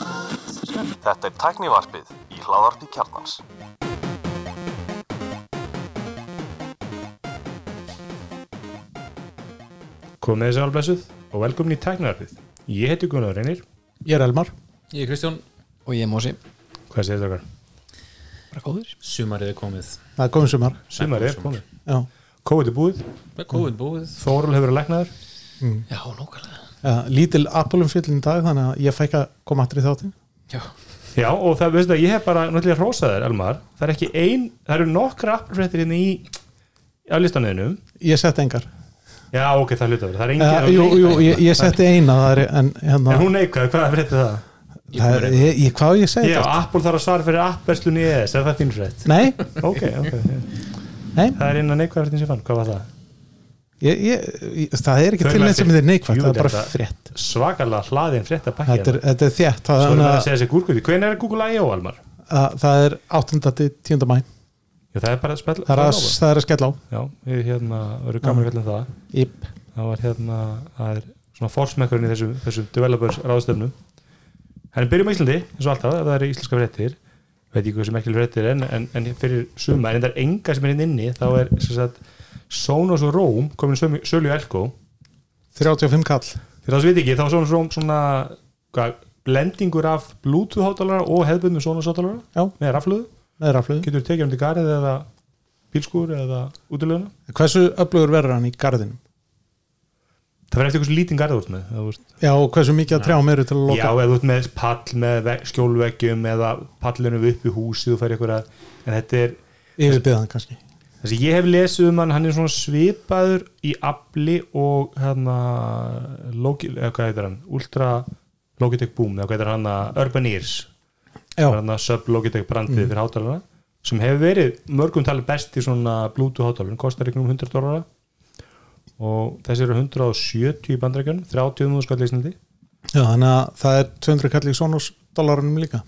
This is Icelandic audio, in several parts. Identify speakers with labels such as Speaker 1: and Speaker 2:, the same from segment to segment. Speaker 1: Þetta er tæknivarpið í hláðarpi kjarnans.
Speaker 2: Komið þið sálblessuð og velkomin í tæknaðarfið. Ég heiti Gunnar Reynir.
Speaker 3: Ég er Elmar
Speaker 4: Ég er Kristján,
Speaker 5: Og ég er Mósi
Speaker 2: Hvað segir þetta okkar?
Speaker 5: Bara góður
Speaker 4: sumarið er komið
Speaker 3: Það er komið sumar
Speaker 2: Sumar er komið.
Speaker 3: Já,
Speaker 2: Kóið er búið.
Speaker 4: Með COVID búið
Speaker 2: Þórul hefur verið læknaður.
Speaker 5: Já, nákvæmlega
Speaker 3: ja, lítil Apolum fyllin í dag þannig að ég fæk að koma aftur í þáttin
Speaker 5: Já,
Speaker 2: Já, og það, veistu það, ég hef bara náttúrulega hrósað þér, Elmar. Það er ekki ein, það eru nokkra appelfréttir hérna í af listanöðinum.
Speaker 3: Ég setti engar
Speaker 2: Já, ok, það er hlutaður. Það er engin,
Speaker 3: uh, Jú, jú, ég, ég setti eina það er, en hérna
Speaker 2: En hún neikvæði, hvað er fréttið það?
Speaker 3: það, er- ég, ég, Hvað á ég að
Speaker 2: Já,
Speaker 3: segja þetta?
Speaker 2: Apple þarf að svara fyrir appverslun í ES, er það þín frétt?
Speaker 3: Nei,
Speaker 2: Ok, ok.
Speaker 3: nei
Speaker 2: Það er innan neikvæða fréttin sem ég fann, hvað var það?
Speaker 3: ég, ég, ég, það er ekki
Speaker 2: Þau
Speaker 3: til neitt sem
Speaker 2: lætur-
Speaker 3: þið er neikvægt,
Speaker 2: Jú,
Speaker 3: það er bara
Speaker 2: þetta-
Speaker 3: frétt
Speaker 2: Svakalega hlaðin fréttapakki.
Speaker 3: Þetta er,
Speaker 2: hérna.
Speaker 3: þetta er þétt það,
Speaker 2: Svo
Speaker 3: er
Speaker 2: erum við að
Speaker 3: annað-
Speaker 2: segja þessi gúrkuti. Hvenær er Google I.O. Almar?
Speaker 3: að- það er 8. til 10. mæ
Speaker 2: Já, það er bara að spella
Speaker 3: það er að, það er að skella á
Speaker 2: Já, við hérna, verðum gaman að fjalla um það
Speaker 3: Íp.
Speaker 2: það var hérna, það er svona forsmekkurinn í þessu, þessu developers ráðstöfnu en byrjum á Íslandi, eins og alltaf ef það eru íslenska fréttir, veit ég hvað sem ekki fréttir en, en, en fyrir suma, en það er enga sem er inn inni, þá er sem sagt, Sonos og Rome komin í sömu- sölu í Elko,
Speaker 3: 35 kall
Speaker 2: fyrir það sem veit ekki þá er Sonos og Rome svona hvað, blendingur af Bluetooth hátalara og hefðbundum Sonos hátalara
Speaker 3: Já.
Speaker 2: með rafluðu,
Speaker 3: með raflöðu
Speaker 2: getur tekið um til garið eða bílskúr eða útileguna
Speaker 3: Hversu öflugur verður hann í garðinum?
Speaker 2: það verður eftir eitthvað lítinn garð út með það,
Speaker 3: Já, og hversu mikið að trjá meiru til að
Speaker 2: Já,
Speaker 3: loka
Speaker 2: eða þú ert með pall með vegg- skjólveggjum eða pallunum upp í húsi og færi ykkur að en þetta er,
Speaker 3: yfirbyðan kannski
Speaker 2: þessi ég hef lesið um hann hann er svona svipaður í afli og hérna Logi, eða hvað heitir hann, Ultra Logitech Boom, eða hvað heitir hann Urban Ears,
Speaker 3: Já, Mhm.
Speaker 2: hann sub Logitech brandið fyrir hátalarna, sem hefur verið mörgum talið best í svona Bluetooth hátalarna, kostar ykkur um 100 dólarar og þessi eru 170 í bandrækjunum, 30 múðu skall leysnildi
Speaker 3: Já, þannig að það er 200 kall í Sonos dólarunum líka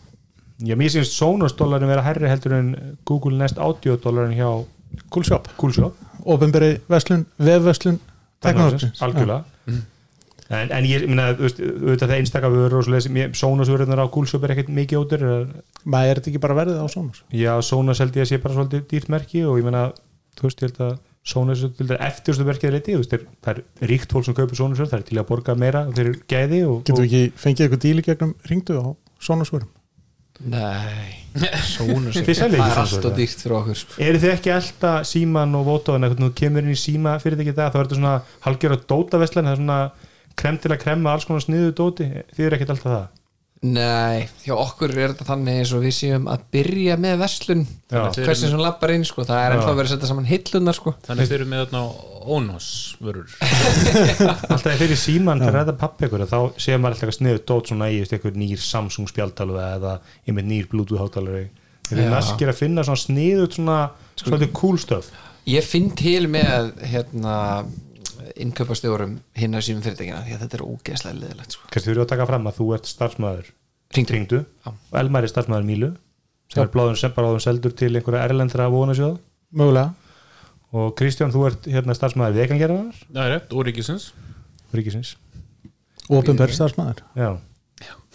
Speaker 2: Já, mér syns Sonos dólarin vera herri heldur en Google Nest Audio dólarin hjá
Speaker 3: Cool shop,
Speaker 2: Kulsjó
Speaker 3: ofinberi verslun, vefverslun teknológisins
Speaker 2: Algjörlega en, en ég minna, þú veist, auðvitað það einstakar vörur og svoleiðis, mér- Sonos vörunar á Kulsjó er ekkert mikið ótir
Speaker 3: Maður er þetta ekki bara verðið á Sonos
Speaker 2: Já, Sonos held ég að sé bara svolítið dýrt merki og ég meina, þú veist, ég held að Sonos er til þetta eftirstu merkið leiti, þú veist, er, það er ríkt fólk sem kaupir Sonos vörur, það er til að borga meira fyrir gæði og,
Speaker 3: Getur
Speaker 2: og
Speaker 3: við ekki fengið eitthvað díli gegnum ringdu á Sonos vörum
Speaker 5: Nei Sónus
Speaker 2: Þið seljið ekki
Speaker 5: Það er
Speaker 2: Sonos,
Speaker 5: alltaf
Speaker 2: eða?
Speaker 5: dýrt fyrir okkur sko.
Speaker 2: Eru þið ekki alltaf síman og vótóðan eða þú kemur inn í síma fyrir því það þá er þetta svona halgjör að dóta veslan það er svona krem til að kremma alls konar sniðu dóti þið eru ekkert alltaf það
Speaker 5: Nei, hjá okkur er þetta þannig eins og við séum að byrja með verslun
Speaker 2: Já.
Speaker 5: Hversin sem lappar inn, sko Það er ennþá verið að setja saman hillunar, sko
Speaker 4: Þannig þeir eru með þarna Ónos vörur
Speaker 2: alltaf þegar fyrir síman til að ræða pappi ykkur þá séu maður alltaf eitthvað sniðu dót svona í eitthvað nýr Samsung spjaldalva eða einmitt nýr Bluetooth hátalari þeir eru
Speaker 5: Já. Sko-
Speaker 2: naskir að finna svona sniðu svona svolítið cool stuff
Speaker 5: Ég finn til með, hérna innkaupastjórum hinna sínum fyrirtækina því að þetta er ógeðslega leðilegt, sko
Speaker 2: kannski þú eru að taka fram að þú ert starfsmæður
Speaker 5: Hringdu.
Speaker 2: Hringdu.
Speaker 5: Já.
Speaker 2: og Elmar er starfsmæður Mílu sem er bláðum sem bara áðum seldur til einhverja erlendra vonasjóða
Speaker 3: Mögulega
Speaker 2: og Kristján, þú ert hérna starfsmæður vegangerðanar
Speaker 4: Það er rétt, Úríkisins
Speaker 2: ríkisins
Speaker 3: Ofinberi starfsmæður
Speaker 2: já.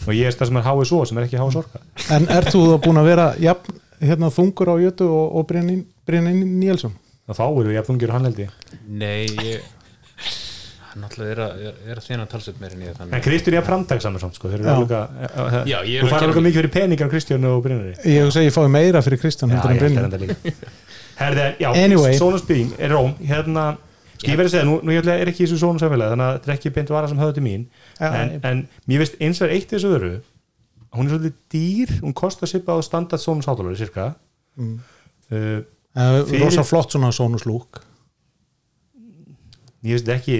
Speaker 2: og ég er starfsmæður HSO sem er ekki HS Orka
Speaker 3: En ert þú þá búin að vera jafn, hérna, þungur á Jötu og, og Brynni, Brynni Níelsson?
Speaker 2: og þá eru ég að þungir og hann held ég
Speaker 4: Nei, ég Hann alltaf er að, er, er að þina talsett meir en ég
Speaker 2: en
Speaker 4: þannig
Speaker 2: Kristján er að framtagssamur samt sko. þeir eru
Speaker 3: Já.
Speaker 2: alveg að-
Speaker 4: Já, ég er
Speaker 2: þú fara
Speaker 4: að gera
Speaker 2: alveg
Speaker 4: mig.
Speaker 2: mikið fyrir peningar Kristján og Brynari
Speaker 3: Ég hugsa að ég fái meira fyrir Kristján heldur en
Speaker 2: ég held
Speaker 3: Brynni
Speaker 2: að þetta líka Herði, já,
Speaker 3: Anyway.
Speaker 2: Sonos Beam er róm hérna, sko ég verið að segja, nú, nú ég ætla- er ekki í þessu Sonos samfélagi, þannig að þetta er ekki beint vara sem höfðu til mín
Speaker 3: Já,
Speaker 2: en,
Speaker 3: ég-
Speaker 2: en mér veist eins og er eitt í þessu öðru hún er svolítið dýr, hún kostar sipa á standard Sonos hátulari, cirka mm.
Speaker 3: Eh,
Speaker 2: Fyrir-
Speaker 3: Rosa flott svona Sonos lúk
Speaker 2: ég veist ekki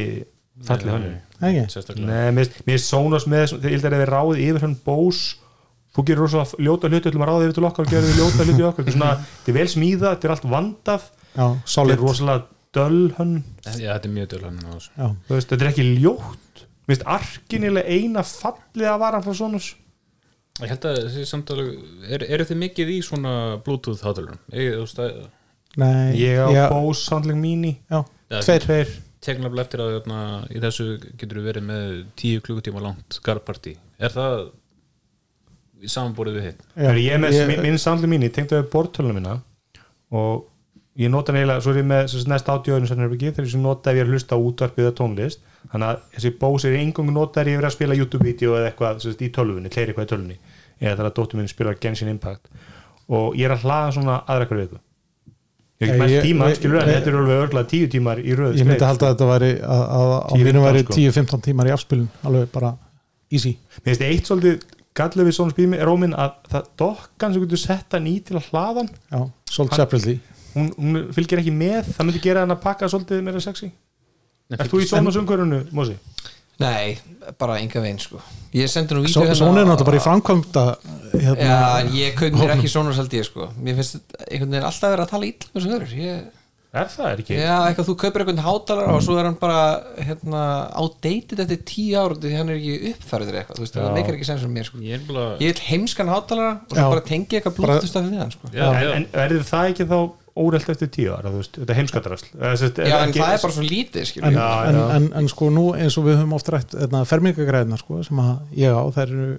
Speaker 2: fallið hönnu
Speaker 3: Nei, ekki?
Speaker 4: Sérstaklega
Speaker 2: Nei, mér finnst- mér finnst Sonos með þessum- þegar ég held að það er ráðið yfir hann bós þú gerir rosa ljóta hluti, ætlum að ráða yfir til okkar og gerir við ljóta hluti í okkar, þetta er svona þetta er vel smíða, þetta er allt vandað
Speaker 3: Já,
Speaker 2: þetta
Speaker 3: solid
Speaker 2: er rosalega döll hann
Speaker 4: Já, þetta er mjög sko. dölan á þessu
Speaker 3: Já.
Speaker 2: þú veist, þetta er ekki ljótt mér finnst arkinilega eina fallið að vara frá Sonos
Speaker 4: Ég held að þessi samtala er, Eru þið mikið í svona Bluetooth hátalurum? Ég, þú veist að
Speaker 3: Nei,
Speaker 2: ég á
Speaker 3: já,
Speaker 2: bós handling mini
Speaker 3: já,
Speaker 4: Já,
Speaker 3: tveir
Speaker 2: tveir,
Speaker 4: tekum nefnilega eftir að jötna, í þessu getur við verið með tíu klukkutíma langt garparti er það í samanbúrið við hitt
Speaker 2: Já, ég er með
Speaker 3: ég-
Speaker 2: minn- minn samlu mín, ég tengdu við bortölunum mína og ég nota hann eiginlega, svo er ég með sem sagt, næsta ádjóðun sem er ekki, þegar ég nota ef ég er að hlusta á útvarpið eða tónlist, þannig að þessi bós er einhverjum nota er ég verið að spila YouTube-vídeó eða eitthvað sem sagt, í tölvunni, kleiri eitthvað í tölvunni eða þegar að dóttur minn spila Genshin Impact og ég er að hlaða svona aðra hverju viku ég er
Speaker 3: Nei,
Speaker 2: ekki
Speaker 3: ég-
Speaker 2: mætt tíma,
Speaker 3: ég-
Speaker 2: skilur en
Speaker 3: ég-
Speaker 2: þetta eru alveg örgulega tíu tímar í röð
Speaker 3: ég myndi
Speaker 2: skreif.
Speaker 3: halda að þetta væri að, að, að á
Speaker 2: 10-15
Speaker 3: mínum væri
Speaker 2: sko.
Speaker 3: 10-15 tímar í afspilun alveg bara easy
Speaker 2: Mér finnst eitt svolítið gallið við svona spími róminn að það dokkan sem getur sett hann í til að hlaða hann
Speaker 3: já, sold
Speaker 2: Hann-
Speaker 3: separately
Speaker 2: hún, hún fylgir ekki með það myndi gera hann að pakka svolítið meira sexy Er þú í svona söngurinu, Mósi?
Speaker 5: Nei, bara enga veginn sko Ég sendi nú vídeo hérna
Speaker 3: Sóni er náttúrulega bara í framkvæmda hérna,
Speaker 5: Já, ég kaup mér ekki Sonos held ég sko Mér finnst einhvern veginn alltaf verið að tala ítl með sem öður ég,
Speaker 2: Er það er ekki?
Speaker 5: Já, eitthvað þú kaupir einhvern hátalara og svo er hann bara hérna, outdated eftir tíu ára því hann er ekki uppfærið eða eitthvað, þú veist, það meikar ekki sem sem mér sko
Speaker 4: ég er bara
Speaker 5: Ég vil heimskan hátalara og svo
Speaker 3: Já.
Speaker 5: bara tengi eitthvað
Speaker 3: Bara-
Speaker 5: blúttust af því hann sko
Speaker 4: já,
Speaker 2: En,
Speaker 4: já,
Speaker 2: en verður það ekki þá órelt eftir tíu ára, þú veist, þetta Eh, heimskatarasl
Speaker 5: Já, en það er bara svo lítið,
Speaker 3: en,
Speaker 5: skilur
Speaker 2: Já,
Speaker 3: en,
Speaker 2: já.
Speaker 3: En, en sko nú eins og við höfum oft rætt hérna, fermingagræðina sko sem að ég á þær eru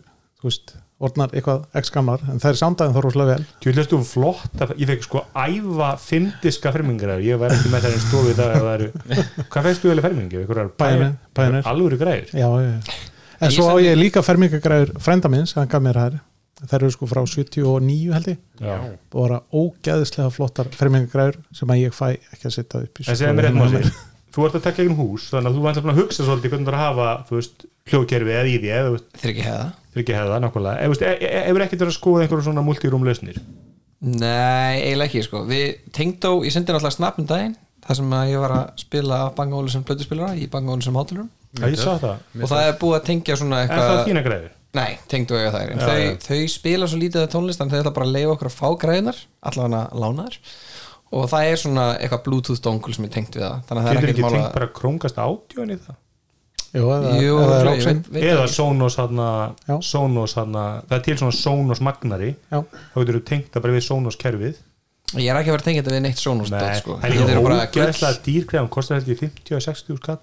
Speaker 3: þú veist orðnar eitthvað x gamlar en þær samdæðin þó rosalega vel
Speaker 2: Tjúlast þú flott, að, ég fekk sko æfa fyndiska fermingar ég væri ekki með það en stofi í dag ef það eru- Hvað fegst þú eða fermingi? Einhverjar
Speaker 3: Pioneer, Pioneer.
Speaker 2: Alvöru græður
Speaker 3: já, já. en
Speaker 5: Ég
Speaker 3: svo á
Speaker 5: sendi-
Speaker 3: ég líka fermingagræður frænda minns, hann gaf mér þær þær eru sko frá 79 held ég
Speaker 2: Já.
Speaker 3: bara ógæðislega flottar fermingagræður sem að ég fæ ekki að setja upp í
Speaker 2: En
Speaker 3: hérna
Speaker 2: segja mér rétt Mósi, þú ert að taka eigin hús þannig að þú vantar að hugsa svolítið hvernig þú er að hafa þú veist, hljóðkerfi eða í því eða þú veist,
Speaker 5: Þeir ekki hefða
Speaker 2: fyrir hefða, nákvæmlega Ef þú veist, e- e- hefur ekkert verið að skoða einhverjum svona multirúm lausnir
Speaker 5: Nei, eiginlega ekki sko Við tengdó, ég sendi náttúrulega snapp um daginn þar sem að ég var að spila af Bang Olufsen sem plötuspilara í Bang Olufsen sem hátalurum
Speaker 2: Já, ég sá það
Speaker 5: og það er búið að tengja svona
Speaker 2: Er það
Speaker 5: eitthvað
Speaker 2: þína græður?
Speaker 5: Nei, tengdu eiga þær en þau, þau spila svo lítið af tónlist en þau ætla bara að leifa okkur að fá græðunar allavega lánaðar og það er svona eitthvað bluetooth dongul sem er tengt við það þannig að það
Speaker 2: Getur
Speaker 5: er
Speaker 2: ekki tengt
Speaker 5: ekkert mála
Speaker 2: bara króngast átjóðan í það?
Speaker 3: Jú, eða,
Speaker 5: Jú,
Speaker 3: eða
Speaker 5: örugglega, ég
Speaker 3: Roxanne.
Speaker 5: veit- veit
Speaker 2: Eða
Speaker 5: ekki.
Speaker 2: Sonos hana,
Speaker 3: Já.
Speaker 2: Sonos hana Það er til svona Sonos magnari
Speaker 3: Já.
Speaker 2: Þá getur þú tengt það bara við Sonos kerfið
Speaker 5: ég er ekki að vera tengja þetta við neitt Sonos dot,
Speaker 2: Nei,
Speaker 5: sko.
Speaker 2: það er
Speaker 5: Þetta eru
Speaker 2: líka
Speaker 5: bara
Speaker 2: ógeðslega dýrkrefum Kostar held ég 50 að 60 skall
Speaker 5: gull-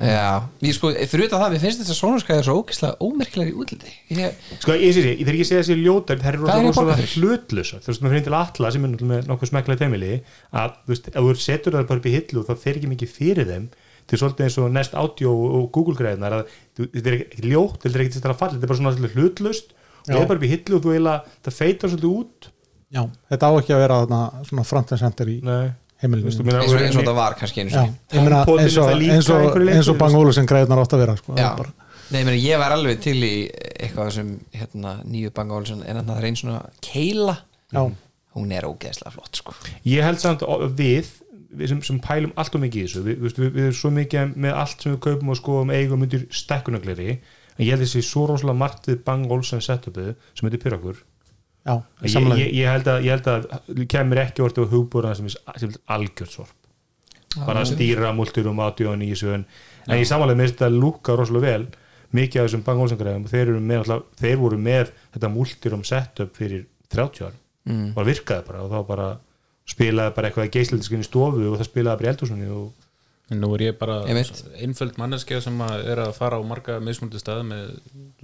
Speaker 5: Já, ég sko, fyrir utan það, við finnst þess að Sonos græður svo ógeðslega ómerkilega í útliti ég,
Speaker 2: Sko ég sé því, þegar ég segja þessi ljótar þær eru
Speaker 5: Hvað er ég að borga
Speaker 2: rosalega
Speaker 5: fyrir?
Speaker 2: hlutlösa þú veist, maður finnir til alla sem er náttúrulega með nokkuð smekklega teimili að þú veist, ef þú setur það bara upp í hillu þá fer ekki mikið fyrir þeim þetta er svolítið eins og Nest Audio og Google greiðnar að þú- þetta er ekki ljótt, þetta er ekki þetta að falla þetta er bara svona svolítið hlutlöst og
Speaker 3: Já.
Speaker 2: það er bara upp í hillu og þú eiginlega, það feitar svolítið út
Speaker 3: Já, þetta á ekki að vera þarna, svona front and center í
Speaker 2: Nei, þú veist, þú meina
Speaker 3: heimilinu
Speaker 5: Mm. eins og, eins og
Speaker 2: og-
Speaker 5: það var kannski
Speaker 3: Já,
Speaker 5: einu sinni
Speaker 3: ég meina
Speaker 2: Homepodin
Speaker 3: eins og,
Speaker 2: er það líka að
Speaker 3: eins og,
Speaker 2: einhverju leyti,
Speaker 3: eins og
Speaker 2: þú
Speaker 3: Bang
Speaker 2: veist.
Speaker 3: Olufsen græðnar átt að vera sko, það
Speaker 5: Já,
Speaker 3: er bara,
Speaker 5: Nei, meni, ég var alveg til í eitthvað sem hérna, nýju Bang Olufsen en þarna það er einn svona keila
Speaker 3: já,
Speaker 2: Mhm.
Speaker 5: hún er ógeðslega flott sko.
Speaker 2: ég held samt að við, við sem, sem pælum allt og mikið í þessu, við, við, við, við erum svo mikið með allt sem við kaupum og skoðum eigum undir stekkunagleri, en ég held þessi svo rosalega margt við Bang Olsen setupið sem heitir Pyrrakur
Speaker 3: já,
Speaker 2: ég,
Speaker 3: samlega
Speaker 2: ég, ég, held að, ég held að kemur ekki orðið á hugbúrna sem, er- sem er algjört sorp bara að stýra múlturum átjóðan í þessu en, en ég samanlega með þetta lúka rosalega vel mikið af þessum Bang Olsen græðum þeir, eru með, náttúrulega- þeir voru með þetta múlturum setup fyrir 30 árum mm. og það virkaði bara og þá bara spilaði bara eitthvað geislindiskin í stofu og það spilaði bara í eldhúsunni og
Speaker 4: en nú er ég bara
Speaker 5: Einmitt.
Speaker 4: einföld manneskja sem að er að fara á marga mismundi stað með,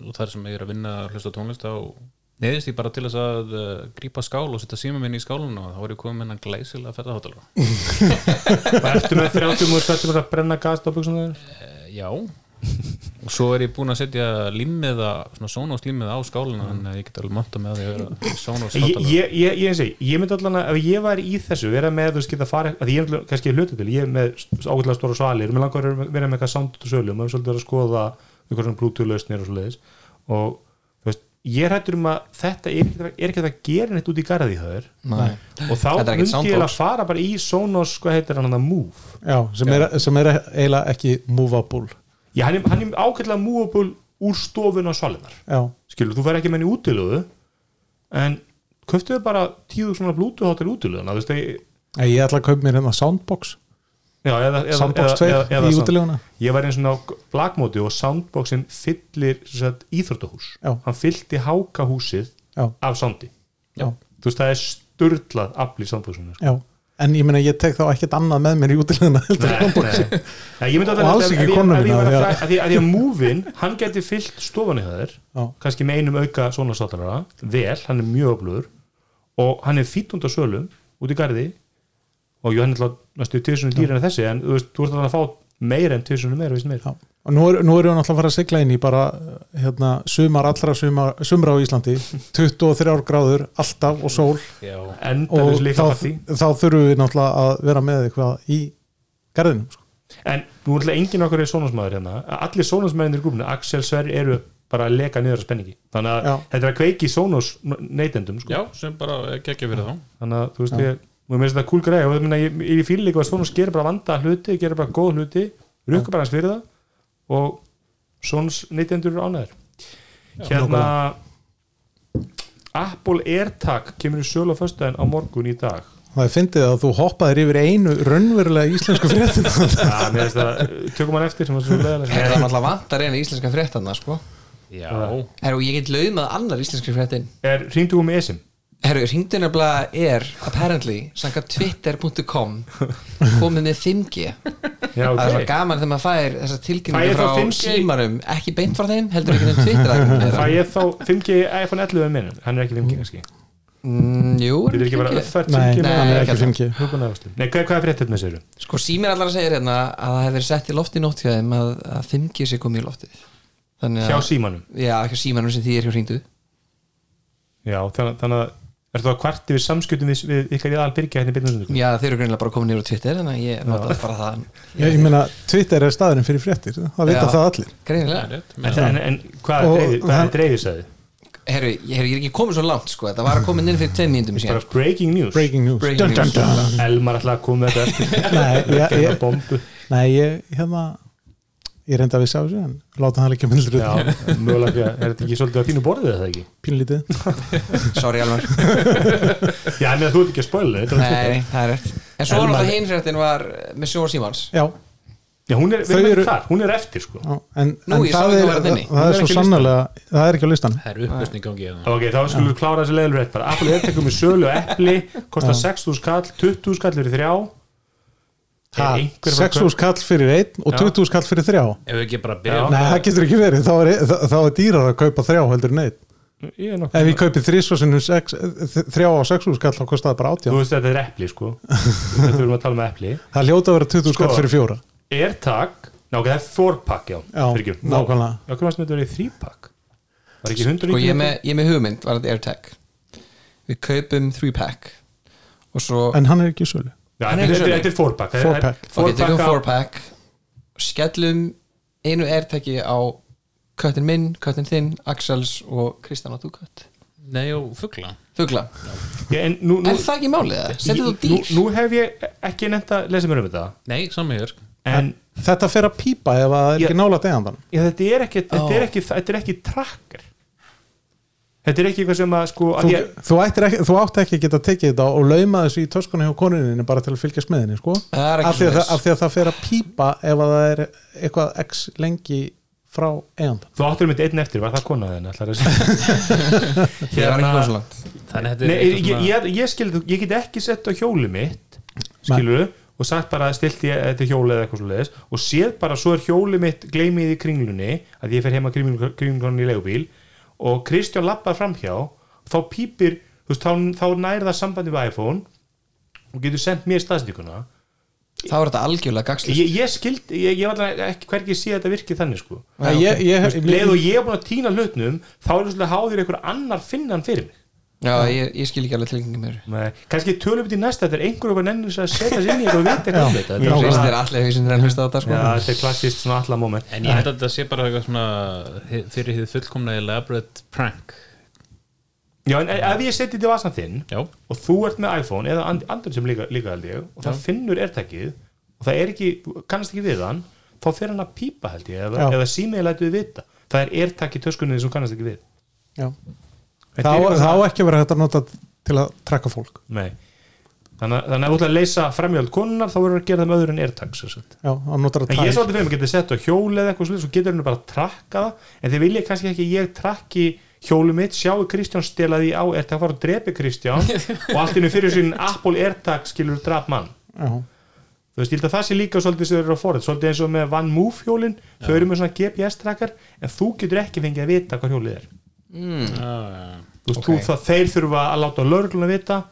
Speaker 4: og þar sem ég er að vinna að hlusta á tónlist á neðist ég bara til þess að uh, grípa skál og setja síma minni í skáluna og þá er ég komið með hennan glæsilega ferða hátalara
Speaker 2: og eftir með 30 múl þetta bara að brenna gast á buksum þeir
Speaker 4: Eh, já og svo er ég búinn að setja limmiða, svona Sonos limmiða á skáluna þannig að ég get alveg monta með því að vera Sonos
Speaker 2: ég, ég,
Speaker 4: hátalara
Speaker 2: ég, ég, ég, ég myndi allan að ef ég var í þessu, vera með þú veist geta farið, að ég er náttúrulega- kannski hlutu til ég er með ágætlega stóra svalir, mér langar að vera með eitthvað sound og sölu, maður er svolítið að skoða eitthvað svona bluetooth lausnir og svo leiðis og þú veist, ég hættur um að þetta er ekkert að- er ekkert að gera neitt út í garði það er
Speaker 5: Nei.
Speaker 2: og þá
Speaker 5: Þetta er ekkert
Speaker 2: myndi ég að
Speaker 5: soundbox.
Speaker 2: fara bara í Sonos, hvað heitir hann að Move
Speaker 3: já, sem, Er, sem er eiginlega ekki movable
Speaker 2: Já, hann er, hann er ágætlega múabúl úr stofun á svalinnar
Speaker 3: já,
Speaker 2: skilur, þú fær ekki með henni útilöðu en köftuðu bara tíu svona blútu hátil útilöðuna þú veist, ég-
Speaker 3: ég, ég ætla að kaupa mér hérna soundbox
Speaker 2: já, eða, eða,
Speaker 3: soundbox 2 í
Speaker 2: sound-
Speaker 3: útileguna
Speaker 2: ég var eins og ná blagmóti og soundboxin fyllir sem sagt, íþróttahús
Speaker 3: Já.
Speaker 2: hann fyllti hákahúsið
Speaker 3: já,
Speaker 2: af soundi
Speaker 3: já,
Speaker 2: þú veist, það er sturlað afl í soundboxinu sko.
Speaker 3: já, en ég meina ég tek þá ekkert annað með mér í útilegðina heldur en
Speaker 2: Nei,
Speaker 3: komboxi.
Speaker 2: nei. Nei, ég myndi alltaf
Speaker 3: Og alls
Speaker 2: ef-
Speaker 3: ekki
Speaker 2: ef ég-
Speaker 3: konuna
Speaker 2: ef ég
Speaker 3: mína,
Speaker 2: væri
Speaker 3: því
Speaker 2: að
Speaker 3: að-
Speaker 2: fræ- af því að því að múvin, hann geti fyllt stofanni það þér
Speaker 3: Já.
Speaker 2: kannski með einum auka svona sáttalara vel, hann er mjög öflugur og hann er fýtt undan sölum út í garði og jú, hann er alltaf næstu tísunum dýrin en þessi en þú veist, þú veist að fá meira en tísunum meira, veist meira
Speaker 3: Já. og nú er- nú erum við náttúrulega að fara að sigla inn í bara hérna, sumar allra sumar, sumra á Íslandi 23 gráður alltaf og sól
Speaker 4: Já,
Speaker 2: endalis
Speaker 3: og
Speaker 2: líka
Speaker 3: þá,
Speaker 2: partí
Speaker 3: þá þurfum við náttúrulega að vera með eitthvað í garðinum sko.
Speaker 2: en nú er alltaf engin okkar er sónasmaður hérna allir sónasmaðurinn í grúfinu, Axel Sverri eru bara að leka niður að spenningi þannig að
Speaker 3: Já.
Speaker 2: þetta er að kveiki sónus neytendum sko.
Speaker 4: já sem bara geggja fyrir þá
Speaker 2: þannig að þú veist ég og mér finnst þetta cool greið og ég meina, ég, ég fíl líka að Sónus gerir bara vanda hluti, gerir bara góð hluti rukka bara hans fyrir það og Sónus neytendur eru ánæður hérna Apple AirTag kemur í sölu á föstudaginn á morgun í dag
Speaker 3: það er fyndið að þú hoppaðir yfir einu raunverulega íslensku fréttin
Speaker 2: ja, mér finnst það, tökum hann eftir sem var svo
Speaker 5: Það
Speaker 2: leðalega
Speaker 5: er náttúrulega vantar einu íslenska fréttanna sko.
Speaker 4: Já,
Speaker 5: Herru, ég get laumað annar íslenska fréttin
Speaker 2: er hringdu um esim
Speaker 5: Herru, hringdu nefnilega er apparently, sanga twitter.com komið með 5G
Speaker 2: já,
Speaker 5: Það er svo
Speaker 2: ok
Speaker 5: gaman þegar maður fær þessar
Speaker 2: Fæ ég
Speaker 5: tilkynningar
Speaker 2: þá
Speaker 5: frá
Speaker 2: 5G?
Speaker 5: símarum ekki beint frá þeim, heldur ekki þeim twitter
Speaker 2: Fæ ég þá 5G iPhone 11 minn hann er ekki 5G kannski
Speaker 5: mm, Jú,
Speaker 2: Þetta er ekki bara uppfært 5G
Speaker 3: nei,
Speaker 2: með
Speaker 3: hann
Speaker 2: hann
Speaker 3: er
Speaker 2: er
Speaker 3: ekki 5G
Speaker 2: ekki Nei, hvað hvað er fréttet með sér?
Speaker 5: Sko símir allar að segja hérna að það hefur verið sett í loft í nótt hjá þeim að, að 5G sé komið í loftið Þannig
Speaker 2: Hjá
Speaker 5: að,
Speaker 2: símanum
Speaker 5: já, ekki símanum sem því er hjá hringdu
Speaker 2: Já, þannig, þannig að ertu að kvart yfir samskiptum við, við ykkar í aðalbyrgja hérna í byrjunum
Speaker 5: Já, þeir eru greinilega bara komin yfir á Twitter þannig að ég notaði bara það
Speaker 3: ég, ég meina Twitter er staðurinn fyrir fréttir það vita
Speaker 5: Já.
Speaker 3: það allir
Speaker 4: það er
Speaker 5: Greinilega
Speaker 4: rétt
Speaker 2: en, en, en hvað
Speaker 3: Og-
Speaker 2: er dreifis- hvað
Speaker 3: hann-
Speaker 2: er dreifisæði?
Speaker 5: Herru, ég, herru, ég er ekki komið svo langt sko Það var að koma inn fyrir tveim mínútum síðan
Speaker 2: Bara breaking news
Speaker 3: breaking news
Speaker 5: Breaking news.
Speaker 2: Elmar alltaf að koma með þetta eftir
Speaker 3: Nei, ég,
Speaker 2: Gerða
Speaker 3: ég,
Speaker 2: bombu
Speaker 3: nei, ég hérna ég reynda að við sjá þessu en láta hann ekki myndur
Speaker 2: Já, mögulega, er þetta ekki svolítið á þínu borðið eða ekki?
Speaker 3: pínlítið
Speaker 5: Sorry Alvar
Speaker 2: Já, en þú ert ekki að spoila þetta er á Twitter.
Speaker 5: Nei, það er rétt En svo var
Speaker 3: Elmar-
Speaker 5: alltaf hinfréttin var eh, með sjóar símans
Speaker 3: já,
Speaker 2: Já, hún er,
Speaker 3: Þau
Speaker 2: við erum
Speaker 3: eru-
Speaker 2: ekki þar, hún er eftir sko
Speaker 3: já, en,
Speaker 5: Nú,
Speaker 3: en það,
Speaker 5: ég sá ekki
Speaker 3: er,
Speaker 5: að vera
Speaker 3: það,
Speaker 5: þinni.
Speaker 3: það er svo sannlega það er ekki á listan
Speaker 4: Það er upplýsning í gangi hérna
Speaker 2: Ok, þá skulum við klára þessi leiðilur rétt bara Apple er tekum í sölu og epli kostar 6.000 kall, 20.000 kall fyrir þrjá Er einhver bara-
Speaker 3: 6 hús kall fyrir einn og
Speaker 2: Já.
Speaker 3: 20 hús kall fyrir þrjá
Speaker 4: Ef við ekki bara
Speaker 2: Já.
Speaker 4: byrja
Speaker 3: nei, það getur ekki verið, þá er, þá, þá er dýrar að kaupa þrjá heldur en einn
Speaker 2: Ég er
Speaker 3: ef
Speaker 2: nokkuð
Speaker 3: ég kaupi þrísvarsinnum þrjá á 6 hús kall þá kostar það bara
Speaker 2: Þú
Speaker 3: 18
Speaker 2: veist þetta er epli sko Þetta við erum að tala með epli
Speaker 3: það hljóta að vera 20 hús
Speaker 2: Sko.
Speaker 3: kall fyrir fjóra
Speaker 2: AirTag, ná ok, það er 4-pack já,
Speaker 3: Já,
Speaker 2: fyrirgefum.
Speaker 3: nákvæmlega.
Speaker 2: Já, hvernig varst með þetta verið 3-pack? Var ekki 100
Speaker 5: Sko ég er með, ég er með hugmynd var þetta AirTag Við kaupum 3-pack Og svo
Speaker 3: en hann er ekki í sölu
Speaker 2: Já,
Speaker 5: hann er
Speaker 2: þetta
Speaker 5: ekki
Speaker 2: er-
Speaker 5: sölu.
Speaker 2: þetta er 4-pack
Speaker 3: 4-pack.
Speaker 5: ok, tökum
Speaker 2: 4-pack
Speaker 5: 4-pack skellum einu airtagi á köttin minn, köttin þinn, Axels og Kristján og þú kött
Speaker 4: Nei og fuggla
Speaker 5: Fugla,
Speaker 2: En nú, nú,
Speaker 5: er það ekki málið það? Settu þú
Speaker 2: nú,
Speaker 5: dýr?
Speaker 2: nú hef ég ekki nefnt að lesa mér um þetta
Speaker 4: Nei, sami hér
Speaker 2: En
Speaker 3: þetta fer að pípa ef það er
Speaker 2: Ég-
Speaker 3: ekki nálægt eigandanum
Speaker 2: já, þetta, er ekki, þetta, er
Speaker 5: Ó.
Speaker 2: ekki, þetta er ekki trakkar Þetta er ekki eitthvað sem að sko að
Speaker 3: þú,
Speaker 2: ég,
Speaker 3: þú, ættir ekki, þú átt ekki að geta tekið þetta og lauma þessu í töskunni hjá konuninni bara til að fylgjast með henni sko?
Speaker 5: Það er ekki
Speaker 3: af, því að
Speaker 5: svoleiðis.
Speaker 3: það, af því að það fer að pípa ef að það er eitthvað x lengi frá eigandan
Speaker 2: Þú áttur með einn eftir, var það kona þenni? ætlarðu að segja?
Speaker 5: Ég var ekki
Speaker 2: Hérna-
Speaker 5: komið svo langt
Speaker 4: Þannig að þetta
Speaker 2: Nei,
Speaker 4: er
Speaker 2: ég,
Speaker 4: eitthvað
Speaker 2: ég,
Speaker 4: svona
Speaker 2: ég, ég, skildi, ég get ekki sett á hjóli mitt skilur og sagt bara stilt ég þetta hjóli eða eitthvað svo og séð bara svo er hjóli mitt gleymið í kringlunni að ég fer heima kringlunni í legubíl og Kristján lappar framhjá þá pípir, þú veist, þá, þá nær það sambandi við iPhone og getur sendt mér staðstíkuna
Speaker 5: Þá er þetta algjörlega gagslust
Speaker 2: ég, ég skildi, ég, ég var allavega ekki hvergi sé þetta virkið þannig sko
Speaker 3: Æ, ég, ég,
Speaker 2: Þú veist, leið og ég er búin að týna hlutnum þá er þess að háður einhver annar finnan fyrir mig
Speaker 5: Já, ég, ég skil ekki alveg tilgengið mér
Speaker 2: Nei, kannski tölum við í næsta þetta er einhverjum að nennir þess að setja sér inn í þetta og vita eitthvað um þetta Þetta
Speaker 5: Ég
Speaker 2: er
Speaker 5: finnst
Speaker 2: svona-
Speaker 5: þér allir því sem er að hlusta á þetta
Speaker 2: Já,
Speaker 5: sko
Speaker 2: þetta er klassist svona alla moment
Speaker 4: En ég held að þetta sé bara eitthvað svona hi- fyrir hið fullkomna elaborate prank
Speaker 2: Já, en ef ég setja þetta í vasan þinn
Speaker 4: Já,
Speaker 2: og þú ert með iPhone eða and- Android sem líka, líka held ég og það finnur ertækið og það er ekki, þú kannast ekki við hann þá fer hann að pípa held ég eða,
Speaker 3: Já.
Speaker 2: eða símiði lætu við vita það er ertæki töskunni sem þú kannast ekki við
Speaker 3: já.
Speaker 2: Þetta er
Speaker 3: þá,
Speaker 2: eitthvað
Speaker 3: þá
Speaker 2: svona-
Speaker 3: ekki verið hægt að nota til að trakka fólk
Speaker 2: Nei. Þannig að- þannig að ef þú ætla að leysa framhjöld konunar þá verður að gera það með öðru en ertæks
Speaker 3: já, að nota
Speaker 2: En ég
Speaker 3: það
Speaker 2: er svolítið fyrir mig, getið sett á hjóli eða eitthvað slið, svo getur henni bara að trakka það, en þið viljið kannski ekki að ég trakki hjólum mitt, sjáu Kristján stela því á AirTag, fara og drepi Kristján og allt innu fyrir sín Apple AirTag skilur drap mann
Speaker 3: já,
Speaker 2: þú veist, ég held að það sé líka svolítið sem þau eru að forða svolítið eins og með Van Move hjólin þau eru með svona GPS trackar en þú getur ekki fengið að vita hvað hjólið er
Speaker 4: Ah, já,
Speaker 2: þú veist,
Speaker 5: Ok.
Speaker 2: þú, það, þeir þurfa að láta lögregluna vita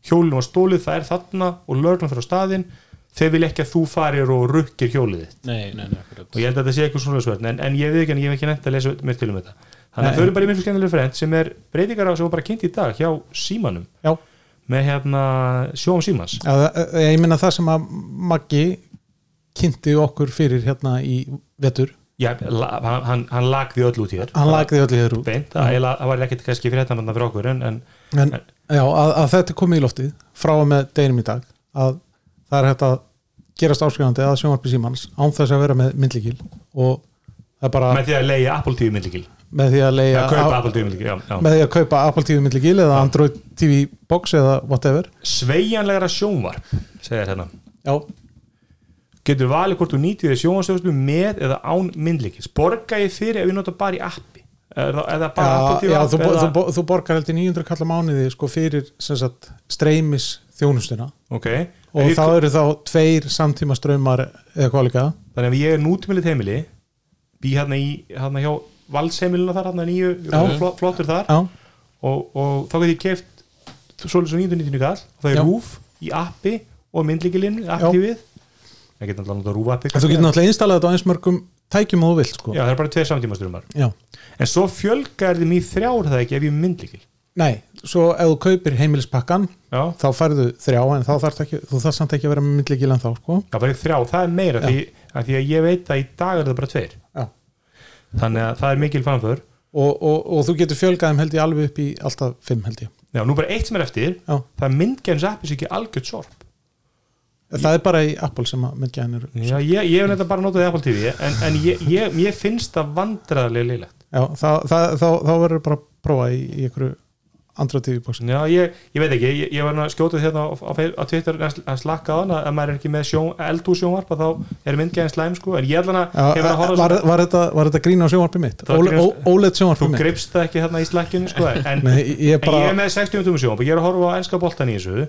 Speaker 2: hjólinu var stólið, það er þarna og lögreglan fyrir á staðinn þeir vil ekki að þú farir og rukkir hjólið þitt
Speaker 4: nei, nei, nei, akkurat
Speaker 2: og ég held að þetta sé eitthvað svona svörn en, en ég við ekki, en ég hef ekki nefnt að lesa mér til um þetta þannig að þau eru bara í mjög skemmtilega frend sem er breytingar á sem var bara kynnt í dag hjá símanum
Speaker 3: já.
Speaker 2: með hérna sjóum símans
Speaker 3: Já, það- eh, ég minna það sem að Maggi kynnti okkur fyrir hérna í vetur
Speaker 2: Já, la, hann, hann, hann lagði öll út í þér
Speaker 3: hann lagði öll í þér út
Speaker 2: beint, það eiginlega- það var ekkert kannski fyrir þetta manna fyrir okkur en, en
Speaker 3: en já, að, að þetta er komið í loftið frá og með deginum í dag að það er hægt að gerast áskrifandi að sjónvarpi símans án þess að vera með myndlíkil og það er bara
Speaker 2: með því að leiði Apple TV myndlíkil
Speaker 3: með því að leiða
Speaker 2: að kaupa Apple TV myndlíkil, já, já.
Speaker 3: með því að kaupa Apple TV myndlíkil eða Android TV box eða whatever
Speaker 2: sveigjanlegra sjónvarp segir hérna
Speaker 3: já,
Speaker 2: getur valið hvort þú nýtið þér sjónvarsjóðslu með eða án myndlíkis borga ég fyrir ef ég nota bara í appi eða, eða bara Apple
Speaker 3: já,
Speaker 2: TV
Speaker 3: Ah, já
Speaker 2: app
Speaker 3: þú, bo-
Speaker 2: eða...
Speaker 3: þú, bo- þú borgar heldur 900 kallar mánuði sko fyrir sem sagt, streymis þjónustuna
Speaker 2: ok
Speaker 3: og
Speaker 2: Ef ég-
Speaker 3: þá eru þá tveir samtíma strömmar eða hvað líka
Speaker 2: þannig að ef ég er nútímilið heimili bý hérna í hérna hjá valsheimilina þar hérna nýju
Speaker 3: Já.
Speaker 2: flott, flottur þar
Speaker 3: já,
Speaker 2: og, og þá get ég keft svolítið svo 999 kall og það er
Speaker 3: Já.
Speaker 2: rúf í appi og myndlíkilinn
Speaker 3: Já.
Speaker 2: appið við ég get náttúrulega nota rúf appi
Speaker 3: en þú getur náttúrulega installað þetta á eins mörgum tækjum og þú vilt sko
Speaker 2: já það er bara tveir samtímastrumar
Speaker 3: Já.
Speaker 2: en svo fjölgar þeim í þrjár er það ekki ef ég er myndlíkil
Speaker 3: nei, svo ef þú kaupir heimilispakkan
Speaker 2: já
Speaker 3: þá færðu þrjá en þá þarf ekki, þú þarf samt ekki að vera með myndlíkil en þá sko
Speaker 2: það er þrjár það er meira því, að því að ég veit að í dag er það bara tveir
Speaker 3: já.
Speaker 2: þannig að það er mikil framför
Speaker 3: Og, og, og þú getur fjölgað þeim held ég alveg upp í alltaf fimm held ég
Speaker 2: já nú bara eitt sem er eftir
Speaker 3: já.
Speaker 2: það er myndgjæðins appi sem ekki algjört sorp
Speaker 3: það er bara í Apple sem að myndgæðin eru
Speaker 2: Já, ég, ég hef nefnda bara notað Apple TV en, en ég, ég, ég finnst það vandræðarlega leilegt
Speaker 3: já, það, það, þá, þá verður bara að prófa í, í einhverju andra TV-bóksin
Speaker 2: Já, ég, ég veit ekki, ég, ég var nú að skjóta hérna á, á, á Twitter að að slakka á hann að ef maður er ekki með sjón, eldúsjónvarp að þá er myndgæðin slæm sko, en ég allan að hefur að
Speaker 3: var,
Speaker 2: horfa
Speaker 3: var,
Speaker 2: var,
Speaker 3: þetta, var þetta grín á sjónvarpi mitt?
Speaker 2: Það var
Speaker 3: Óle-
Speaker 2: grín á-
Speaker 3: ó- OLED sjónvarpi
Speaker 2: þú
Speaker 3: mitt?
Speaker 2: gripst það ekki hérna í slakkinu sko, en,
Speaker 3: Nei, ég er
Speaker 2: en ég
Speaker 3: bara
Speaker 2: er með 60 um sjónvarp og ég er að horfa á enska boltan í þessu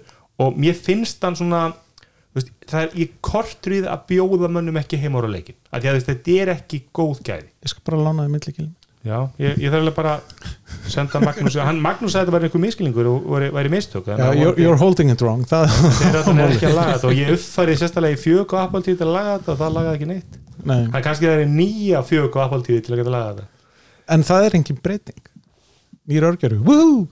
Speaker 2: og mér finnst hann svona þú veist, það er, ég kortrið að bjóða mönnum ekki heim ára leikin, að því að þú veist, þetta er ekki góð gæði
Speaker 3: ég skal bara lána þið myndlíkilin
Speaker 2: Já, ég, ég þarf alveg bara að senda Magnús, hann Magnús sagði að þetta væri einhver miskilningur og væri, væri mistök
Speaker 3: Já,
Speaker 2: þannig
Speaker 3: you're,
Speaker 2: að
Speaker 3: you're holding it wrong það,
Speaker 2: þeir að hann er ekki að laga þetta og ég uppfærið sérstælega í fjög og appaltíð til að laga þetta og það lagaði ekki neitt
Speaker 3: nei.
Speaker 2: en kannski það er nýja fjög og appaltíð til að geta laga þetta
Speaker 3: en það er engin breyting nýr örgjöru Woohoo!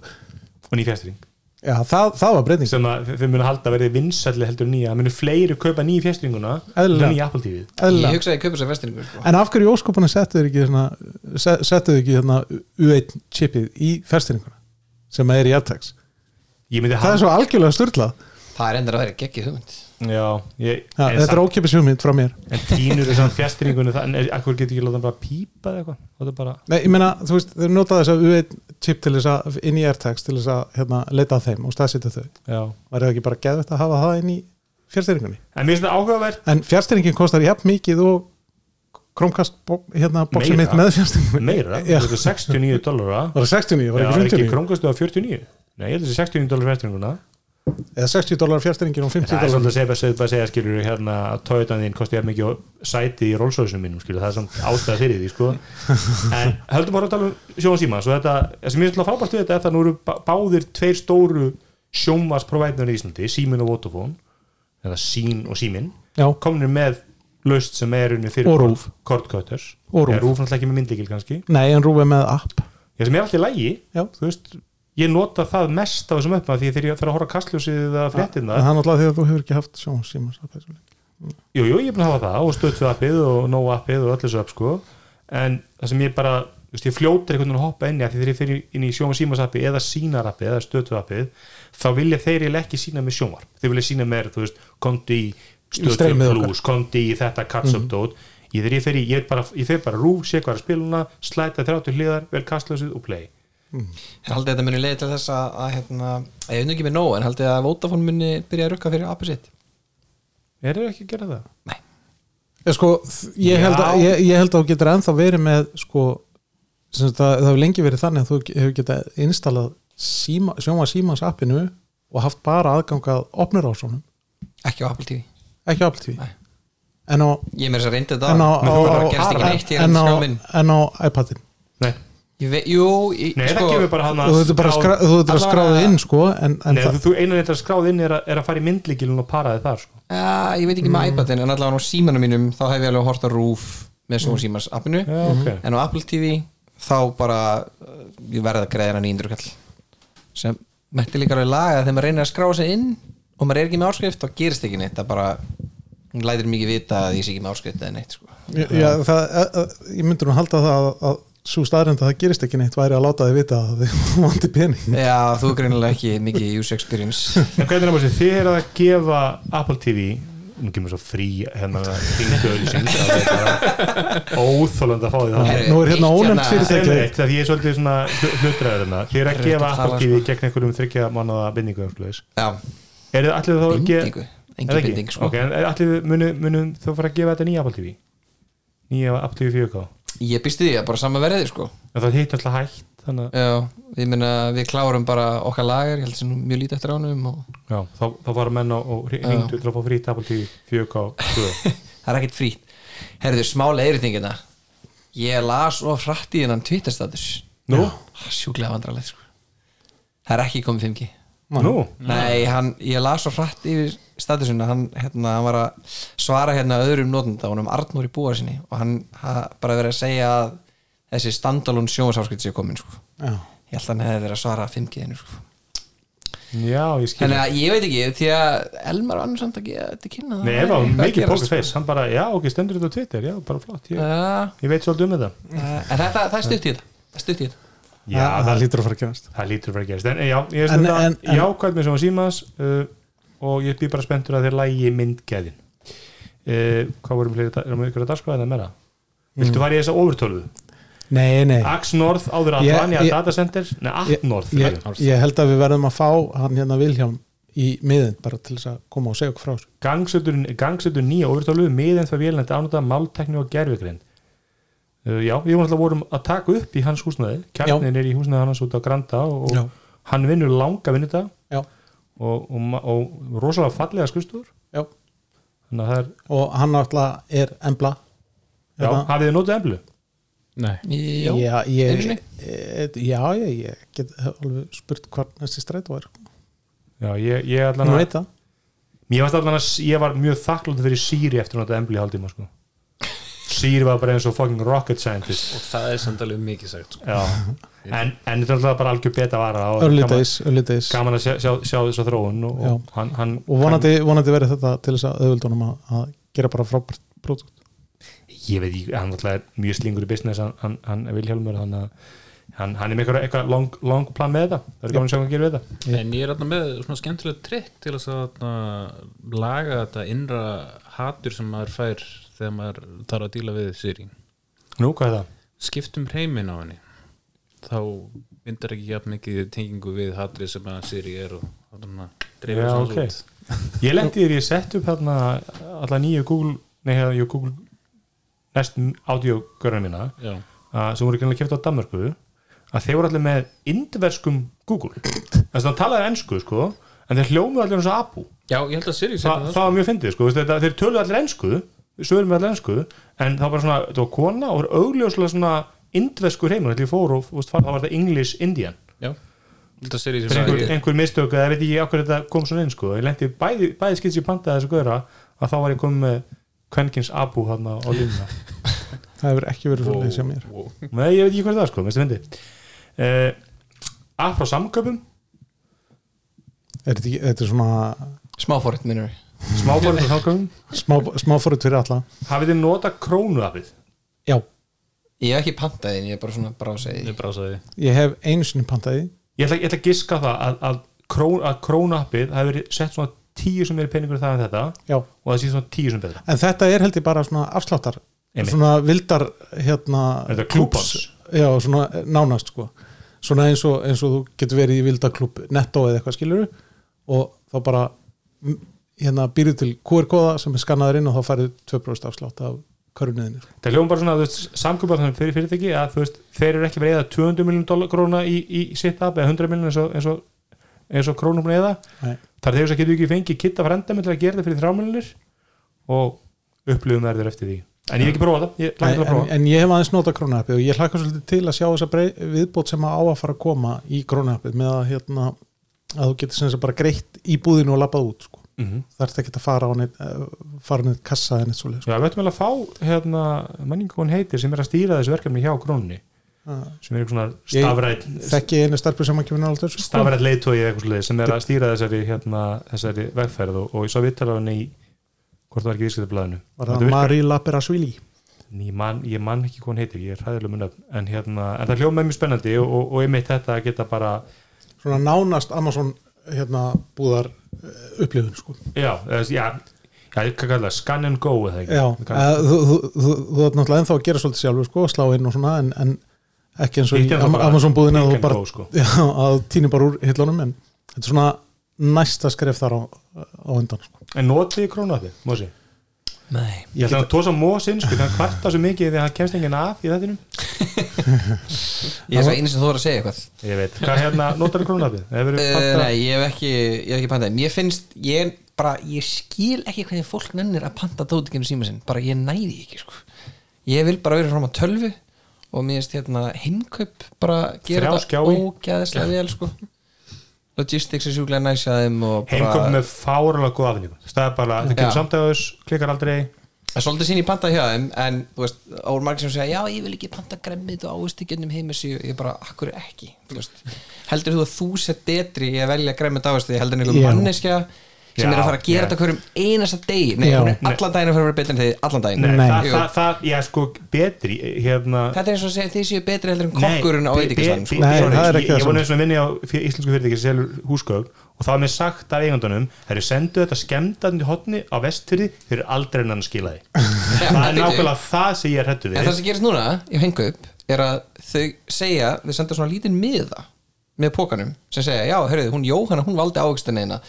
Speaker 2: og ný fjastring
Speaker 3: já, það, það var breyting
Speaker 2: sem að þau munu halda að verði vinsælli heldur en nýja það munu fleiri kaupa nýja fjastringuna
Speaker 3: Eðlilega.
Speaker 2: nýja appaltíðið
Speaker 3: Eðlilega.
Speaker 5: Ég hugsaði að kaupa sér vestringur sko.
Speaker 3: en af hverju óskopunum settu þau ekki þarna- se- settu þau ekki hérna þarna U1 chipið í festiringuna sem er í AirTags
Speaker 2: ég myndi
Speaker 3: það er svo algjörlega sturglað
Speaker 5: Það er endur að vera geggið hugmynd
Speaker 2: já, ég,
Speaker 3: ja,
Speaker 2: en,
Speaker 3: þetta er
Speaker 2: samt,
Speaker 3: ókipis hugmynd frá mér
Speaker 2: en tínur þess að fjastringunni það, en akkur getur ekki láta hann bara pípa eða eitthvað Láta bara
Speaker 3: Nei, ég meina, þú veist, þau nota þess að U1 chip til þess að, inn í AirTags til þess að hérna, leita að þeim og staðsýta þau
Speaker 2: já.
Speaker 3: var það ekki bara geðvægt að hafa það inn í fjárstyringunni
Speaker 2: en mér finnst það áhugavert
Speaker 3: en fjárstyringin kostar jafn mikið og Chromecast bó, hérna, bóksið
Speaker 2: Meira.
Speaker 3: mitt með fjárstyringunni
Speaker 2: meira,
Speaker 3: Já.
Speaker 2: þetta er 69 dollara
Speaker 3: var það 69, var
Speaker 2: Já,
Speaker 3: það
Speaker 2: er
Speaker 3: ekki
Speaker 2: ekki
Speaker 3: 59
Speaker 2: krónkastu á 49 Nei, ég held að þessi 69 dólar festringuna
Speaker 3: eða 60 dólar fjárstyringin og
Speaker 2: Það
Speaker 3: 50
Speaker 2: er svolítið
Speaker 3: dólar
Speaker 2: að segja, bara segja, bara segja skilur hérna að Toyotan þín kosti jafn mikið og sæti í Rolls-Royce-um mínum skilur, það er samt ástæða fyrir því sko. en höldum bara að tala um sjóðan síma svo þetta, það sem ég ætla að frábært við þetta er það að nú eru bá- báðir tveir stóru sjónvarsprovæðnir í Íslandi, Símin og Votafón eða Sín og Símin
Speaker 3: já,
Speaker 2: komnir með laust sem er unni fyrir
Speaker 3: Og RÚV.
Speaker 2: kortkötters,
Speaker 3: Og RÚV.
Speaker 2: Ja, rúf náttúrulega ekki með myndlíkil kannski
Speaker 3: nei en rúið með app
Speaker 2: Já, sem er alltaf í lægi
Speaker 3: Já.
Speaker 2: þú veist, ég nota það mest á þessum öppna því að þegar ég þarf að horfa á kastljósið eða
Speaker 3: en
Speaker 2: fréttina,
Speaker 3: það er náttúrulega því að þú hefur ekki haft sjónsímas
Speaker 2: jú, jú, ég er búin að hafa það og stöðt við appið og nóg appið og öll þessu app sko. en það sem ég bara þú veist, ég fljótar einhvern veginn að hoppa inn í af því þegar ég fyrir inn í sjóma símas appið eða sínar appið eða stöðt við appið, þá vilja þeir eiginlega ekki sína með sjónvarp, þeir vilja sína með þú veist, komdu í stöðt við
Speaker 3: streymið okkar. Mhm.
Speaker 2: blues, komdu í þetta catch up dot ég þegar ég fer í, ég, er bara, ég fer bara rúf, sé hvað er að spiluna, slæta 30 hliðar vel kastljósið og play
Speaker 5: En haldið þetta muni leiði til þess að, að hérna, að ég veit nú ekki með nóg en haldið að Vodafone muni byrja að rukka fyrir appið sitt
Speaker 2: er það ekki að gera það?
Speaker 5: Nei,
Speaker 3: ég, sko, þ- ég, held að,
Speaker 2: Já.
Speaker 3: ég, ég held að þú getur ennþá verið með sko sem sagt að, það hefur lengi verið þannig að þú hefur getað installað síma, sjóma símans appinu og haft bara aðgang að opnur á svonum,
Speaker 5: ekki á Apple TV
Speaker 3: ekki á Apple TV
Speaker 5: Nei.
Speaker 3: en á,
Speaker 5: ég meira þess að reynda þetta
Speaker 3: en á,
Speaker 5: á,
Speaker 3: á,
Speaker 5: bara
Speaker 3: á,
Speaker 5: gerst ekki neitt hér
Speaker 3: en,
Speaker 5: en
Speaker 3: á
Speaker 5: skjáminn
Speaker 3: en á iPadin
Speaker 2: Nei,
Speaker 5: Ég vei- jú, ég,
Speaker 2: nei það
Speaker 5: sko,
Speaker 2: kemur bara hann
Speaker 3: þú
Speaker 2: að
Speaker 3: veitur bara
Speaker 2: skrá-
Speaker 3: skra, þú veitur að
Speaker 5: Allavega-
Speaker 3: skráða inn sko, en, en
Speaker 2: Nei,
Speaker 3: það,
Speaker 2: þú, þú einan eitthvað skráð inn er að, er að fara í myndlíkilun og para þið þar sko.
Speaker 5: ja, ég veit ekki með iPadin en allavega á símanum mínum þá hef ég alveg hort á Roof með svona símans appinu
Speaker 2: Mm. Já, ok
Speaker 5: en á Apple TV þá bara uh, ég verði að greiða hann 900 kall sem mætti líka alveg laga þegar maður reynir að skrá sig inn og maður er ekki með áskrift þá gerist ekki neitt það bara hún lætir mikið vita að ég sé ekki með áskrift eða neitt sko.
Speaker 3: já, það, að, að, ég myndur nú halda það að, að svo staðrind að það gerist ekki neitt væri að láta þið vita að þið vanti pening
Speaker 5: já þú er greinilega ekki mikið user experience
Speaker 2: En hvernig er það að þið er að gefa Apple TV nú kemur svo frí hérna hringdu auðlýsing það er bara óþólandi að fá því það
Speaker 5: Herri,
Speaker 3: nú er hérna
Speaker 5: eitt
Speaker 3: ónefnt
Speaker 5: hérna-
Speaker 3: fyrirtæki.
Speaker 2: Segðu mér eitt, þegar ég er svolítið svona hlutræður hérna Þið er að
Speaker 5: Erfitt
Speaker 2: gefa
Speaker 5: að tala, sko.
Speaker 2: Apple TV gegn einhverjum þryggja mánuða bindingu eða svoleiðis.
Speaker 5: já,
Speaker 2: Er þið allir þá að ge-
Speaker 5: bindingu,
Speaker 2: Er það
Speaker 5: engin
Speaker 2: ekki?
Speaker 5: binding sko.
Speaker 2: Ok, en er allir munum, munum þú fara að gefa þetta nýja Apple TV Nýja Apple TV 4K
Speaker 5: ég býst við því að bara sama verðið sko.
Speaker 2: En það hitt alltaf hægt Þannig
Speaker 5: já, ég meina við klárum bara okkar lagar, ég held sem mjög lítið eftir ánum og
Speaker 2: að já, þá, þá var menn og, og hringdu til að fá frýtt Apple TV 4K 2.
Speaker 5: það er ekkert frýtt herðu smá leiritingina ég las of hratt í hennan Twitter-status
Speaker 2: Nú?
Speaker 5: Það er sjúklega vandralegt sko. það er ekki komið 5G
Speaker 2: Nú?
Speaker 5: nei, hann, ég las svo hratt yfir statusuna, hann, hérna, hann var að svara hérna öðrum notenda, honum Arnóri búa sinni og hann ha, bara verið að segja að þessi standalón sjónvarsáskrift sé komin sko.
Speaker 3: já,
Speaker 5: ég held að hann hefði verið að svara 5G-inu sko.
Speaker 2: Já, ég skil
Speaker 5: þannig að ég veit ekki, því að Elmar var annars samt að gefa þetta kynna
Speaker 2: Nei, ef það var mikið
Speaker 3: sko.
Speaker 2: poker face Hann bara, já, ok, stendur þetta á Twitter Já, bara flott,
Speaker 3: Eh.
Speaker 2: ég,
Speaker 5: ja,
Speaker 2: ég veit svolítið um þetta
Speaker 5: en þetta, það er stutt í þetta það er stutt í þetta
Speaker 2: Já,
Speaker 3: það,
Speaker 2: það,
Speaker 3: það lítur að fara að gerast
Speaker 2: það lítur að vera að gerast En eh, já, ég er
Speaker 3: En-
Speaker 2: stundar
Speaker 3: en- en-
Speaker 2: jákvæð með sem að símas uh, Og ég býr bara spenntur að þeir lægi myndgeðin uh, Hvað vorum fleiri, erum við ykkur að dagskráða þetta meira?
Speaker 3: Mm.
Speaker 2: Viltu fara í þessa overtölvu?
Speaker 3: nei, nei,
Speaker 2: Axe North áður
Speaker 3: Ég-
Speaker 2: Atlania
Speaker 3: ég-
Speaker 2: Data Center Nei, App
Speaker 3: Ég-
Speaker 2: North
Speaker 3: ég, ég held að við verðum að fá hann hérna Vilhjálm í miðin bara til þess að koma og segja okkur frá þessu
Speaker 2: Gangsetur gangsetur nýja overtálu miðan það vélend ánúta máltekni og gerfugrind uh, Já, við vorum alltaf vorum að taka upp í hans húsnaði kjarnin er í húsnaði hans út á Granda og,
Speaker 3: Já.
Speaker 2: og hann vinnur langa vinnuta
Speaker 3: já,
Speaker 2: og, og, ma- og rosalega fallega skustur
Speaker 3: já.
Speaker 2: þannig að það er,
Speaker 3: og hann náttúrulega er embla
Speaker 2: já,
Speaker 3: Hérna.
Speaker 2: hafið þið notið emblu?
Speaker 4: Nei,
Speaker 5: Jó.
Speaker 3: já,
Speaker 5: einu
Speaker 3: ég,
Speaker 5: sinni.
Speaker 3: e, já, ég, ég get alveg spurt hvað næsti strætó er
Speaker 2: Já, ég, ég allan
Speaker 3: hann
Speaker 2: að
Speaker 3: veit það
Speaker 2: Mér varst allan að ég var mjög þakklátt fyrir Siri eftir að nota emblu í haldíma sko. Siri var bara eins og fucking rocket scientist
Speaker 4: og það er samt alveg mikið sagt sko.
Speaker 2: Já, en, en þetta er alltaf bara algjör beta vara og
Speaker 3: early
Speaker 2: gaman,
Speaker 3: days, early days
Speaker 2: gaman að sjá, sjá, sjá þessa þróun og,
Speaker 3: Já.
Speaker 2: og hann, hann
Speaker 3: og vonandi, vonandi verið þetta til þess að auðvildunum að, að gera bara frábært pródúkt
Speaker 2: kann, ég veit ekki, hann alltaf er mjög slingur í business hann, hann, hann er Vilhjálmur hann, hann, hann er með eitthvað, eitthvað long, long plan með þetta það er gaman að sjá hvað hann gerir við þetta
Speaker 4: En ég er alltaf með svona skemmtilegt trikk til þess að þarna laga þetta innra hatur sem maður fær þegar maður þarf að díla við sýrin
Speaker 2: Nú, hvað er það?
Speaker 4: skiptum reymin á henni þá myndar ekki jafn mikið tengingu við hatrið sem að Siri er og þannig að dreifir
Speaker 2: Já,
Speaker 4: þessu
Speaker 2: ok.
Speaker 4: út
Speaker 2: Ég lendi þér, ég sett upp hérna alla nýju Google, nei, hérna, jú, Google næst audio-görna mína
Speaker 4: Já,
Speaker 2: að, sem voru kynlega kæft á Danmörku að þeir voru allir með indverskum Google þess að hann talaði ensku sko en þeir hljómuðu allir eins og abu
Speaker 4: Já ég held að
Speaker 2: Þa,
Speaker 4: Siri setja það
Speaker 2: það var mjög fyndið sko, veist, þetta, þeir töluðu allir ensku sögum við allir ensku en það var bara svona, þetta var kona og var augljóslega svona indveskur heimur, þegar ég fór og veist, far, það var þetta English Indian
Speaker 4: Já, ég held að Siri
Speaker 2: Þegar
Speaker 4: sem
Speaker 2: einhver,
Speaker 4: sagði
Speaker 2: einhver mistök, eða veit ekki okkur þetta kom svona inn sko, ég lendi bæði, bæði skitsi pantaði þessu gauðra að þá var ég komið með kvenkins abu hann á línuna
Speaker 3: það hefur ekki verið
Speaker 4: Wow,
Speaker 3: svolítið sem mér
Speaker 4: wow.
Speaker 2: Nei, ég veit ekki hvað það er, sko, minnst að fyndi uh, að frá samköpum
Speaker 3: er þetta, ekki, þetta er svona
Speaker 5: smáfóritt minnur
Speaker 2: smábórið frá samköpum
Speaker 3: smá, smá fórut fyrir alla
Speaker 2: hafið þið nota krónuafið
Speaker 3: já,
Speaker 5: ég hef ekki pantað inn, ég er bara svona bara að segja því.
Speaker 4: Ég brásaði
Speaker 3: ég hef einu sinni pantaði
Speaker 2: ég ætla, ég ætla að giska það að, að, krón, að krónuafið hafi verið sett svona tíu sem er peningur það en þetta
Speaker 3: já,
Speaker 2: og það sé svona tíu sem betra
Speaker 3: en þetta er held ég bara svona afsláttar
Speaker 2: Einmitt.
Speaker 3: svona vildar hérna
Speaker 2: Er þetta
Speaker 3: klúbbs? já, svona eh, nánast sko svona eins og, eins og þú getur verið í vildaklúb netto eða eitthvað skilur og þá bara m, hérna býrðu til QR-kóða sem er skannaður inn og þá færðu 2% afslátt af körfniðinni sko.
Speaker 2: Það hljóðum bara svona, þú veist, samkjöpað þannig fyrir fyrirtæki að þú veist, þeir eru ekki með eða 200 miljón króna í, í sitt up eða 100 miljón eins og, eins og, eins og krónum búin eða
Speaker 3: Nei.
Speaker 2: þar þegar þess að getur ekki fengið kitta frenda með til að gera það fyrir 3 miljónir og upplifum verður eftir því en ég hef ekki prófað það, ég
Speaker 3: Nei,
Speaker 2: langt til að
Speaker 3: en,
Speaker 2: prófa
Speaker 3: en ég hef aðeins nota krónahappið og ég hlakka svolítið til að sjá þessa brei- viðbót sem að á að fara að koma í krónahappið með að, hérna, að þú getur sem þess að bara greitt í búðinu og labbað út sko.
Speaker 2: Mhm.
Speaker 3: þarf ekki að fara á neitt, eh, fara á neitt kassa en eitt svolítið sko.
Speaker 2: Já, við ættum vel að fá hérna, manningun heitir sem er að stýra þessu verkefni hjá krónunni
Speaker 3: Ah.
Speaker 2: sem er eitthvað
Speaker 3: Ég
Speaker 2: svona stafrætt
Speaker 3: þekki einu starfið sem að kemur nála þessu sko.
Speaker 2: stafrætt leiðtói eða eitthvað svoleiðis sem er að stýra þessari, hérna, þessari vegferð og, og ég svo viðtala hann í hvort það var ekki viðskiptablaðinu
Speaker 3: var
Speaker 2: Þetta
Speaker 3: það
Speaker 2: virkar-
Speaker 3: Marie Lapirasvili
Speaker 2: En Ég man, ég man ekki hvað hann heitir, ég er hræðilega mun öfn en, hérna, en það hljóma mjög spennandi og, og, og ég meitt þetta að geta bara
Speaker 3: svona nánast Amazon hérna, búðar eh, upplifun sko.
Speaker 2: já, eða, já, já, ég kann kalla það scan and go eða ekki
Speaker 3: Já,
Speaker 2: Kann-
Speaker 3: eða, þú, þú, þú, þú ert náttúrulega ennþá að gera svolítið sjálfur sko, slá inn og svona en, en ekki eins og
Speaker 2: Hitt er það
Speaker 3: í Am
Speaker 2: bara
Speaker 3: Amazon búðin
Speaker 2: pick
Speaker 3: að þú
Speaker 2: and
Speaker 3: bara
Speaker 2: go, sko.
Speaker 3: já, að þú týnir bara úr hillunum en þetta er svona næsta skref þar á, á undan sko.
Speaker 2: en notið krónaði, Mósi
Speaker 5: Nei
Speaker 2: ég ætla að tósa Mósin, sko, hann kvarta svo mikið þegar hann kemst enginn af í þettinum
Speaker 5: Ég er svo einu sem þú voru að segja eitthvað
Speaker 2: ég veit, hvað hérna, notar krónaði
Speaker 5: uh, Nei, ég hef ekki, ég hef ekki pantað En ég finnst, ég er bara, ég skil ekki hvernig fólk nennir að panta dótikinu síma sinn Bara ég næði því ekki, sko Ég vil bara vera fram á tölvu Og mér finnst hérna hinnkaup bara gera
Speaker 2: Þrjá
Speaker 5: þetta
Speaker 2: skjái.
Speaker 5: ógæðislega vel, sko Logistics er sjúklega næsjaðum og
Speaker 2: heimkom
Speaker 5: bara
Speaker 2: með fáralega góð afnýgum það er bara, það
Speaker 5: Já.
Speaker 2: kemur samtæðus, klikkar aldrei
Speaker 5: Það er svolítið sín í pantað hjá þeim En, þú veist, það voru margir sem segja Já, ég vil ekki panta gremmið og ávistu gennum heimisíu Ég bara, akkur ekki, þú veist Heldur þú að þú sett betri í að velja gremmið ávistu Heldur en einhver
Speaker 3: Já.
Speaker 5: manneskja sem
Speaker 2: Já,
Speaker 5: er að fara að gera
Speaker 2: já.
Speaker 5: þetta hverjum einasta degi Nei,
Speaker 3: Já.
Speaker 5: hún er allan daginn að fara að vera betri en þið Allan daginn
Speaker 2: nei, Það,
Speaker 5: Jú.
Speaker 2: það, það, já, sko, betri hérna,
Speaker 5: Þetta er eins og að segja þið séu betri heldur en kokkurinn á veitingastanum sko.
Speaker 3: Nei,
Speaker 2: Nei,
Speaker 3: það er ekki
Speaker 2: ég,
Speaker 3: það
Speaker 2: ég var nefnst að vinna á fyr- íslensku fyrirtæki sem selur húsgögn og það var mér sagt af eigandunum þeir eru senduð þetta skemmtandi hotni á vestfyrði þeir eru aldrei en hann skilaði það er
Speaker 5: bíddu.
Speaker 2: nákvæmlega það sem ég er hrættu
Speaker 5: En
Speaker 2: við
Speaker 5: það sem gerist núna, ég hengu upp er að þau segja, þau senda svona lítinn miða með pókanum sem segja, já, heyrðu, hún Jóhanna, hún valdi ávegstina eina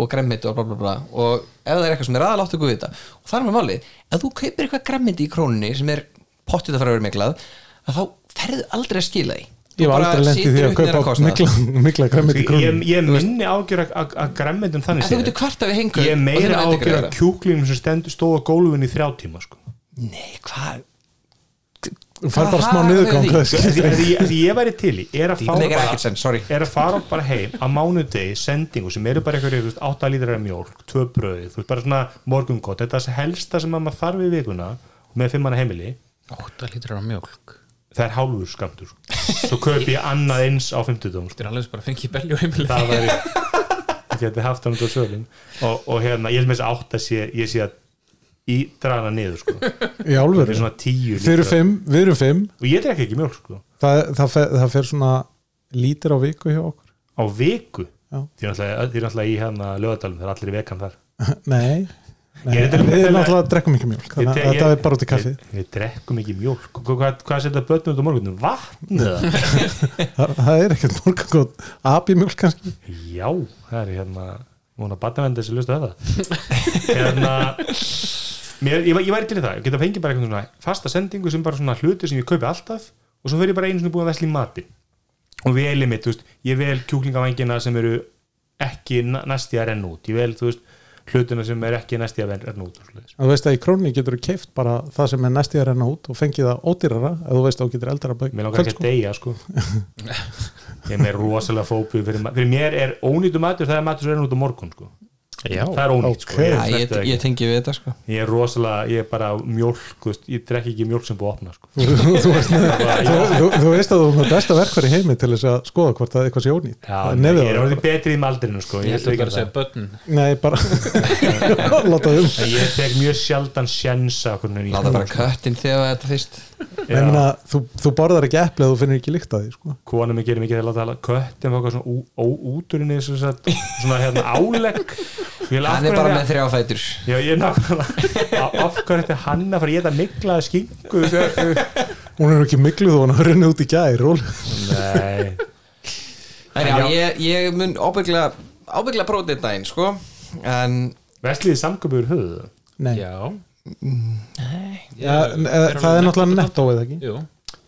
Speaker 5: og gremmiti og bla bla bla og ef það er eitthvað sem er aðalátt ykkur við þetta og það er með málið, ef þú kaupir eitthvað gremmiti í krónunni sem er pottið að fara að vera miklað að þá ferðu aldrei að skila því Þú
Speaker 3: ég var
Speaker 5: bara
Speaker 3: aldrei lent í
Speaker 5: situr
Speaker 3: því
Speaker 5: uppi
Speaker 3: að
Speaker 5: með þennan
Speaker 3: kaupa
Speaker 5: kostnað.
Speaker 3: mikla, mikla græmiti
Speaker 2: ég, ég,
Speaker 3: krónum
Speaker 2: ég minni ágjör að græmmendum þannig
Speaker 5: En þú
Speaker 2: séð.
Speaker 5: getur kvartað við hengu
Speaker 2: ég er meira ágjör að
Speaker 5: að
Speaker 2: kjúklingum sem stend, stóð á gólfinu í þrjá tíma sko.
Speaker 5: Nei, hvað?
Speaker 3: þú fær bara
Speaker 5: Hvað
Speaker 3: smá
Speaker 5: hafið
Speaker 3: niðurgang það
Speaker 5: þið?
Speaker 2: því, því,
Speaker 3: skiptir ekki.
Speaker 2: því, því ég væri til í er að fá
Speaker 5: Það er
Speaker 2: bara-
Speaker 5: ekkert senn, sorry
Speaker 2: er að fara bara heim á mánudegi sendingu sem eru bara eitthvað 8 lítrar af mjólk, 2 bröði þú veist bara svona morgungott, þetta er það helsta sem að maður þarf í vikuna með fimm manna heimili
Speaker 4: 8 lítrar af mjólk
Speaker 2: það er hálfur skamtur svo kaupi ég annað eins á 50 dóm
Speaker 4: Þetta er alveg bara að fengi belli og heimili
Speaker 2: það væri ég geti haft hann út á sölum og, og hérna, ég er með þess að átta sé ég sé að í drana niður sko það
Speaker 3: í
Speaker 2: er
Speaker 3: álveru
Speaker 2: svona 10
Speaker 3: þeir eru
Speaker 2: lítrar
Speaker 3: fimm, við erum fimm
Speaker 2: og ég drek ekki mjólk sko
Speaker 3: það, það, fer, það fer svona lítir á viku hjá okkur
Speaker 2: á viku
Speaker 3: Já.
Speaker 2: því er náttúrulega því er náttúrulega í hérna lögadalum það er allir í vekan þar
Speaker 3: nei, nei
Speaker 2: Ég er þetta-
Speaker 3: en við náttúrulega drekkum ekki mjölk
Speaker 2: Ég-
Speaker 3: þannig að
Speaker 2: ég-
Speaker 3: þetta er bara út í kaffið
Speaker 2: Við- Við drekkum ekki mjólk sko. Hvað, hvað, hvað setja börnum út á morgunum? Vatn? eða?
Speaker 3: það, það er ekkert morgangótt abimjólk kannski
Speaker 2: Já, það er hérna Móna batavendur sem lustu að það Hérna mér, ég, væ- ég væri til í það, ég geta fengið bara eitthvað svona fasta sendingu sem bara svona hluti sem ég kaupi alltaf og svo fer ég bara einu svona búin að vesla í mati og veli mitt, þú veist ég vel kjúklingavangina sem eru ekki na- næsti að renna út, ég vel, þú veist hlutina sem er ekki næsti að renna út og svoleiðis.
Speaker 3: þú veist að í krónni getur þú keift bara það sem er næst í að renna út og fengið það ódýrara ef þú veist að þú getur eldara bæk
Speaker 2: Mér langar ekki að deyja sko Ég er með rosalega fóbu fyrir, ma- fyrir mér er ónýttu matur það er matur sem er út á morgun sko
Speaker 4: Já,
Speaker 2: Það er ónýtt
Speaker 3: Ok.
Speaker 2: sko ég,
Speaker 5: Já, ég,
Speaker 2: snerti það
Speaker 5: ég
Speaker 2: ekki.
Speaker 5: tengi við þetta sko
Speaker 2: ég er rosalega, ég er bara mjólk þú veist, ég drekki ekki mjólk sem búið að opna sko
Speaker 3: þú, veist, þú, þú, þú veist að þú er með besta verkvar í heimi til þess að skoða hvort það er eitthvað sé ónýtt
Speaker 2: Já,
Speaker 3: Það er
Speaker 2: ég
Speaker 3: nefið á
Speaker 2: er
Speaker 3: það.
Speaker 2: orðið betri í maldrinu sko
Speaker 4: Ég
Speaker 2: Ég,
Speaker 4: held
Speaker 2: ég,
Speaker 4: að það
Speaker 2: ég,
Speaker 4: er að segja börn
Speaker 3: nei, bara láta um
Speaker 2: ég tek mjög sjaldan sjensa
Speaker 5: Láta bara
Speaker 2: sko.
Speaker 5: köttin þegar þetta fyrst
Speaker 3: Ég meina, þú, þú borðar ekki epli að þú finnir ekki líkt að því sko.
Speaker 2: konum er gerir mikið þegar láta tala köttin fóka svona ú- ó- úturinn í þessu satt, svona hérna álegg Ég vil- af
Speaker 5: Hann
Speaker 2: hverju
Speaker 5: er bara
Speaker 2: það-
Speaker 5: með þrjá fætur
Speaker 2: Já, ég er nákvæmlega Á- Af hverju þetta hann að fara að geta miklaða skingu þegar-
Speaker 3: hún er ekki miklu þó hann að runni út í gær ról.
Speaker 2: Nei
Speaker 5: En já, ég, ég mun ábyggla ábyggla prótið daginn, sko En
Speaker 2: Vesliði samgöpuður höfuðu
Speaker 3: nei,
Speaker 4: Já,
Speaker 3: ja, en, eh, það er náttúrulega nettó eða ekki
Speaker 4: Jú,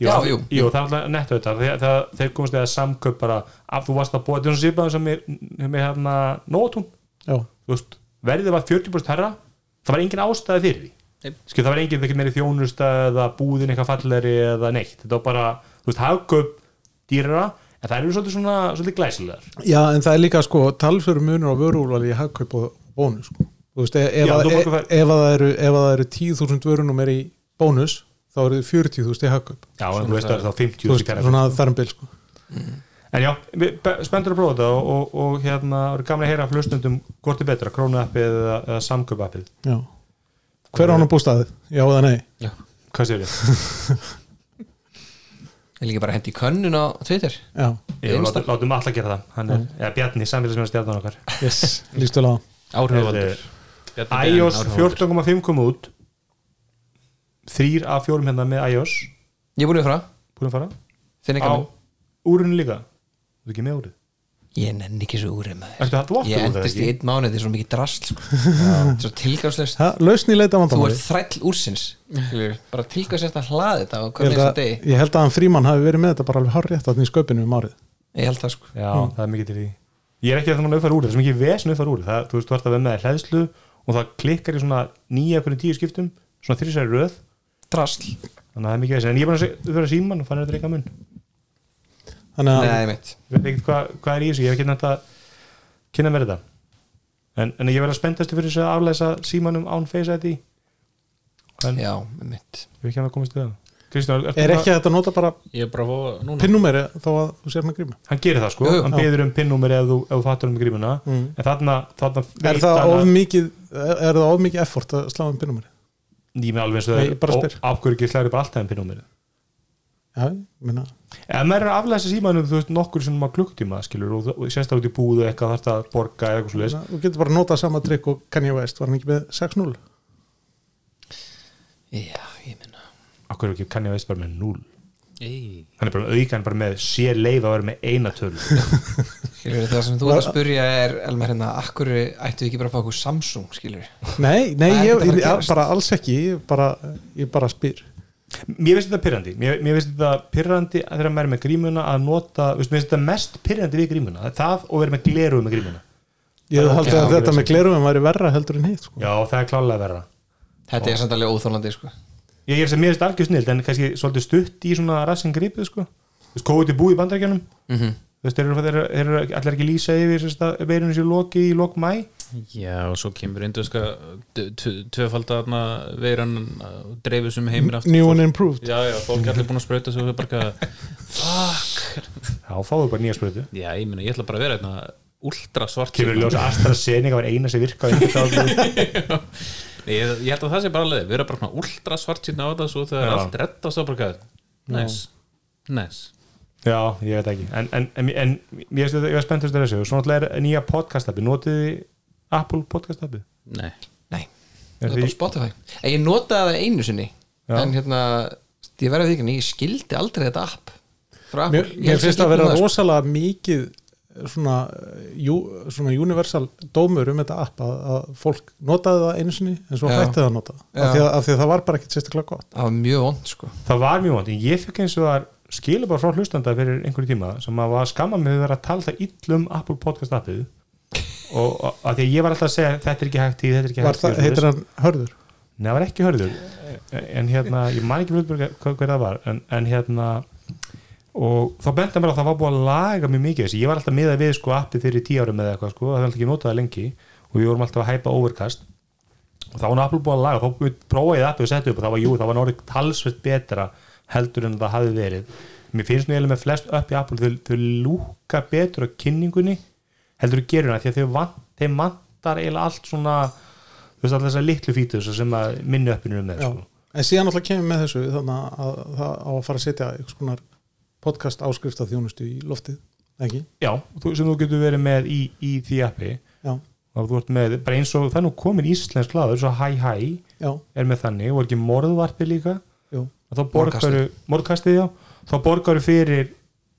Speaker 2: Jú,
Speaker 5: Já, jú.
Speaker 2: jú, það er alltaf netto þetta þegar, þegar þeir komast þegar samköp bara að þú varst að búa þetta sýpaðum sem er með hérna nótún
Speaker 3: já,
Speaker 2: þú veist, verðið var 40% herra það var engin ástæði fyrir því
Speaker 4: Nei.
Speaker 2: Skil, það var engin ekkert meiri þjónusta eða búðin eitthvað falleri eða neitt þetta var bara, þú veist, hagköp dýrara, en það eru svolítið svona svolítið glæsilegar
Speaker 3: já, en það er líka sko talfur munur á vörúlvali í hagkaup og bónus sko. Þú veist, ef,
Speaker 2: Já,
Speaker 3: að,
Speaker 2: þú
Speaker 3: ef,
Speaker 2: borgar þær-
Speaker 3: ef að það eru, ef að það eru 10.000 vörunum er í bónus þá eru þið 40.000 í hagkaup
Speaker 2: já, en þú veist það er þá 50
Speaker 3: þú veist,
Speaker 2: fyrir
Speaker 3: svona þar um bil sko.
Speaker 2: En já, við be- spenntur að prófa þetta og, og, og hérna, erum gaman að heyra af hlustundum hvort er betra, krónuappið eða, eða samköpappið
Speaker 3: já hver án að bústaði, já eða nei
Speaker 2: Hvað séu þið?
Speaker 5: Ég líka bara hendi í könnun á Twitter
Speaker 3: já,
Speaker 2: Jú,
Speaker 5: Insta.
Speaker 2: látum, látum alla gera það Hann er, eða Bjarni, samfélagsmjöna stjarnan okkar
Speaker 3: yes, lístu laga
Speaker 4: áhrifavaldur Bjarni Ben,
Speaker 2: iOS
Speaker 4: áhrifavaldur.
Speaker 2: 14.5 kom út þrýr af fjórum hérna með iOS
Speaker 5: Ég er búin yfir frá,
Speaker 2: búin að fara
Speaker 5: finn ekki
Speaker 2: á
Speaker 5: að
Speaker 2: úrinu líka þú ert ekki með úrið
Speaker 5: Ég nenni ekki svo úr um það
Speaker 2: ertu hægt vottur
Speaker 5: Ég
Speaker 2: úr það
Speaker 5: endist í
Speaker 2: ekki
Speaker 5: einn mánuð, þetta er svo mikið drast sko. Svo tilgangslöst
Speaker 3: lausn í leita
Speaker 5: Þú
Speaker 3: vandamáli
Speaker 5: ert þræll úrsins skilurðu. Bara tilgangslöst að hlaða þetta og
Speaker 3: ég
Speaker 5: hvernig
Speaker 3: held,
Speaker 5: þess
Speaker 3: að, ég held að hann frímann hafi verið með þetta bara alveg hár rétt í sköpinu um árið
Speaker 5: Ég held það sko
Speaker 2: já, það er mikið til því Hmm. ég er ekki að það mann uppfæra úrið það er svo mikið vesen uppfæra úrið það, þú veist, þú ert að vera með hlæðslu og það klikkar í svona nýja hvernig tíu skiptum svona þrísæri röð
Speaker 5: Drast
Speaker 2: þannig að það er mikið vesen en ég er bara að se- uppfæra síman og fann þetta reyka mun
Speaker 3: þannig að
Speaker 5: Nei, mitt
Speaker 2: ég veit ekki hvað, hvað er í þessu, ég hef ekki nætt að kynna mér þetta en, en ég verð að spenntast fyrir þessu að aflæsa símanum án face ID en
Speaker 5: Já, mitt
Speaker 2: ég hef ekki hann að komast til það Kristján, ertu
Speaker 3: er
Speaker 2: bara-
Speaker 3: ekki að þetta nota bara
Speaker 4: Ég er bara að fá núna
Speaker 3: pinnumeri þó að þú sér með gríma
Speaker 2: hann gerir það sko,
Speaker 5: Jú, jú.
Speaker 2: hann
Speaker 3: Já.
Speaker 2: beður um pinnúmer ef þú, ef þú fattur um grímuna
Speaker 3: Mm.
Speaker 2: en þarna, þarna
Speaker 3: er
Speaker 2: veit
Speaker 3: það
Speaker 2: hann
Speaker 3: of
Speaker 2: að-
Speaker 3: mikið er er það of mikið effort að slá um pinnumeri
Speaker 2: ég með alveg eins og
Speaker 3: Nei, ég bara
Speaker 2: það
Speaker 3: spyr.
Speaker 2: er af hverju ekki slæri bara alltaf um pinnúmer
Speaker 3: já, ég minna
Speaker 2: ef maður er að aflæsa símanum þú veist nokkur sem maður klukktíma skilur og, þú- og sérst út í búðu eitthvað þarft að borga eða eitthvað svo leis
Speaker 3: þú getur bara að nota sama trikk og Kanye West var hann ekki með 6-0
Speaker 5: Já, ég minna
Speaker 2: af hverju ekki kann ég veist bara með 0
Speaker 4: Ei.
Speaker 2: hann er bara með aukan bara með sér leið að vera með eina töl
Speaker 5: Skilur, það sem þú ert að spurja er Elmar hérna, akkur ættu við ekki bara að fá okkur Samsung skilur
Speaker 3: nei, nei,
Speaker 5: Það er
Speaker 3: ég,
Speaker 5: ekkert að fara að
Speaker 3: ég,
Speaker 5: gerast.
Speaker 3: bara alls ekki ég bara, ég bara spyr
Speaker 2: mér finnst þetta pyrrandi mér, mér finnst þetta pyrrandi að þegar maður er með grímuna að nota, þú veist, mér finnst þetta mest pyrrandi við grímuna, það og vera með gleru með grímuna
Speaker 3: ég
Speaker 2: Já,
Speaker 3: haldi
Speaker 5: já,
Speaker 3: að
Speaker 2: ég
Speaker 3: þetta
Speaker 2: veist
Speaker 3: með glerumum væri verra heldur en hitt sko.
Speaker 2: já, það er klálega verra
Speaker 5: Þetta er samt alveg óþólandi sko
Speaker 2: Ég er sem mér finnst algjör snild en kannski svolítið stutt í svona rassin gripið sko Þú veist, COVID er búið í bandarækjanum
Speaker 5: mm
Speaker 2: Þú veist, þeir eru, þeir eru, þeir eru allir ekki lýsa yfir sérst að veirinu sér loki í lok mæ
Speaker 4: Já, og svo kemur indverska tvöfaldarna veiran dreifis um heimir aftur
Speaker 3: new
Speaker 4: Fólk-
Speaker 3: and improved
Speaker 4: Já, já, fólk er allir búin að sprauta svo við bara eitthvað, Fuck
Speaker 2: Já, fáðu bara nýja sprötu
Speaker 4: Já, ég meina, ég ætla bara að vera hérna Últra svart
Speaker 2: Kemur í ljós að AstraZeneca var eina sem virka Já,
Speaker 4: Nei, ég, ég held að það sé bara leið, við erum bara svona últra svart síðan á þetta svo þegar
Speaker 2: Já.
Speaker 4: allt reddast á bara hvað, næs, næs
Speaker 2: ég veit ekki En, en, en, en ég veist þetta, ég var spenntast að þessu og Svo náttúrulega er nýja podcast-appi Notið þið Apple podcast-appi?
Speaker 4: Nei,
Speaker 5: Nei,
Speaker 2: Er
Speaker 5: það er
Speaker 2: því-
Speaker 5: bara Spotify En Ég notaði það einu sinni
Speaker 2: Já.
Speaker 5: En hérna, ég verði því ekki Ég skildi aldrei þetta app frá Apple.
Speaker 3: mér,
Speaker 5: Ég
Speaker 3: mér
Speaker 5: held
Speaker 3: finnst
Speaker 5: ég
Speaker 3: að vera
Speaker 5: skildi það, sko.
Speaker 3: rosalega mikið svona, eh, jú, svona universal dómur um þetta app að, að fólk notaði það einu sinni en svo
Speaker 5: Já.
Speaker 3: hætti það að nota af
Speaker 5: Já.
Speaker 3: því að, af því að það var bara ekkit sérstaklega gott
Speaker 5: Það var mjög vond sko
Speaker 2: Það var mjög vant, en ég fikk eins og það skilur bara frá hlustanda fyrir einhverju tíma sem að var að skamma mig fyrir að vera að tala það illum Apple podcast appið og og- af því að ég var alltaf að segja þetta er ekki hægt í, þetta er ekki
Speaker 3: var
Speaker 2: hægt
Speaker 3: það, heitir hann Hörður
Speaker 2: Nei, það var ekki hörður en hérna, ég man ekki flutbjörg hver, hver það var en, en hérna og þá benda mér að það var búið að laga mjög mikið þessi, ég var alltaf miðað við sko appið fyrir tíu árum eða eitthvað sko, það var alltaf ekki notaði lengi og við vorum alltaf að hæpa overcast og þá var nú Apple búið að laga, þá prófaði ég appið og setja upp og það var, jú, það var náttúrulega talsvert betra heldur en það hafi verið mér finnst nú eiginlega með flest upp í Apple þau, þau lúka betur á kynningunni heldur en gerur það, því að þau vant, þeim vantar eiginlega allt svona þú veist alltaf þessar litlu fítur sem að minni uppinu um þeir
Speaker 3: Já.
Speaker 2: sko.
Speaker 3: en síðan alltaf kemur með þessu þannig að það á að fara að setja einhvers konar podcast áskrifta þjónustu í loftið ekki,
Speaker 2: já, þú- sem þú getur verið með í, í því appi
Speaker 3: já,
Speaker 2: og þú ert með, bara eins og það er nú komin íslensk laður, svo hæ hæ
Speaker 3: já,
Speaker 2: er með þannig, og er ekki morðvarpi líka
Speaker 3: jú
Speaker 2: og þá borgaru, morðkastið já þá borgaru fyrir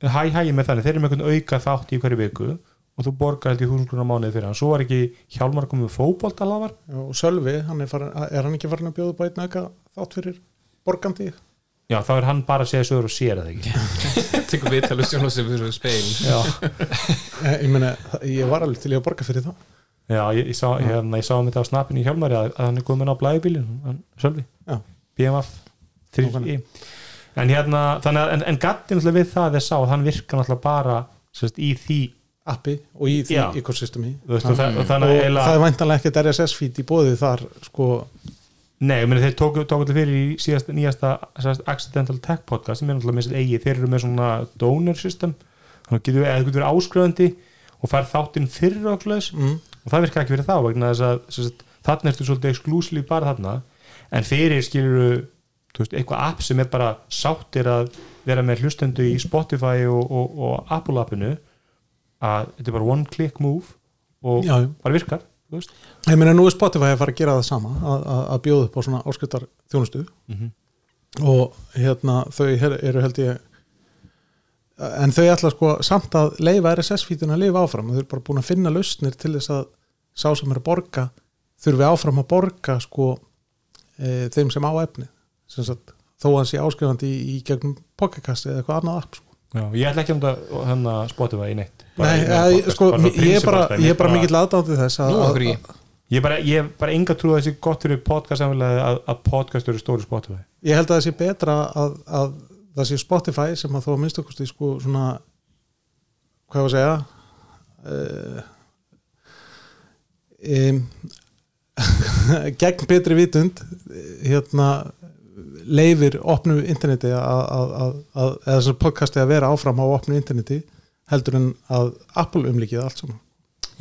Speaker 2: hæ hæ er með þannig, þeir eru með einhvern auka þátt í hverju viku og þú borgar held í húsungrunar mánuði fyrir hann svo var ekki Hjálmar komið með fótbolta hlaðvar
Speaker 3: og Sölvi, hann er, farin, er hann ekki farin að bjóða bætna auka þátt fyrir borgandi
Speaker 2: já þá er hann bara að segja sögur og sér það ekki
Speaker 4: tekur viðtalið sjónlósi fyrir speil
Speaker 2: já,
Speaker 3: Eh, ég meina, ég var alveg til ég að borga fyrir það
Speaker 2: já ég, ég, sá, hérna, ég sá um þetta á snappinu í Hjálmari að, að hann er komin á blæðubílin hann sjálfi,
Speaker 3: Já.
Speaker 2: BMF 3 í en hérna, þannig að en, en gatti náttúrulega við það að þess að hann virka náttúrulega bara sérst, í því
Speaker 3: appi og í því
Speaker 2: Já.
Speaker 3: ekosystemi
Speaker 2: þú veist, og það, og
Speaker 3: og
Speaker 2: þannig að heila
Speaker 3: það er væntanlega ekkert RSS feed í bóði þar sko,
Speaker 2: Nei, ég meina þeir tóku, tóku þetta fyrir í síðast, nýjasta sérst, Accidental Tech podcast sem er náttúrulega með sér eigið, þeir eru með svona donor system, þannig að getur, eða þú getur verið áskröðandi og fær þáttinn fyrir okkurleis
Speaker 3: mm,
Speaker 2: og það virka ekki fyrir þá vegna þess að sérst, þarna ertu svolítið exclusive bara þarna en fyrir skilur veist, eitthvað app sem er bara sáttir að vera með hlustendu í Spotify og, og, og Apple appinu að þetta er bara one click move og
Speaker 3: já, já.
Speaker 2: bara virkar þú veist
Speaker 3: ég meina nú er Spotify að fara að gera það sama að, að, að bjóða upp á svona áskiptar þjónustu
Speaker 2: Mhm.
Speaker 3: og hérna þau her- eru held ég en þau ætla sko samt að leifa RSS feedun að lifa áfram þau eru bara búin að finna lausnir til þess að sá sem er að borga þurfi áfram að borga sko e, þeim sem á efni sem sagt, þó að hann sé áskrifandi í, í gegnum podcasti eða eitthvað annað app sko.
Speaker 2: Já, ég ætla ekki um þetta hann að Spotify í neitt Bara
Speaker 3: Nei,
Speaker 2: í
Speaker 3: að,
Speaker 2: podcast,
Speaker 3: sko,
Speaker 2: bara
Speaker 3: ég er bara,
Speaker 2: principles dæmi,
Speaker 3: ég er bara mikill aðdándi þess að,
Speaker 5: Nú
Speaker 3: að,
Speaker 5: okkur í
Speaker 2: Ég er bara, ég er bara enga trú að þessi gott fyrir podcast samfélagi að, að podcast eru stóri Spotify
Speaker 3: ég held að það sé betra að, að það sé Spotify sem að þó að minnst okkur sko svona hvað ég að segja uh, um, gegn betri vitund eh, hérna leifir opnu interneti að, að, að, að eða þessar podcasti að vera áfram á opnu interneti heldur en að Apple umlikið allt saman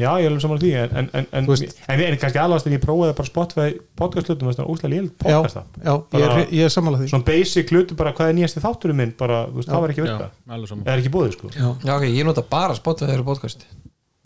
Speaker 2: Já, ég er alveg saman því en, en, en, en,
Speaker 3: Þú
Speaker 2: en,
Speaker 3: veist-
Speaker 2: en kannski aðlast en ég prófaði bara Spotify podcast hlutum þess að úslega lél podcast app
Speaker 3: já, ég er,
Speaker 2: Bara-
Speaker 3: ég er sammála því
Speaker 2: Svona basic hlutum bara hvað er nýjasti þátturinn minn bara, þú veist, það var ekki að
Speaker 4: já,
Speaker 2: virka
Speaker 4: alveg
Speaker 2: Það
Speaker 4: saman,
Speaker 2: er ekki búið, sko
Speaker 3: já.
Speaker 5: Já ok, ég nota bara Spotify og podcast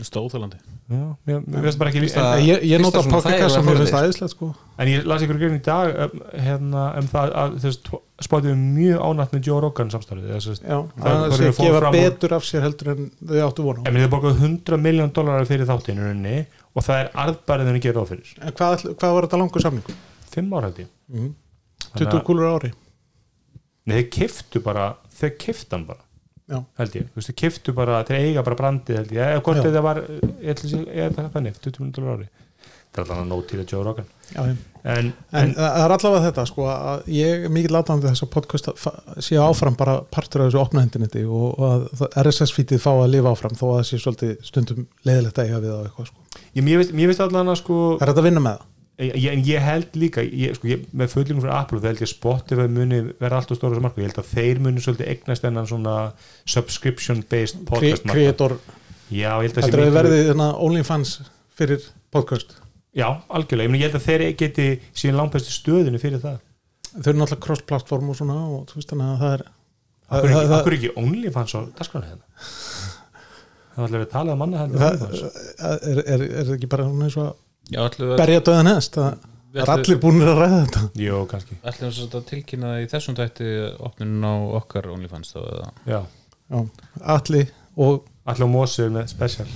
Speaker 4: stóðþalandi
Speaker 2: Já, mér, mér finnst bara ekki víst
Speaker 5: Það-
Speaker 3: Eh, Ég, ég, ég
Speaker 5: Fyrsta
Speaker 3: nota
Speaker 5: svona
Speaker 3: podcast
Speaker 5: þægilega
Speaker 3: sem ég finnst
Speaker 5: forritið.
Speaker 3: það æðislegt sko
Speaker 2: En ég las ykkur grein í dag um, hérna, um það að þess Spotify er mjög ánætt með Joe Rogan samstarfið eða, sérst,
Speaker 3: Já,
Speaker 2: Það er
Speaker 3: það
Speaker 2: bara
Speaker 3: sé
Speaker 2: við
Speaker 3: að
Speaker 2: fórum
Speaker 3: gefa
Speaker 2: fram úr-
Speaker 3: betur af sér heldur en þau áttu vona á.
Speaker 2: En við hefum borgað 100 miljón dólarar fyrir þáttinu rauninni og það er arðbærið en að gera ráð fyrir
Speaker 3: En hvað, ætl- hvað var þetta langur samningu?
Speaker 2: 5 ára held ég
Speaker 3: 20 kúlur á ári
Speaker 2: Nei, þeir kiftu bara, þeir kiftu hann bara
Speaker 3: Já.
Speaker 2: held ég, þú veist, þeir kiftu bara þeir eiga bara brandið held ég, eða hvort
Speaker 3: Já.
Speaker 2: þetta var eh, ég ætla að sé- ég ætla að þannig, 20 miljón dólarar ári það er alltaf að nót til að Joe Rogan
Speaker 3: Já, en,
Speaker 2: en,
Speaker 3: en það er allavega þetta sko að ég er mikið látandi þess að podcast fa- sé áfram bara partur af þessu opna interneti og, og að það- RSS-fítið fá að lifa áfram þó að það sé svolítið stundum leiðilegt að eiga við á eitthvað sko.
Speaker 2: ég, mér veist, mér veist allan að sko
Speaker 3: Er þetta að vinna með það?
Speaker 2: ég, ég- en ég held líka ég, sko, ég, með fullingum frá Apple, það held ég að Spotify muni vera allt og stóra sem marka, ég held að þeir muni svolítið eignast ennan svona subscription based
Speaker 3: Kre-
Speaker 2: podcast markað.
Speaker 3: Creator,
Speaker 2: já, ég held að
Speaker 3: þetta er
Speaker 2: miklu-
Speaker 3: verðið þarna OnlyFans fyrir podcast
Speaker 2: já, algjörlega, ég, meina, ég held að þeir geti síðan langpestu stöðinu fyrir það
Speaker 3: Þau eru náttúrulega cross-platform og svona og þú veist þannig að það er
Speaker 2: Akkur
Speaker 3: það-
Speaker 2: ekki,
Speaker 3: það-
Speaker 2: akkur ekki OnlyFans á dagskránu hérna Það var allir að tala um annað hendur
Speaker 3: það
Speaker 2: OnlyFans
Speaker 3: er, er, er það ekki bara svona eins og að
Speaker 4: já, ætlum við að-
Speaker 3: berja döðan hest það það er allir búinir að ræða þetta
Speaker 2: Jó, kannski
Speaker 4: ætlum við að tilkynna það í þessum tætti opnun á okkar OnlyFans þá eða
Speaker 2: Já,
Speaker 3: Já, allir og
Speaker 2: allir á Mósu með special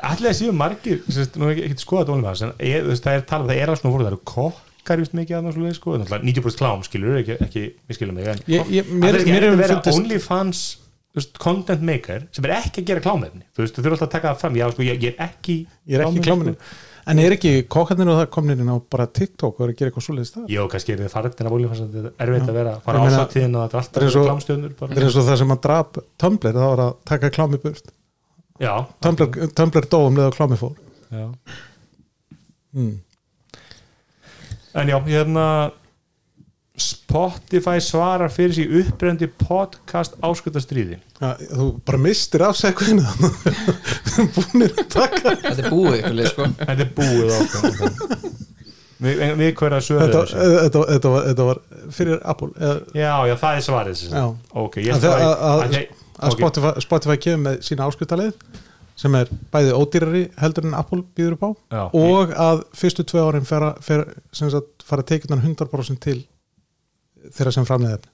Speaker 2: Allir að séu margir sérst, Nú er ekki, ekki skoðað OnlyFans En ég, þú veist, það er talað, um- það er alls nú voru Það eru kokkar vist mikið annars leið sko Náttúrulega 90% klám skilur ekki, ekki Við skilum mig en
Speaker 3: ég, ég,
Speaker 2: mér,
Speaker 3: mér,
Speaker 2: er ekki
Speaker 3: mér
Speaker 2: hægt
Speaker 3: hefur
Speaker 2: að vera
Speaker 3: fundist
Speaker 2: OnlyFans þú veist, content maker sem er ekki að gera klámefni þú veist, þú þurfa alltaf að taka það fram já, sko, ég, ég er ekki
Speaker 3: ég er ekki kláminu en er ekki kokkarnir og það komnir inn á bara TikTok og er að gera eitthvað svoleiðist þar
Speaker 2: Jó, kannski er þið farðin af OnlyFans að þetta er erfitt að vera
Speaker 3: Ég
Speaker 2: fara
Speaker 3: meina,
Speaker 2: ásatíðin og þetta er
Speaker 3: þetta er
Speaker 2: alltaf
Speaker 3: svo-
Speaker 2: klámstjörnur
Speaker 3: það
Speaker 2: bara.
Speaker 3: er eins og það sem að drap Tumblr það var að taka klámi burt
Speaker 2: Já,
Speaker 3: Tumblr, Tumblr dóum leða klámi fór
Speaker 2: já
Speaker 3: mm.
Speaker 2: En já, hérna Spotify svarar fyrir sig uppbrendi podcast áskutastríði
Speaker 3: ja, þú bara mistir af segvinu búinir að taka
Speaker 5: Þetta er búið ykkur leið sko
Speaker 2: Þetta er búið ákvæm Við, en við hverja sögur
Speaker 3: þetta,
Speaker 2: þessu
Speaker 3: þetta, þetta, var, þetta var fyrir Apple eða,
Speaker 2: Já, já, það er svarið sem sagt.
Speaker 3: Já.
Speaker 2: Ok, ég
Speaker 3: Að það- að-
Speaker 2: að- ég-
Speaker 3: að
Speaker 2: ok.
Speaker 3: Spotify, Spotify kemur með sína áskutaleið sem er bæði ódýrari heldur en Apple býður upp á
Speaker 2: Já.
Speaker 3: og að fyrstu tvei árin fara, fara, sagt, fara tekjurnar 100% til þeirra sem framlega efni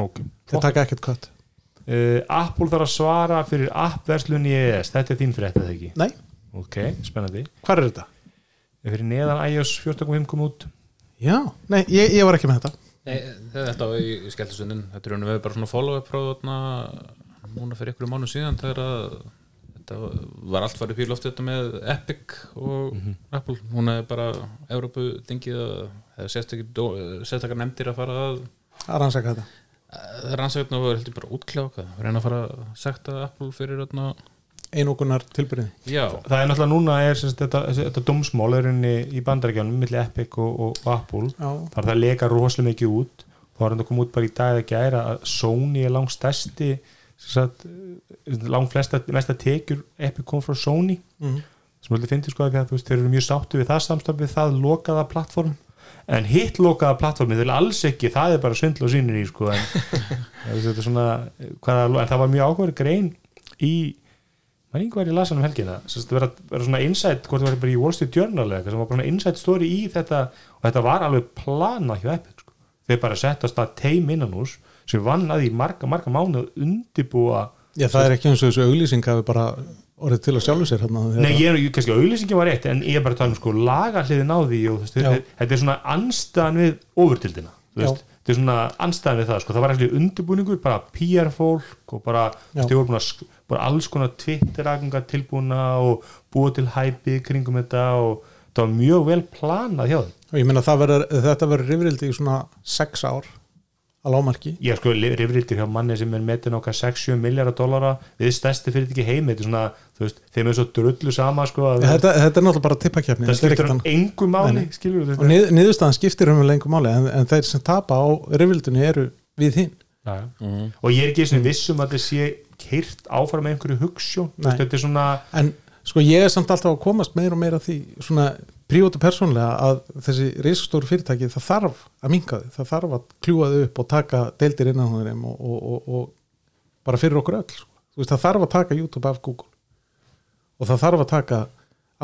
Speaker 2: Ok,
Speaker 3: þeir
Speaker 2: flott.
Speaker 3: taka ekkert kött
Speaker 2: uh, Apple þarf að svara fyrir appverslun í ES, þetta er þín fyrir þetta ekki
Speaker 3: Nei,
Speaker 2: ok, spennandi
Speaker 3: hvað er þetta?
Speaker 2: er fyrir neðan iOS 14.5 kom út
Speaker 3: Já, nei, ég, ég var ekki með þetta
Speaker 4: Nei, þetta var í, í skelltisundin Þetta er raunum við bara svona follow-up frá þarna núna fyrir ykkur mánu síðan þegar að þetta var allt farið píl oft þetta með Epic og Apple hún er bara Evrópu þingið að- eða sérstakar sérstakar nefndir að fara að
Speaker 3: að rannsaka þetta
Speaker 4: það er ansækna og heldur bara útkljáka reyna að fara að sekta Apple fyrir þarna
Speaker 3: einokunar tilbyrðin
Speaker 4: já,
Speaker 2: það er náttúrulega núna er sérst, þetta, þetta domsmál er unni í bandarækjanum milli Epic og, og, og Apple
Speaker 3: Já.
Speaker 2: þar það leka rosalega mikið út þá var hann að koma út bara í dag eða gæra að Sony er langt stærsti sagt, langt flesta mesta tekjur Epic kom frá Sony sem allir finnir sko að þú veist, þeir eru mjög sáttu við það samstafið, það lokaða plattform en hitt lokaða plattformi þeir eru alls ekki, það er bara svindl og sínir í sko, en, þú veist, þetta er svona, hvaða, en það var mjög ákvæður grein í maður einhver í lasan um helgina Sest, vera, vera svona insight, hvort það var bara í Wall Street Journal eða eitthvað sem var bara svona insight story í þetta og þetta var alveg plana hjá Epic sko. þeir bara settast að teim innan hús sem vann að í marga, marga mánu undibúa
Speaker 3: Já, það er ekki eins og þessu auglýsing hafi bara orðið til að sjálfu sér hérna
Speaker 2: Nei, ég er ég- kannski auðlýsingin var rétt en ég er bara að tala um sko lagarliðin á því og þú veist,
Speaker 3: Já.
Speaker 2: þetta- þetta er svona anstæðan við ofurtildina, þú
Speaker 3: Já.
Speaker 2: veist þetta er svona anstæðan við það, sko, það var ekki undirbúningur bara PR fólk og bara þú
Speaker 3: Já.
Speaker 2: veist, þau voru búin að, sk- bara alls konar twitteragunga tilbúna og búa til hæpi kringum þetta og það var mjög vel planað hjá þeim
Speaker 3: og ég meina það verður, þetta verður rifrildi í svona sex ár að lámarki
Speaker 2: ég er sko rifrildir hjá manni sem er metin okkar 6-7 miljardar dollara við stærsti fyrir ekki heimi, þetta er svona þú veist, þeim er svo drullu sama sko, að-
Speaker 3: þetta, þetta er náttúrulega bara tippakefni
Speaker 2: það skiptir um hann engu máli
Speaker 3: Nei.
Speaker 2: skilur
Speaker 3: og nið, niðurstaðan skiptir um lengur máli en, en þeir sem tapa á rifrildinu eru við hinn
Speaker 2: já, já.
Speaker 3: Mhm.
Speaker 2: og ég er ekki eins og vissum um að þetta sé keirt áfram með einhverju hugssjón Þú veist,
Speaker 3: Nei.
Speaker 2: þetta er svona
Speaker 3: en sko ég er samt alltaf að komast meira og meira að því svona príóti persónlega að þessi risastóru fyrirtæki það þarf að minka þau, það þarf að kljúa þau upp og taka deildir innan hún þeim og, og, og, og bara fyrir okkur öll sko. Þú veist, það þarf að taka YouTube af Google og það þarf að taka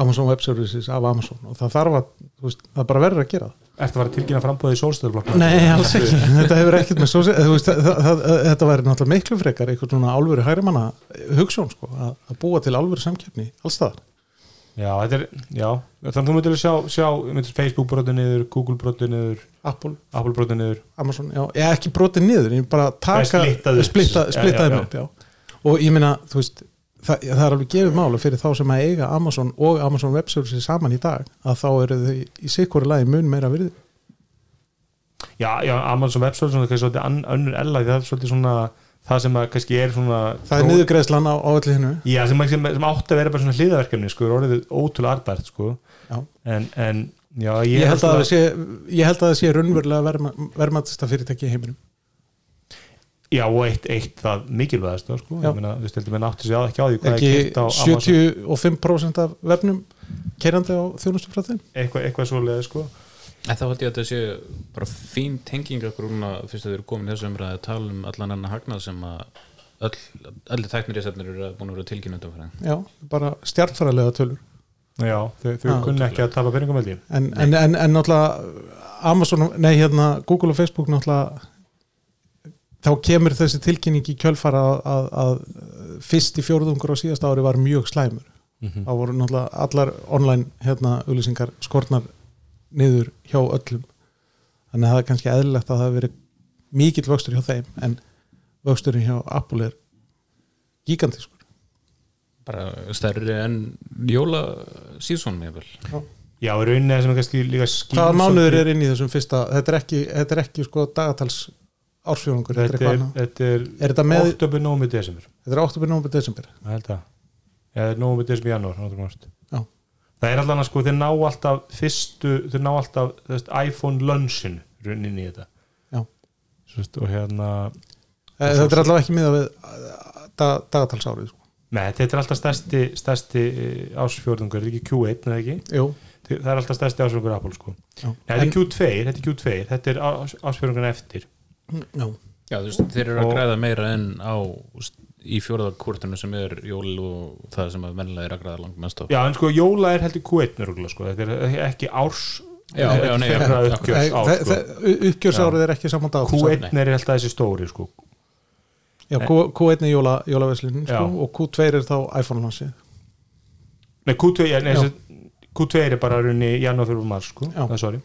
Speaker 3: Amazon Web Services af Amazon og það þarf að, þú veist, það bara verður að gera það
Speaker 2: ertu að fara að tilkynna frambúðið í sólstöðurflokk
Speaker 3: Nei, alls ekki, þetta hefur ekkert með svo þú veist, það, það, þetta væri náttúrulega miklu frekar eitthvað svona álveru hægrimanna hugsun sko, að, að búa til álveru samkeppni alls það
Speaker 2: já, þetta er, já, þannig að þú myndir að sjá, sjá myndir Facebook brotu niður, Google brotu niður
Speaker 3: Apple,
Speaker 2: Apple brotu niður
Speaker 3: Amazon, já, ég ekki brotið niður ég bara taka,
Speaker 2: Nei, splittað upp.
Speaker 3: splitta,
Speaker 2: Já,
Speaker 3: splitta
Speaker 2: já,
Speaker 3: þeim
Speaker 2: já.
Speaker 3: upp já. og ég meina, þú veist það, það er alveg gefið málu fyrir þá sem að eiga Amazon og Amazon Web Services saman í dag að þá eru þau í sikkori lagi mun meira virði
Speaker 2: já, já, Amazon Web Services það er svolítið ann- önnur ella það er svolítið svona það sem að kannski er svona
Speaker 3: það er niðurgreðslan á, á öllu hinnu
Speaker 2: já, sem, sem, sem átti að vera bara svona hliðaverkefni sko, er orðið ótrúlega arbært sko.
Speaker 3: Já.
Speaker 2: en, en, já,
Speaker 3: ég,
Speaker 2: ég,
Speaker 3: held að það sé, ég held að það sé raunverulega verma, vermatista fyrirtæki í heiminum
Speaker 2: Já, og eitt, eitt það mikilvægast sko.
Speaker 3: Já.
Speaker 2: ég meina, þú veist, heldur menn átti sig á ekki á því hvað er
Speaker 3: ekki
Speaker 2: kýrt á Amazon
Speaker 3: 75% af vefnum kerandi á þjónustu frá þeim
Speaker 2: eitthvað, eitthvað svolega sko.
Speaker 4: en þá held ég að þetta sé bara fín tenging akkur núna fyrst að við erum komin í þessu umræði að tala um allan annan hagnað sem að öll, öll tæknir í setnir eru búin að vera tilkynnundum fyrir
Speaker 3: já, bara stjartfæralega tölur
Speaker 2: Já, þau, þau
Speaker 3: Já.
Speaker 2: kunni ekki að tapa peningum held ég
Speaker 3: en, en, en, en náttúrulega Amazon, nei hérna Google og Facebook náttúrulega þá kemur þessi tilkynning í kjölfara að, að, að fyrst í fjórðungur á síðasta ári var mjög slæmur þá voru náttúrulega allar online hérna auðlýsingar skornar niður hjá öllum þannig að það er kannski eðlilegt að það hafi verið mikill vöxtur hjá þeim en vöxturinn hjá Apple er gigantískur
Speaker 4: bara stærri en jóla síðsónum ég vel
Speaker 2: Já, í rauninni það sem er kannski líka skýr
Speaker 3: Hvaða mánuður er inn í þessum fyrsta þetta er ekki, þetta er ekki sko dagatals ársfjörungur, þetta er
Speaker 2: Þetta
Speaker 3: eitthvað
Speaker 2: er,
Speaker 3: annað
Speaker 2: þetta er,
Speaker 3: Er þetta með-
Speaker 2: Oktober, nómi, desember
Speaker 3: Þetta er 8. november, desember
Speaker 2: Ég held að Eða er nómi, desember, janúar náttúrulega margt.
Speaker 3: Já.
Speaker 2: Það er allan að sko, þeir ná alltaf fyrstu, þeir ná alltaf þú veist, iPhone luncheon rauninni í þetta
Speaker 3: Já.
Speaker 2: Svist, og hérna
Speaker 3: Eh, Þetta er allavega ekki miða við eh, dag- dagatalsárið sko.
Speaker 2: Nei, þetta er alltaf stærsti, stærsti eh, ársfjórðungur, er ekki Q1 eða ekki?
Speaker 3: Jú,
Speaker 2: Þi- það er alltaf stærsti ásfjörungur Apple sko.
Speaker 3: já.
Speaker 2: Nei, þetta er Q2, þetta er Q2 þetta er ásfjörungur eftir
Speaker 3: já.
Speaker 4: Já, þú veist, þeir eru að
Speaker 2: Og-
Speaker 4: græða meira en á í fjóraðakvortinu sem er jól og það sem að vennilega er að græða langt mest á.
Speaker 2: já en sko jóla er heldur Q1 nörgulega, sko. þetta er ekki árs
Speaker 4: Já,
Speaker 2: þetta er
Speaker 4: já, nei,
Speaker 2: fyrra
Speaker 4: já, já.
Speaker 2: uppgjörs ár,
Speaker 3: Eh, Þe-
Speaker 2: sko.
Speaker 3: þe- u- Uppgjörsárið er ekki saman dagatals
Speaker 2: Q1 er alltaf þessi stóri sko.
Speaker 3: Já, Q, Q1 er jóla, jólaveslinin
Speaker 2: Já.
Speaker 3: sko, og Q2 er þá iPhone-lansið
Speaker 2: Nei, Q2, er- nei,
Speaker 3: Já.
Speaker 2: sem- Q2 er bara runni í janúar fyrir mars sko,
Speaker 3: Já.
Speaker 2: það er sorry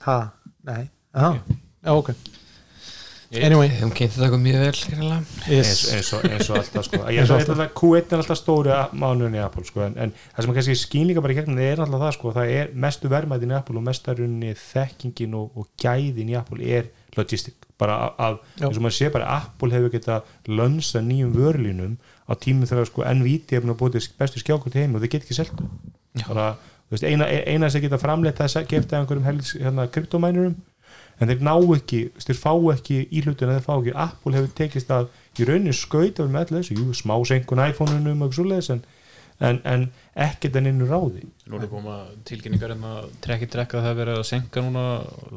Speaker 3: Ha, nei Aha. Já, ok
Speaker 4: Yes.
Speaker 3: Anyway,
Speaker 5: Við höfum kynnt þetta okkur mjög vel greinilega.
Speaker 2: eins,
Speaker 3: yes.
Speaker 2: eins, og, eins og alltaf sko ég, svo, alltaf. Q1 er alltaf stóri mánuðin í Apple sko, en, en það sem er kannski skín líka bara í gegnum það er alltaf það sko, það er mestu vermaðin í Apple og mestarunni þekkingin og, og gæðin í Apple er logistik bara af- af,
Speaker 3: Já.
Speaker 2: eins og maður sé bara Apple hefur geta lönsa nýjum vörlínum á tímum þegar sko NVIDIA er búin að búið til bestu skjákvöld heim og þau get ekki selt bara, þú veist, eina, eina sem geta framleitt þess að gefta einhverjum helgs, hérna, kryptomænurum en þeir ná ekki, þú veist, þeir fá ekki íhlutin að þeir fá ekki, Apple hefur tekist að í raunin skauta með allir þessu jú, smá senkun iPhone-unum og svoleiðis en, en, en ekkert en innu ráði
Speaker 4: Nú er koma tilkynningar hérna, en að trekki trekka það er verið að senka núna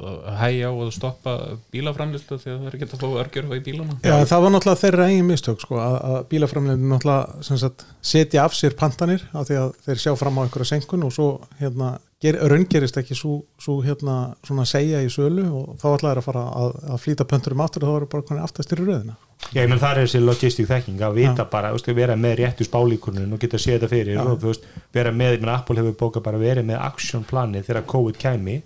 Speaker 4: að hægja á og að stoppa bílaframlista því að það er ekki að fá örgjörfa í bílana
Speaker 3: Já, en það var náttúrulega þeirra eigin mistök sko, að, að bílaframlegin náttúrulega sem sagt, setja af sér pantanir af því að þeir sjá fram á einhverja senkun og svo hérna, ger, raungerist ekki svo, svo hérna, svona segja í sölu og þá ætlaði þeir að fara að, að flýta pönturum aftur og þá eru bara konar aftast í röðina
Speaker 2: Já, ég menn það er þessi logistik þekking að vita bara, þú veist, vera með réttu spálíkunin og geta séð þetta fyrir og þú veist, vera með, ég menn Apple hefur bókað bara verið með action planið þegar COVID kæmi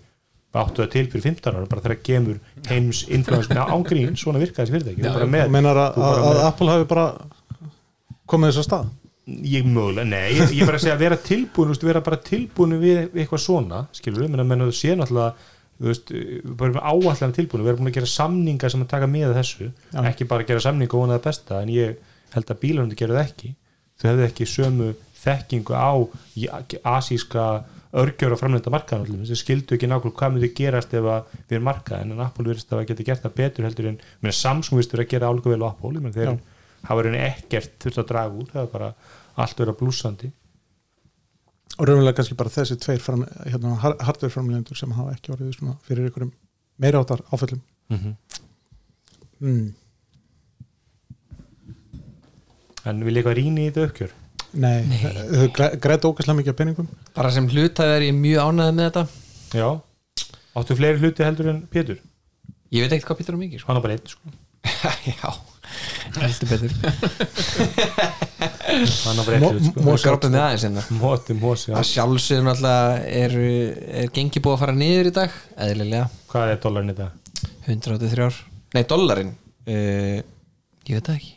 Speaker 2: áttu það til fyrir 15 ára, bara þegar kemur heims influensin á ángrín, svona virka þessi fyrirtæki, bara
Speaker 3: Þú
Speaker 2: með,
Speaker 3: meinar að,
Speaker 2: þú
Speaker 3: að,
Speaker 2: bara
Speaker 3: að
Speaker 2: með-
Speaker 3: Apple hafi bara komið þess að stað
Speaker 2: ég mögulega, nei, ég, ég bara að segja að vera tilbúin, þú veist, vera bara tilbúin við eitthvað svona, skilur við, menn að menn að þú sé náttúrulega, þú veist, bara með áallan tilbúin, vera búin að gera samninga sem að taka með af þessu, ekki bara gera samninga og vona það besta, en ég held að bílarhundi gera það ekki, þau hefðu ekki sömu þekkingu á í- asíska örgjör og framlenda markaðan sem skildu ekki nákvæmlega hvað myndi gerast ef að við erum markaðan, en Apple verðist að geta gert það betur heldur en, menn Samsung verðist að gera álíka vel á Apple, menn þeir
Speaker 3: Já.
Speaker 2: hafa reyni ekkert þurft að draga úr, það var bara allt vera blúsandi
Speaker 3: og raunverulega kannski bara þessi tveir fram, hérna, hardverframlendur sem hafa ekki orðið svona fyrir ykkurum meiráttar áföllum
Speaker 2: Mhm.
Speaker 3: mm.
Speaker 2: en vil eitthvað rýni í þetta uppgjör
Speaker 3: Nei, þau græ- græddu ógæslega mikið af peningum
Speaker 5: bara sem hlutaði er ég mjög ánæðið með þetta
Speaker 2: já, áttu fleiri hluti heldur en Pétur,
Speaker 5: ég veit ekkert hvað Pítur er mikið sko.
Speaker 2: hann er bara einn sko.
Speaker 5: já, heldur betur
Speaker 2: hann er bara einn
Speaker 3: Mo-
Speaker 2: hlut sko.
Speaker 3: mo-
Speaker 5: og skrópið með aðeins hérna
Speaker 2: móti, mósi,
Speaker 5: að
Speaker 2: já.
Speaker 5: sjálfsögum alltaf er, er gengi búið að fara niður í dag eðlilega,
Speaker 2: hvað er dólarinn í dag?
Speaker 5: 183 ár nei, dollarin uh, ég veit það ekki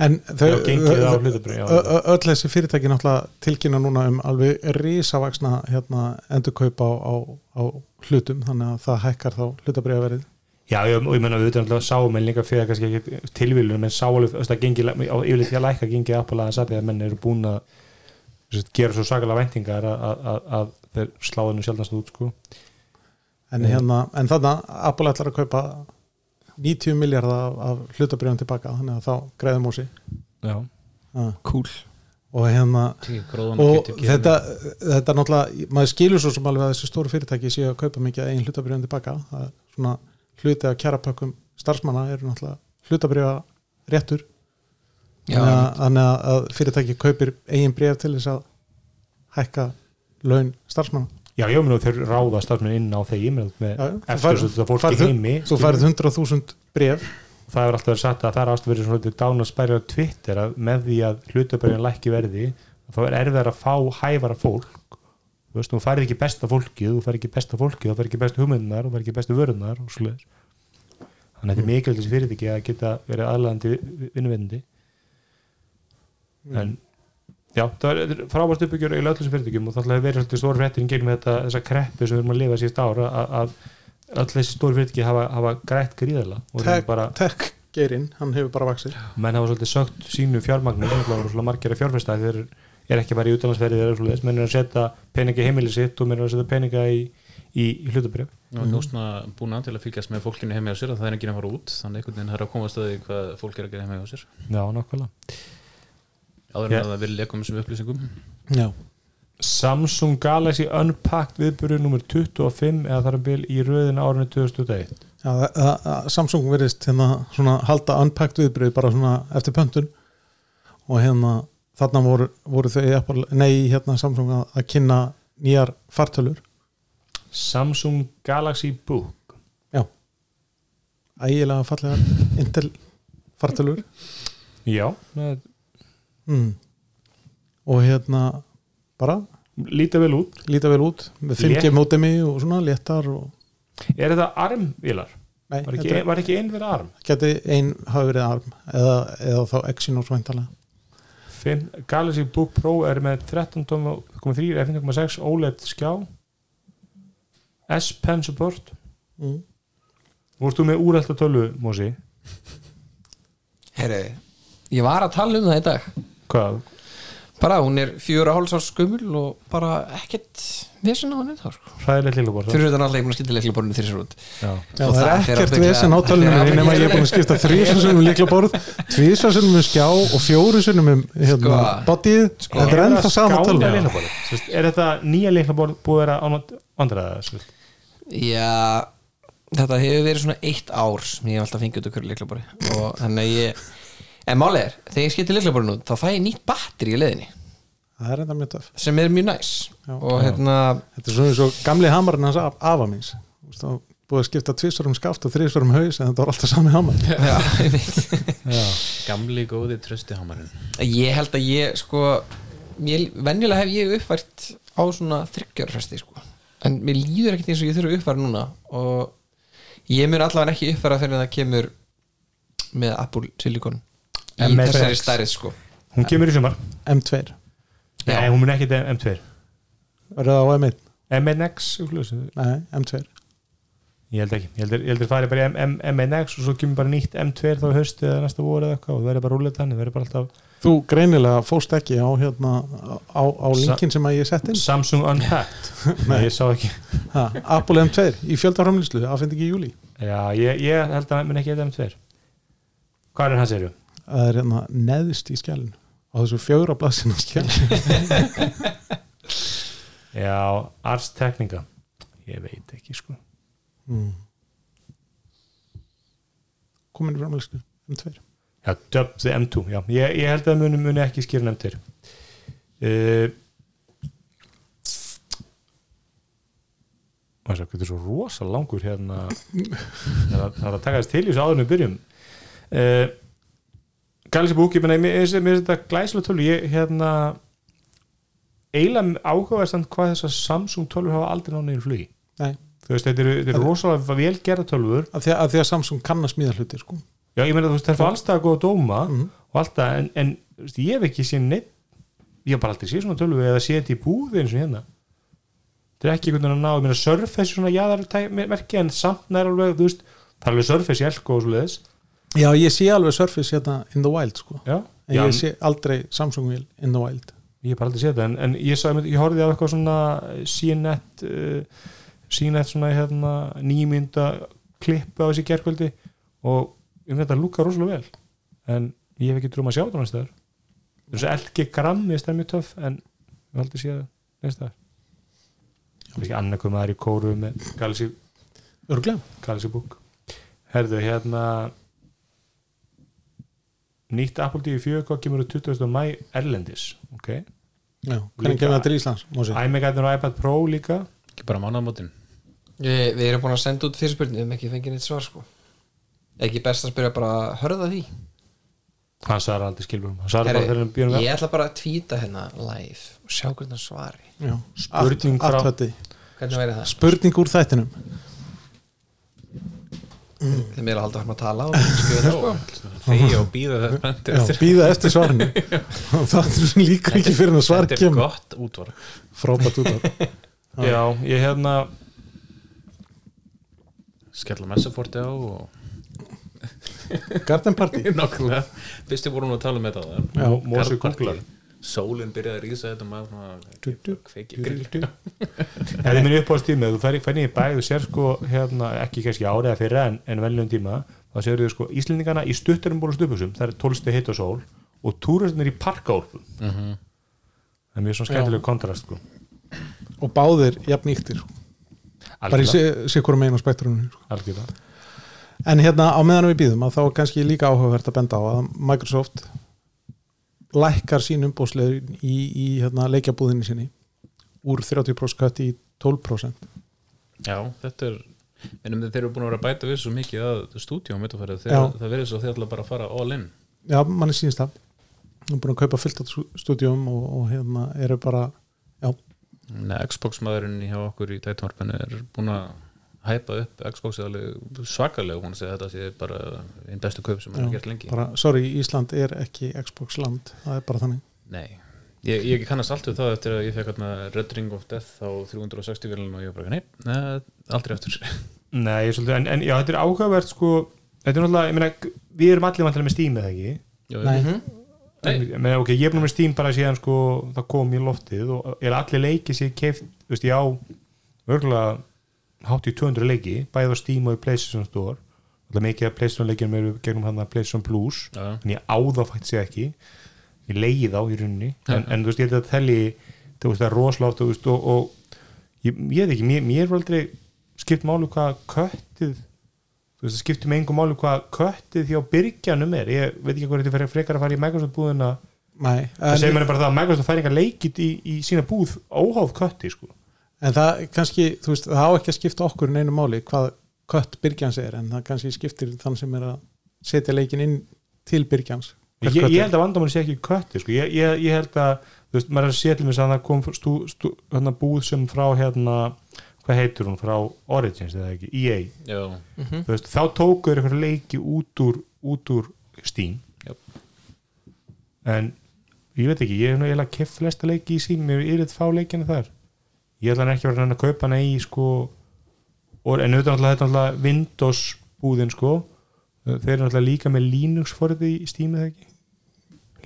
Speaker 3: En þau,
Speaker 2: Já, gengið á
Speaker 3: þau-
Speaker 2: hlutabréf, já.
Speaker 3: ö- ö- öll þessi fyrirtæki náttúrulega tilkynna núna um alveg risavaksna hérna, endurkaup á, á, á hlutum þannig að það hækkar þá hlutabriðaverið
Speaker 2: Já, ég, og ég menna við auðvitað sáum en líka fyrir kannski ekki tilvílunum en sáalveg, þú veist að gengi, á yfirleitt ég lækka gengið Apple aðeins að því að menn eru búin að þú veist, gera svo sakalega væntingar að, að, að, að þeir sláðinu sjálfnast út sko.
Speaker 3: en, hérna, en þarna Apple ætlar að kaupa 90 miljardar af, af hlutabriðum tilbaka þannig að þá græðum úr sig Ah.
Speaker 2: Já,
Speaker 5: cool
Speaker 3: og hérna
Speaker 4: Tí, gróðan
Speaker 3: og
Speaker 4: getur gefið
Speaker 3: þetta, þetta náttúrulega, maður skilur svo sem alveg að þessi stóru fyrirtæki séu að kaupa mikið af eigin hlutabriðan tilbaka það er svona hluti af kjarapökkum starfsmanna eru náttúrulega hlutabriða réttur
Speaker 5: já,
Speaker 3: þannig að, þannig að- að fyrirtæki kaupir eigin bréf til þess að hækka laun starfsmanna
Speaker 2: já ég menna þeir ráða starfsmenn inn á þeim með
Speaker 3: Já, já. Þú
Speaker 2: eftir
Speaker 3: færð-
Speaker 2: þetta
Speaker 3: þú
Speaker 2: fólk í
Speaker 3: færð-
Speaker 2: heimi
Speaker 3: þú
Speaker 2: skilur.
Speaker 3: færið 100.000 bréf
Speaker 2: það hefur alltaf verið sagt að það er alltaf verið svona dánarspærið á Twitter að með því að hlutabærin lækki verði þá er erfiðar að fá hæfara fólk þú veist, þú færið ekki besta fólkið þú færið ekki besta fólkið, þú færið ekki bestu hugmyndunar þú færið ekki bestu vörunar og svoleiðis þannig að þetta er mikilvægt þessi fyrir að geta verið aðlandi vinnuvendandi en já, það er frábært uppbyggjur í öllum sem fyrirtækjum og það ætlaði að vera svolítið stór fréttir en gegnum þetta, þessa kreppu sem við erum að lifa síðust ára að, að öll þessi stór fyrirtæki hafa, hafa grætt gríðala og það
Speaker 3: tech,
Speaker 2: er bara
Speaker 3: tech geirinn, hann hefur bara vaksið
Speaker 2: menn hafa svolítið sögt sínu fjármagnu sem það voru svolítið margir að fjárfesta þeir eru ekki bara í útlandsferði þeir eru svolítið menn eru að setja peninga í heimili sitt og menn eru að setja peninga í, í, í hlutabrjöf
Speaker 4: Nú er
Speaker 3: Mhm.
Speaker 4: njósna búin að til að fylgjast með fólkinu heima hjá sér að það er ekki að fara út þannig einhvern veginn það er að komast að því hvað fólk er að gera heima hjá sér
Speaker 2: Já, nokkvæmlega
Speaker 4: áður en
Speaker 2: Já.
Speaker 4: að það vilja koma sem upplýsingum
Speaker 3: Já.
Speaker 2: Samsung Galaxy Unpacked viðbyrju nummer 25 eða þar að bil í röðin árinu 2001
Speaker 3: Já, það- það- það- Samsung verðist hérna svona halda unpacked viðbrið bara svona eftir pöntun og hérna þarna voru, voru þau í Apple, nei hérna Samsung að, að kynna nýjar fartölur
Speaker 2: Samsung Galaxy Book
Speaker 3: ægilega fallega Intel fartölur
Speaker 2: já, það
Speaker 3: mm. og hérna bara
Speaker 2: líta vel út
Speaker 3: líta vel út með 5G
Speaker 2: Létt.
Speaker 3: mótemi og svona léttar og
Speaker 2: er þetta armvílar?
Speaker 3: Nei,
Speaker 2: var
Speaker 3: þetta
Speaker 2: ekki,
Speaker 3: er-
Speaker 2: var ekki einn verið arm?
Speaker 3: geti ein hafa verið arm eða, eða þá Exynos væntalega
Speaker 2: Fimm, Galaxy Book Pro er með 13.3 f5.6 OLED E skjá S Pen support
Speaker 3: mm.
Speaker 2: Vorst þú með úrælta tölvu, Mósi?
Speaker 5: Herru, ég var að tala um það í dag
Speaker 2: Hvað?
Speaker 5: bara hún er fjögur og hálsás skumul og bara ekkert vesen á henni þá sko.
Speaker 2: Hræðilegt lillabor
Speaker 5: fyrir þetta náttúrulega ég er búin að skilja leiklaborinu þrjusar út
Speaker 3: Já,
Speaker 5: Og
Speaker 3: það er
Speaker 5: það fer
Speaker 3: ekkert
Speaker 5: ábyggilega-
Speaker 3: vesen
Speaker 5: það fer
Speaker 3: átölunum
Speaker 5: ábyggilega-
Speaker 3: nema ég er búin að skipta um þrísvarsunum líkla borð tvísvarsunum um skjá og fjórusunum um hérna,
Speaker 5: Sko.
Speaker 3: bodyð þetta er ennþá sama tölun
Speaker 2: tölvu Er þetta nýja lillaborð búið að vera andræða?
Speaker 5: Já, þetta hefur verið svona eitt ár sem ég hef alltaf fengið út okkur leiklabori og þannig að ég en málið er, þegar ég skipti leiklaborinu út þá fæ ég nýtt batteri í leiðinni
Speaker 3: það er enda mjög töf
Speaker 5: sem er mjög næs
Speaker 3: Já.
Speaker 5: og hérna,
Speaker 3: þetta er svona eins og gamli hamarinn hans af, afa míns Þú veist, þá er búið að skipta tvísvarum skaft og þrísvarum haus en þetta var alltaf sami hamar
Speaker 5: já, ég veit
Speaker 4: Gamli góði trösti hamarinn
Speaker 5: ég held að ég sko ég, venjulega hef ég uppvært á svona þryggjörfesti sko en mér líður ekkert eins og ég þurfa að uppfæra núna og ég mun allavega ekki uppfæra fyrir en það kemur með Apple Silicon í
Speaker 2: M6.
Speaker 5: þessari stærið sko
Speaker 2: Hún kemur í sumar
Speaker 3: M2,
Speaker 2: Nei, hún mun ekki til M2
Speaker 3: verður það á M1
Speaker 2: MNX eitthvað svoleiðis.
Speaker 3: nei, M2
Speaker 2: Ég held ekki, ég heldur held farið bara í M- M- MNX og svo kemur bara nýtt M2 þá í haustu eða næsta voru eða eitthvað og það verður bara rúlega þannig, það verður bara alltaf
Speaker 3: Þú greinilega fóst ekki á, hérna, á, á linkin sem að ég sett inn
Speaker 2: Samsung Unpacked Nei, ég sá ekki
Speaker 3: ha, Apple M2 í fjöldaframlýslu afhengt ekki í júli
Speaker 2: Já, ég, ég held að hann mun ekki eitthvað M2 Hvað er hans eru?
Speaker 3: það er hérna neðist í skjælinu á þessu fjögra blassinu skjælinu
Speaker 2: Já, Ars Technica Ég veit ekki sko
Speaker 3: mm. komin í um framlýslu M2
Speaker 2: Já, Dub the M2, já Ég, ég held að muni, muni ekki skýra nefndir uh, Það er svo rosa langur hérna Það er að- það er að taka þess til í þessu áðurinn við byrjum uh, Galaxy Book, ég meina, mér mér finnst þetta glæslega tölvu Ég, hérna eiginlega áhugaverð samt hvað þessar Samsung tölvur hafa aldrei náðu niður flugi
Speaker 3: Nei.
Speaker 2: Þú veist, þetta eru, þetta eru rosalega velgerða tölvur
Speaker 3: af því að, að, því að Samsung kann að smíða hluti sko.
Speaker 2: Já, ég meina þú veist, það er allstað að góða dóma
Speaker 3: Mhm.
Speaker 2: og alltaf, en, en þú veist, ég hef ekki séð neitt, ég hef bara aldrei séð svona tölvu eða séð þetta í búði eins og hérna þetta er ekki einhvern veginn að ná, ég meina Surface er svona jaðarmerki en samt nær alveg, þú veist, það er alveg Surface í elko og svo leiðis,
Speaker 3: já ég sé alveg Surface hérna in the wild sko.
Speaker 2: já,
Speaker 3: en
Speaker 2: já
Speaker 3: ég sé aldrei Samsung vil in the wild
Speaker 2: ég hef bara aldrei séð þetta en, en ég, sá, ég horfði á eitthvað svona eh, CNET uh, CNET svona hérna nýmynda klippu á þessi gerkvöldi og ég meina þetta lúka rosalega vel en ég hef ekki trúum að sjá þetta næstaðar þess að LG Gram ég stæði mjög töff en ég haldi séð það næstaðar það er ekki annað hvað maður í kóru með Galaxy,
Speaker 3: örglega
Speaker 2: Galaxy Book herðu hérna nýtt Apple TV 4 hvað kemur á 20. mæ Erlendis ok
Speaker 3: já, hvernig
Speaker 2: Líka-
Speaker 3: kemur það til Íslands Mosi?
Speaker 2: iMac-ætnar og iPad Pro líka
Speaker 4: Ekki bara mánaðamótin
Speaker 5: Við, við erum búin að senda út fyrirspurnir um ekki fengið neitt svar sko ekki best að spyrja bara að hörða því
Speaker 2: hann svarar aldrei skilbjörnum hann svarar bara
Speaker 5: Herri,
Speaker 2: þegar hann býður
Speaker 5: ég
Speaker 2: með
Speaker 5: ætla bara að tvíta hérna live og sjá hvernig hann svari
Speaker 3: Já,
Speaker 2: Spurning frá-
Speaker 3: allt- allt þetta.
Speaker 5: hvernig væri það?
Speaker 3: spurning úr þættinum
Speaker 5: Þeim er að halda fram að tala og skrifa það sko
Speaker 4: Þegi og býða það spenntir
Speaker 3: já, býða eftir svarinu það er líka ekki fyrir en að svar
Speaker 4: Þetta er
Speaker 3: kemur
Speaker 4: gott útvarp
Speaker 3: frábært út á
Speaker 2: já, ég hérna
Speaker 4: Skella messaforti á og
Speaker 3: Garden Party
Speaker 4: Nákvæmlega Fyrst ég voru nú að tala um þetta á það
Speaker 3: Já,
Speaker 2: Mosi kúklar
Speaker 4: Sólinn byrjaði að rísa þetta maður svona Kveiki grill
Speaker 2: þetta er minn uppáðstími ef þú færi fæni í bæð þú sér sko hérna ekki kannski árið að fyrra en, en velnum tíma þá sér þau sko Íslendingana í stutturum búin stupusum það er tólsti hitt og sól og túrastinir í parkaúlpum
Speaker 5: Mhm.
Speaker 2: það er mjög svona skemmtileg kontrast sko
Speaker 3: og báðir jafn íktir bara í
Speaker 2: algjörða,
Speaker 3: sikkur megin á spektruminu sko.
Speaker 2: algjörða.
Speaker 3: en hérna á meðanum við býðum að þá er kannski líka áhugavert að benda á að Microsoft lækkar sín umbúsleður í, í hérna, leikjabúðinni sinni úr 30% cut í 12%
Speaker 4: Já, þetta er Minnum þeir eru búin að vera að bæta við svo mikið að stúdíum mittafærið
Speaker 3: Já.
Speaker 4: þegar það verið svo þeir ætla bara að fara all in
Speaker 3: já, manni sínst það við erum búin að kaupa fullt af stúdíum og, og hérna eru bara já,
Speaker 4: Nei, Xbox maðurinn hjá okkur í tætvarpinu er búin að hæpa upp Xbox alveg svakalega hún segir að þetta sé bara einn bestu kaup sem hann
Speaker 3: Já,
Speaker 4: har gert lengi
Speaker 3: bara, sorry, Ísland er ekki Xbox land, það er bara þannig
Speaker 4: Nei, ég, ég kannast allt við það eftir að ég fekk hérna Red Ring of Death á 360 viljan og ég bara, nei, nei, aldrei eftir
Speaker 2: Nei, ég er svolítið, en, en já, þetta er áhugavert sko, þetta er náttúrulega, ég meina við erum allir vantilega með Steam eða ekki
Speaker 4: Jó,
Speaker 3: Nei. Mhm.
Speaker 4: Nei.
Speaker 2: Ég meina, ok, ég er búin með Steam bara síðan sko, það kom í loftið og er allir leiki sér keift, þú veist, ég á örgulega hátt í 200 leiki bæði á Steam og í PlayStation Store alltaf mikið af PlayStation leikjum eru gegnum hann að PlayStation Plus,
Speaker 4: Já, já.
Speaker 2: en ég á það faktisk ekki, ég leiði þá í rauninni, en, en þú veist, ég held að telli þú veist, það er rosalóft og, og ég, ég veit ekki, mér, mér er aldrei skipt máli hvað köttið þú veist, það skiptir með engum máli hvað köttið hjá byrgjanum er, ég veit ekki hvað þetta fer frekar að fara í Microsoft búðina
Speaker 3: Nei,
Speaker 2: það segir
Speaker 3: en,
Speaker 2: mér bara það að Microsoft fær eitthvað leikit í, í sína búð óháð kötti, sko
Speaker 3: en það kannski þú veist, það á ekki að skipta okkur en einu máli hvað kött Byrgjans er en það kannski skiptir þann sem er að setja leikin inn til Byrgjans
Speaker 2: ég, ég held að vandamann sé ekki kötti, sko ég, ég, ég held að, þú veist, maður er að sé til mér að það kom stú, stú, hérna búð sem frá hérna, hvað heitur hún, frá Origins eða ekki, E EA
Speaker 4: já,
Speaker 2: þú veist, þá tóku þeir eitthvað leiki út úr, út úr Steam
Speaker 4: Jöp.
Speaker 2: en ég veit ekki, ég hef nú eiginlega keft flesta leiki í Steam, mér er eitt fá leikina þar ég ætla hann ekki að vera hann að kaupa hana í sko, og, en auðvitað náttúrulega þetta er náttúrulega Windows búðin sko þeir eru náttúrulega líka með Linux forðið í Steam eða ekki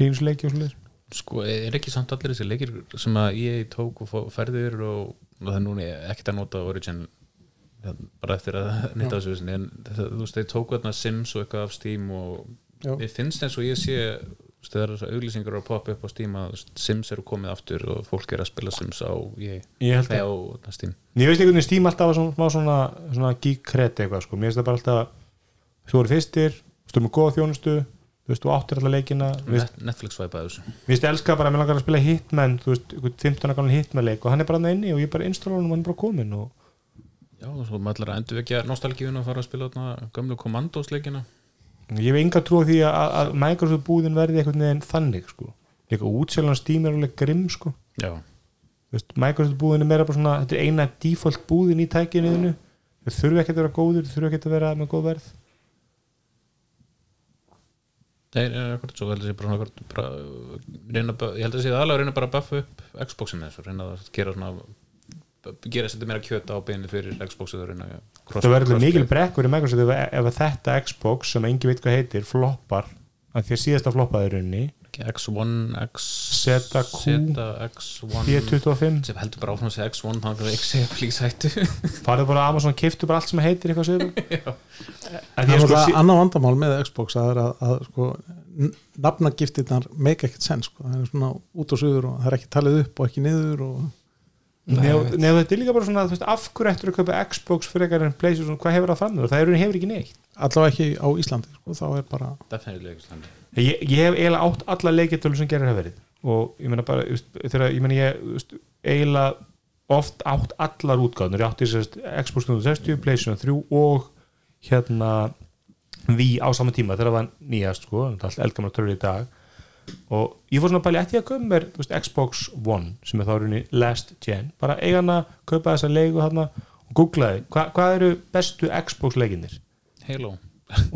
Speaker 2: Linux leiki og svolítið
Speaker 4: sko, er ekki samt allir þessi leikir sem að ég tók og fó- færði yfir og, og það er núna ekkert að nota Origin ja, bara eftir að nýta þessu vissinni, en þetta- þú veist, þeir tóku þarna Sims og eitthvað af Steam og
Speaker 3: Já.
Speaker 4: mér finnst eins og ég sé þú veist, það eru þessar auglýsingar að poppa upp á Steam að þú veist, Sims eru komið aftur og fólk er að spila Sims á ég,
Speaker 2: Ég held að-
Speaker 4: á þarna Steam
Speaker 2: Ég veist ekki hvernig Steam alltaf var svona, smá svona, svona gíkret eitthvað sko, mér finnst það bara alltaf þú eru fyrstir, þú eru með góða þjónustu þú veist, þú áttir alltaf leikina mér finnst-
Speaker 4: Net, Netflix svæpaði þessu
Speaker 2: mér finnst elska bara, mér langar að spila Hitman þú veist, einhvern 15 galan Hitman leik og hann er bara hann inni og ég bara installa hann og hann er bara komin og
Speaker 4: Já, og svo maður ætlar að endurvekja nostalgíun og fara að spila þarna gömlu komandósleikina
Speaker 2: ég hef enga trú á því að, að Microsoft búðin verði einhvern veginn þannig sko líka útselan Steam er alveg grimm sko
Speaker 4: Já,
Speaker 2: Þú veist, Microsoft búðin er meira bara svona þetta er eina default búðin í tækinuðinu þau þurfi ekki að vera góður, þau þurfi ekki að vera með góð verð
Speaker 4: Nei, nei, akkurat, svo heldur ég bara, akkurat, bara uh, reyna, að- ég held að sé aðalega að reyna bara að buffa upp Xboxinu þessu, reyna að gera svona b- gera setja meira kjöta á beinu fyrir Xboxið og reyna að cross-
Speaker 2: það verður
Speaker 4: crossplay.
Speaker 2: mikil brekkur í Microsoft ef, ef að þetta Xbox sem engi veit hvað heitir floppar, af því að síðasta floppaði runni,
Speaker 4: X1, X
Speaker 2: Zeta Q.
Speaker 4: Zeta X1
Speaker 2: B25
Speaker 4: sem heldur bara áfram að segja X1 þannig að ekki segja please hættu
Speaker 2: farið bara á Amazon, kiftu bara allt sem heitir eitthvað sögur að því að
Speaker 3: Það er
Speaker 2: sko,
Speaker 3: náttúrulega
Speaker 2: sí-
Speaker 3: annað vandamál með Xbox það er að, að sko, nafnagiftirnar make ekkert senn sko. það er svona út og suður og það er ekki talið upp og ekki niður og
Speaker 2: nef- nef þetta er líka bara svona þú veist, af hverju eftir að kaupa Xbox frekar en Playstation, hvað hefur það fram með það er hefur ekki neitt
Speaker 3: allavega ekki á Íslandi sko. þá er bara,
Speaker 4: Definitely ekki slandi
Speaker 2: ég, ég hef eiginlega átt alla leikitölu sem gerir hafa verið og ég meina bara þú veist, þegar ég meina ég þú veist, eiginlega oft átt allar útgáðnur ég átti sérst Xbox 360, Playstation 3 og hérna við á sama tíma þegar það var nýjast sko, þetta er allt eldgamla törur í dag og ég fór svona að pæli ætti ég að kaupa mér þú veist, Xbox One sem er þá runni last gen bara eiga hana, kaupa þessa leiku hana og googlaði, hva, hvað eru bestu Xbox leikinir
Speaker 4: Halo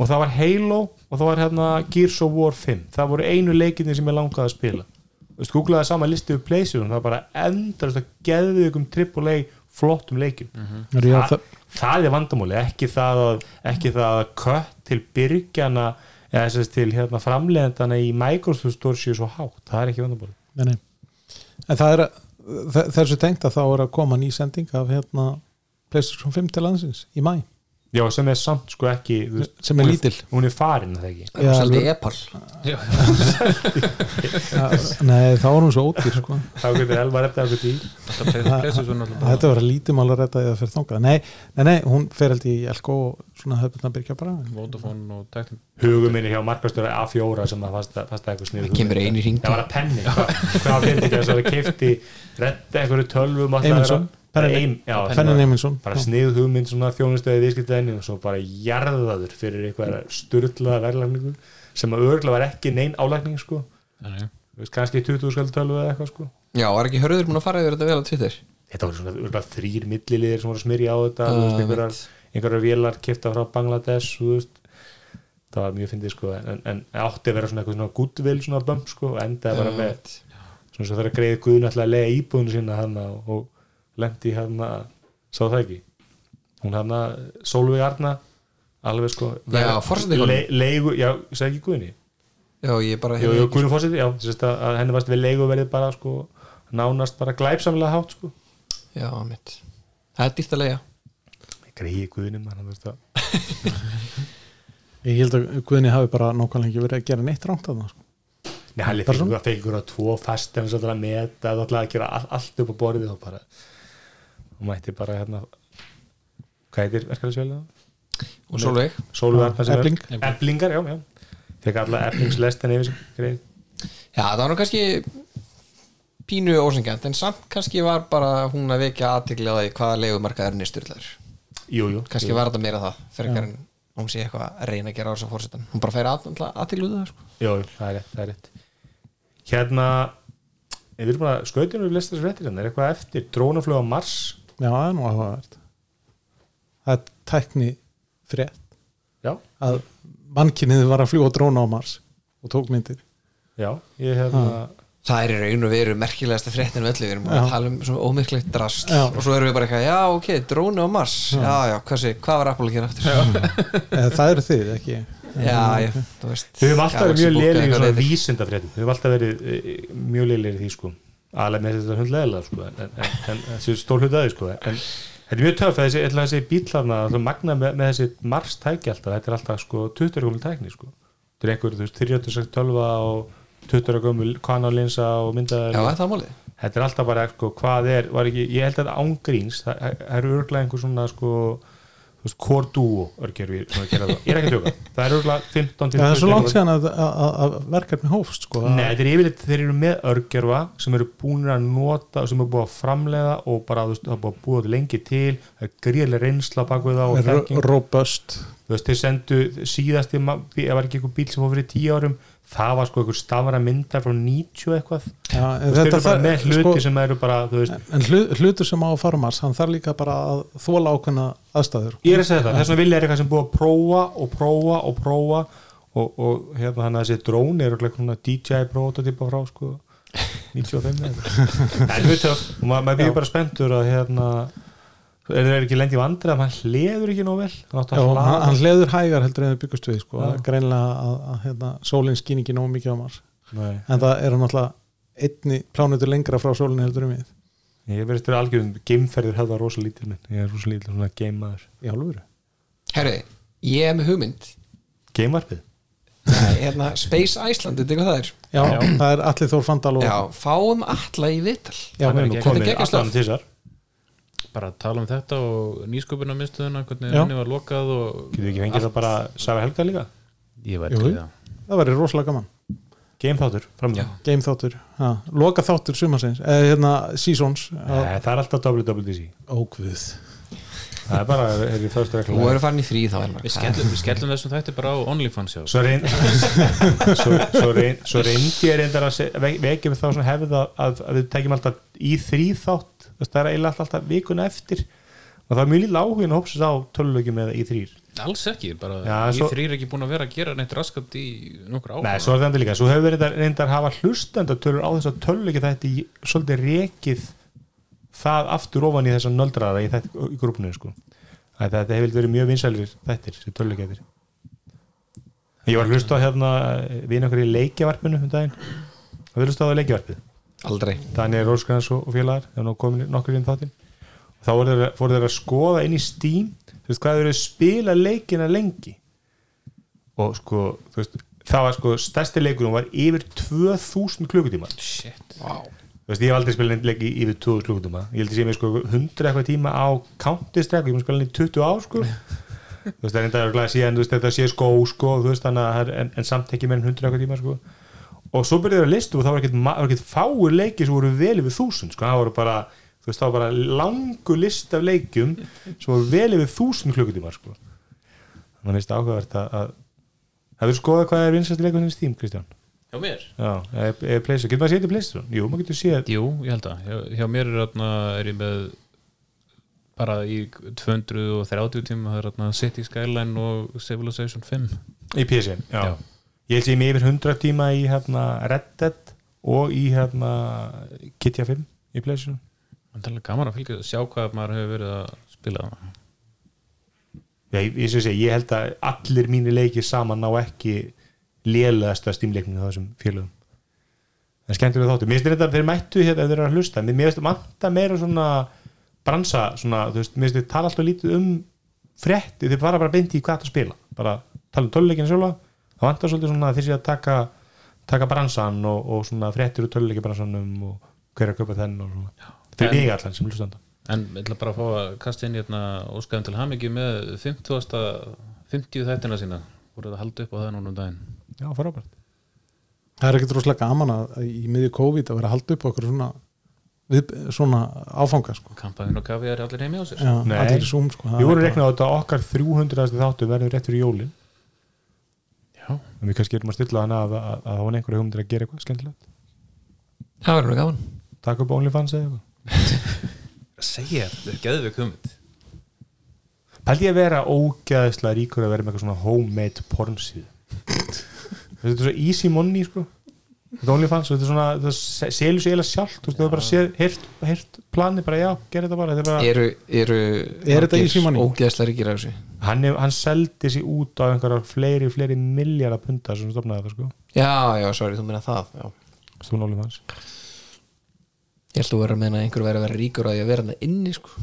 Speaker 2: og það var Halo og það var hérna Gears of War 5 það voru einu leikinni sem ég langaði að spila þú veist, googlaði sama listi við Playstation það var bara endast að geðu ykkur AAA flottum leikum
Speaker 3: er ég að
Speaker 2: það, það er vandamúli, ekki það að, ekki það að kött til byrgjana eða þess til hérna, framleiðendana í Microsoft Store séu svo hátt, það er ekki vandamúli
Speaker 3: Nei, nei. En það er að- þe- þessu tengt að þá er að koma ný sending af hérna PlayStation 5 til landsins í mæ
Speaker 2: já, sem er samt sko ekki þú veist,
Speaker 3: sem er lítil
Speaker 2: hún er farin að það ekki
Speaker 5: Það er svolítið
Speaker 3: alveg-
Speaker 5: epal
Speaker 4: Já,
Speaker 3: Ja, Nei, þá er hún svo ódýr sko.
Speaker 2: þá getur elvar eftir eitthvað dýr
Speaker 4: þetta pleysið svo náttúrulega
Speaker 3: Þetta var að lítið mál að redda því að fyrir þangað Nei, nei, nei hún fer held í Elko og svona höfbundna byrkja bara
Speaker 4: bara Vodafone og Technic
Speaker 2: huguminni hjá markastöra A4 sem að fasta, fasta eitthvað snið
Speaker 5: Það kemur einu í hring.
Speaker 2: það var að penni hvað hvað var fyrir þess að það kefti redda einhverju tölvum alltaf
Speaker 3: Eymundsson,
Speaker 2: að- Fennan Eim, já,
Speaker 3: Fennan Eymundsson.
Speaker 2: bara
Speaker 3: Já.
Speaker 2: snið hugmynd svona þjónustöði viðskiptæðinni og svo bara jarðaður fyrir eitthvað styrlaða verðlagningu sem að örgulega var ekki neinn álægning sko,
Speaker 4: Þannig.
Speaker 2: Þú veist, kannski 20 skaldatölu eða eitthvað sko
Speaker 5: Já, var ekki hörður búin að fara yfir þetta vel á Twitter
Speaker 2: þetta voru svona örgulega þrýr milliliðir sem voru að smyrja á þetta þú
Speaker 5: Ah,
Speaker 2: veist, einhverjar, einhverjar vélar kipta frá Bangladesh þú veist, það var mjög fyndið sko en, en átti að vera svona eitthvað svona goodwill svona bump sko og endaði bara með svona svo þegar greið Guðun ætlaði að lega íbúðinu sína hana og, og lendi hana sá það ekki hún hana Sólveig Arna alveg sko
Speaker 5: Já, forsetinn.
Speaker 2: le, leigu, já, ég segi ekki Guðunni
Speaker 5: Já, ég bara
Speaker 2: jú, jú, Guðun fórseti, já, sérst að, að henni varst við leigu verið bara sko nánast bara glæpsamlega hátt sko
Speaker 5: Já, mitt Það er dýrt að leiga
Speaker 2: greiði Guðunni mann, þú veist að
Speaker 3: Ég held að Guðni hafi bara nákvæmlega ekki verið að gera neitt rangt að það sko.
Speaker 2: Nei, hann fekk ykkur, fekk ykkur að tvo fast en svo að meta, það ætlaði að gera all, allt upp á borðið og bara og mætti bara hérna hvað heitir verkefælisveilina?
Speaker 5: Og Solveig
Speaker 2: Sólvarnar sem er-
Speaker 3: Efling.
Speaker 2: Eflingar, já, já Fekk alla eflingslestin yfir sig greið
Speaker 5: Já, það var nú kannski pínu ósengjant en samt kannski var bara hún að vekja aðtegli á því hvaða leigumarkaðurinn er styrlaður
Speaker 2: Jú, jú
Speaker 5: kannski var þetta meira það frekar en hún sé eitthvað að reyna að gera á þessu fórsetan hún bara færi aðtegli út af það sko.
Speaker 2: Jú, jú, það er rétt, það er rétt Hérna, eh, við erum bara skautunum við lestar þessu réttir hérna, er eitthvað eftir drónaflug á Mars
Speaker 3: Já, það er nú áhugavert Það er tækni frétt
Speaker 2: Já,
Speaker 3: að mannkinnið var að fljúa dróna á Mars og tók myndir
Speaker 2: já, ég hérna
Speaker 5: það er í raun og veru merkilegasta fréttin um öllu, við erum búin að
Speaker 3: Já.
Speaker 5: tala um svona ómyrklegt drast
Speaker 3: Já.
Speaker 5: og svo erum við bara eitthvað, já ok, drónu á Mars já, já, hvað, sé, hvað var Apple að gera aftur já,
Speaker 3: Eða, Það eru þið, ekki ég.
Speaker 5: já, já, þú veist
Speaker 2: Við höfum alltaf verið mjög
Speaker 5: Galaxy
Speaker 2: leilir
Speaker 5: Book
Speaker 2: í
Speaker 5: eitthvað
Speaker 2: svona
Speaker 5: leiðir.
Speaker 2: vísindafréttum Við höfum alltaf verið eh, mjög leilir í því sko alveg með þetta hundlega sko. en, en, en, en þessi stór hluti sko. en þetta er mjög töff að þessi, ætla þessi bílarna að magna með, með þessi Mars tæki alltaf þetta er alltaf sko 20 gömul tækni sko. þetta er einhver þú veist 3612 og 20 gömul kanalinsa og
Speaker 5: já,
Speaker 2: myndaðar
Speaker 5: það er málið
Speaker 2: þetta er alltaf bara sko, hvað er var ekki, ég held að þetta ángríns það það eru örglega einhver svona sko þú veist, core duo örgjör við svona að gera það ég er ekki að tjóka, það er örglega 15
Speaker 3: Já, það er svo
Speaker 2: 20
Speaker 3: langt síðan að, að, að- að verkefni hófst sko.
Speaker 2: Nei, þetta er yfirleitt þeir eru með örgjörfa sem eru búin að nota og sem eru búin að framlega og bara þú veist, það er búin að búa þetta lengi til það er gríðlega reynsla bak við það og
Speaker 3: er
Speaker 2: þekking
Speaker 3: robust
Speaker 2: þú veist, þeir sendu síðast ef var ekki einhver bíl sem fór fyrir tíu árum það var sko einhver stafara myndar frá 90 eitthvað þú
Speaker 3: Já, en sko-
Speaker 2: veist, þeir eru bara
Speaker 3: þarf-
Speaker 2: með hluti sem eru bara þú veist,
Speaker 3: En hlu- hlutur sem á að fara á Mars hann þarf líka bara að þóla ákveðna aðstæður
Speaker 2: ég er að segja það, þess vegna vilja er eitthvað sem búið að prófa og prófa og prófa og, og hérna þannig að þessi drón er eitthvað svona DJI prototypa frá sko 95 eða eitthvað. en við töf, maður ma býður bara spenntur að hérna er það ekki lendi í vandrið að maður hleður ekki nóg vel hann átti
Speaker 3: Já,
Speaker 2: að
Speaker 3: hann,
Speaker 2: hlaða
Speaker 3: hann hleður hægar heldur en þau byggust við sko,
Speaker 2: Já.
Speaker 3: greinlega að, að hérna, sólinn skýn ekki nógu mikið á Mars
Speaker 2: Nei,
Speaker 3: en það eru náttúrulega einni plánutur lengra frá sólinn heldur en við
Speaker 2: ég verðist verið algjörum geimferðir hefða rosa lítil minn, ég er rosa lítil svona geimaður
Speaker 3: í hálfuru
Speaker 5: herruði, ég er með hugmynd
Speaker 2: geimarfið?
Speaker 5: Nei, hérna, Space Iceland, þetta er hvað það er
Speaker 3: Já, það er allir Þór Fandal og
Speaker 5: já, fáum alla í vital
Speaker 3: Já,
Speaker 2: hann er nú
Speaker 4: ekki-
Speaker 5: þetta
Speaker 2: komið
Speaker 5: er ekki
Speaker 2: allan
Speaker 5: stöð.
Speaker 2: til þessar
Speaker 4: bara tala um þetta og nýsköpuna minnstuðuna, hvernig
Speaker 3: Já.
Speaker 4: henni var lokað og
Speaker 2: getur við ekki fengið það bara Sara Helga líka
Speaker 4: ég var
Speaker 3: Jú.
Speaker 4: ekki það
Speaker 3: það væri rosalega gaman
Speaker 2: geimþáttur, framöðum
Speaker 3: game þáttur, ha, loka þáttur sumarsins eða hérna seasons að-
Speaker 2: það er alltaf WWDC
Speaker 3: Ó guð
Speaker 2: það er bara, er í fyrstu
Speaker 5: þú
Speaker 2: reglum
Speaker 5: eru farin í frí þá Elmar.
Speaker 4: við skellum, við skellum þessum þætti bara á OnlyFans já.
Speaker 2: svo, reyn, svo, svo, reyn, svo reyndi ég reyndar að se- ve- vekja mig þá svona hefð að, að, að við tekjum alltaf í þrý þátt þú veist, það er eiginlega alltaf, alltaf vikuna eftir og það er mjög líla áhugin að hópsast á tölulögjum eða í þrýr
Speaker 4: alls ekki, bara já,
Speaker 2: Já,
Speaker 4: ég
Speaker 2: svo-
Speaker 4: svo... þrýr ekki búin að vera að gera neitt raskat í nokkur ára
Speaker 2: Nei, svo er það endur líka, svo hefur við reyndar, reyndar hafa hlustendatölur á þess að tölulögja þetta í svolítið rekið það aftur ofan í þessa nöldrara í, þetta, í grúpnu sko. Að Þetta hefur verið mjög vinsælir þettir sem tölulögja þér Ég var að hlusta á hérna við okkar í leikjavarpinu um daginn og við hlusta á leikjavarpið
Speaker 5: aldrei
Speaker 2: Daniel Róskrans og, og félagar það er nú komin nokkur inn í um þáttinn og þá voru þeir, voru þeir að skoða inn í Steam þú veist hvað þeir eru að spila leikina lengi og sko þú veist, það var sko stærsti leikunum var yfir 2000 klukkutíma þú
Speaker 4: shit,
Speaker 2: veist ég hef aldrei spilað neinn leik í- yfir 2000 klukkutíma ég held að sé mér sko 100 eitthvað tíma á Counter-Strike og ég mér spila hann í 20 ár sko þú veist það er enda örglega síðan þú veist þetta sé skó sko þú veist þannig að það er- en, en samt ekki meir en 100 eitthvað tíma sko og svo byrjuðu að listu og það var ekkert, ma- var ekkert fáir leikir sem voru vel yfir þúsund sko, það voru bara þú veist, þá var bara langu list af leikjum sem var vel yfir þúsund klukkutímar sko. þannig að veist áhugavert að, að hefur skoðað hvað er vinsast leikur hins tím, Kristján?
Speaker 4: Hjá mér?
Speaker 2: Já, eða eða Playstation, getur maður séð þetta í Playstation? Jú, maður getur séð
Speaker 4: Jú, ég held að. Hjá, hjá mér er, atna, er ég með bara í 230 tíma það er atna, City Skyline og Civilization 5
Speaker 2: í PC, já.
Speaker 4: Já.
Speaker 2: Ég held sem ég með yfir 100 tíma í hérna Red Dead og í hérna Kitja 5 í Playstation
Speaker 4: Það er alveg gaman að fylgja að sjá hvað maður hefur verið að spila það
Speaker 2: Já, ég, ég, ég, ég held að allir mínir leikir saman ná ekki lélegasta stímleikningu á þessum félögum það er skemmtilega þáttu mér finnst þetta að þeir mættu hérna ef þeir eru að hlusta mér mér finnst manta meira svona bransa, svona, þú veist, mér finnst þeir tala alltaf lítið um frétti, þeir fara bara beint í hvað það spila, bara tala um töluleikina sjálfa það vantar svolítið svona að þeir sé að taka taka bransan og, og svona fréttir úr töluleikabransanum og hver er að kaupa þenn og svona, fyrir
Speaker 4: En-
Speaker 2: mig allan sem hlustanda
Speaker 4: En ég ætla bara að fá að kasta inn hérna óskaðum til hamingju með 50. 50 þættina sína voruð að halda upp á það núna um daginn
Speaker 2: já, frábært
Speaker 3: það er ekkert rosalega gaman að að í miðju COVID að vera að halda upp okkur svona, við, svona áfanga sko.
Speaker 4: Kampaðin og kafið er allir heimi á sér
Speaker 3: Já,
Speaker 2: Nei.
Speaker 3: allir í Zoom sko, það
Speaker 2: Við
Speaker 3: er
Speaker 2: vorum
Speaker 3: bara-
Speaker 2: reiknað á þetta að okkar 300. þáttu verður rétt fyrir jólin
Speaker 4: Já.
Speaker 2: en við kannski erum að stilla hana að, að, að hún einhverja hugmyndir að gera eitthvað skemmtilegt
Speaker 5: það verður nú gaman
Speaker 2: Takk upp OnlyFans eða eitthvað
Speaker 4: Segja, þetta er geðvik humið
Speaker 2: Pældi ég að vera ógæðislega ríkur að vera með eitthvað svona homemade porn síð Þetta er svo easy money sko Þetta OnlyFans, þetta er svona það selur sér eiginlega sjálft, þú veist, það er bara sér heyrt, heyrt planið, bara já, gera þetta bara, þetta er bara
Speaker 5: eru, eru
Speaker 3: Er þetta í símanum?
Speaker 5: ógeðslega ríkir af þessu
Speaker 2: hann, hef, hann seldi sér út á einhverjar fleiri, fleiri miljara punta sem stofnaði þetta sko,
Speaker 5: já, já, sorry, þú meina það já.
Speaker 2: stofnaði OnlyFans
Speaker 5: ég held að þú verður að meina að einhver verður að vera ríkur á því að vera hann inni sko.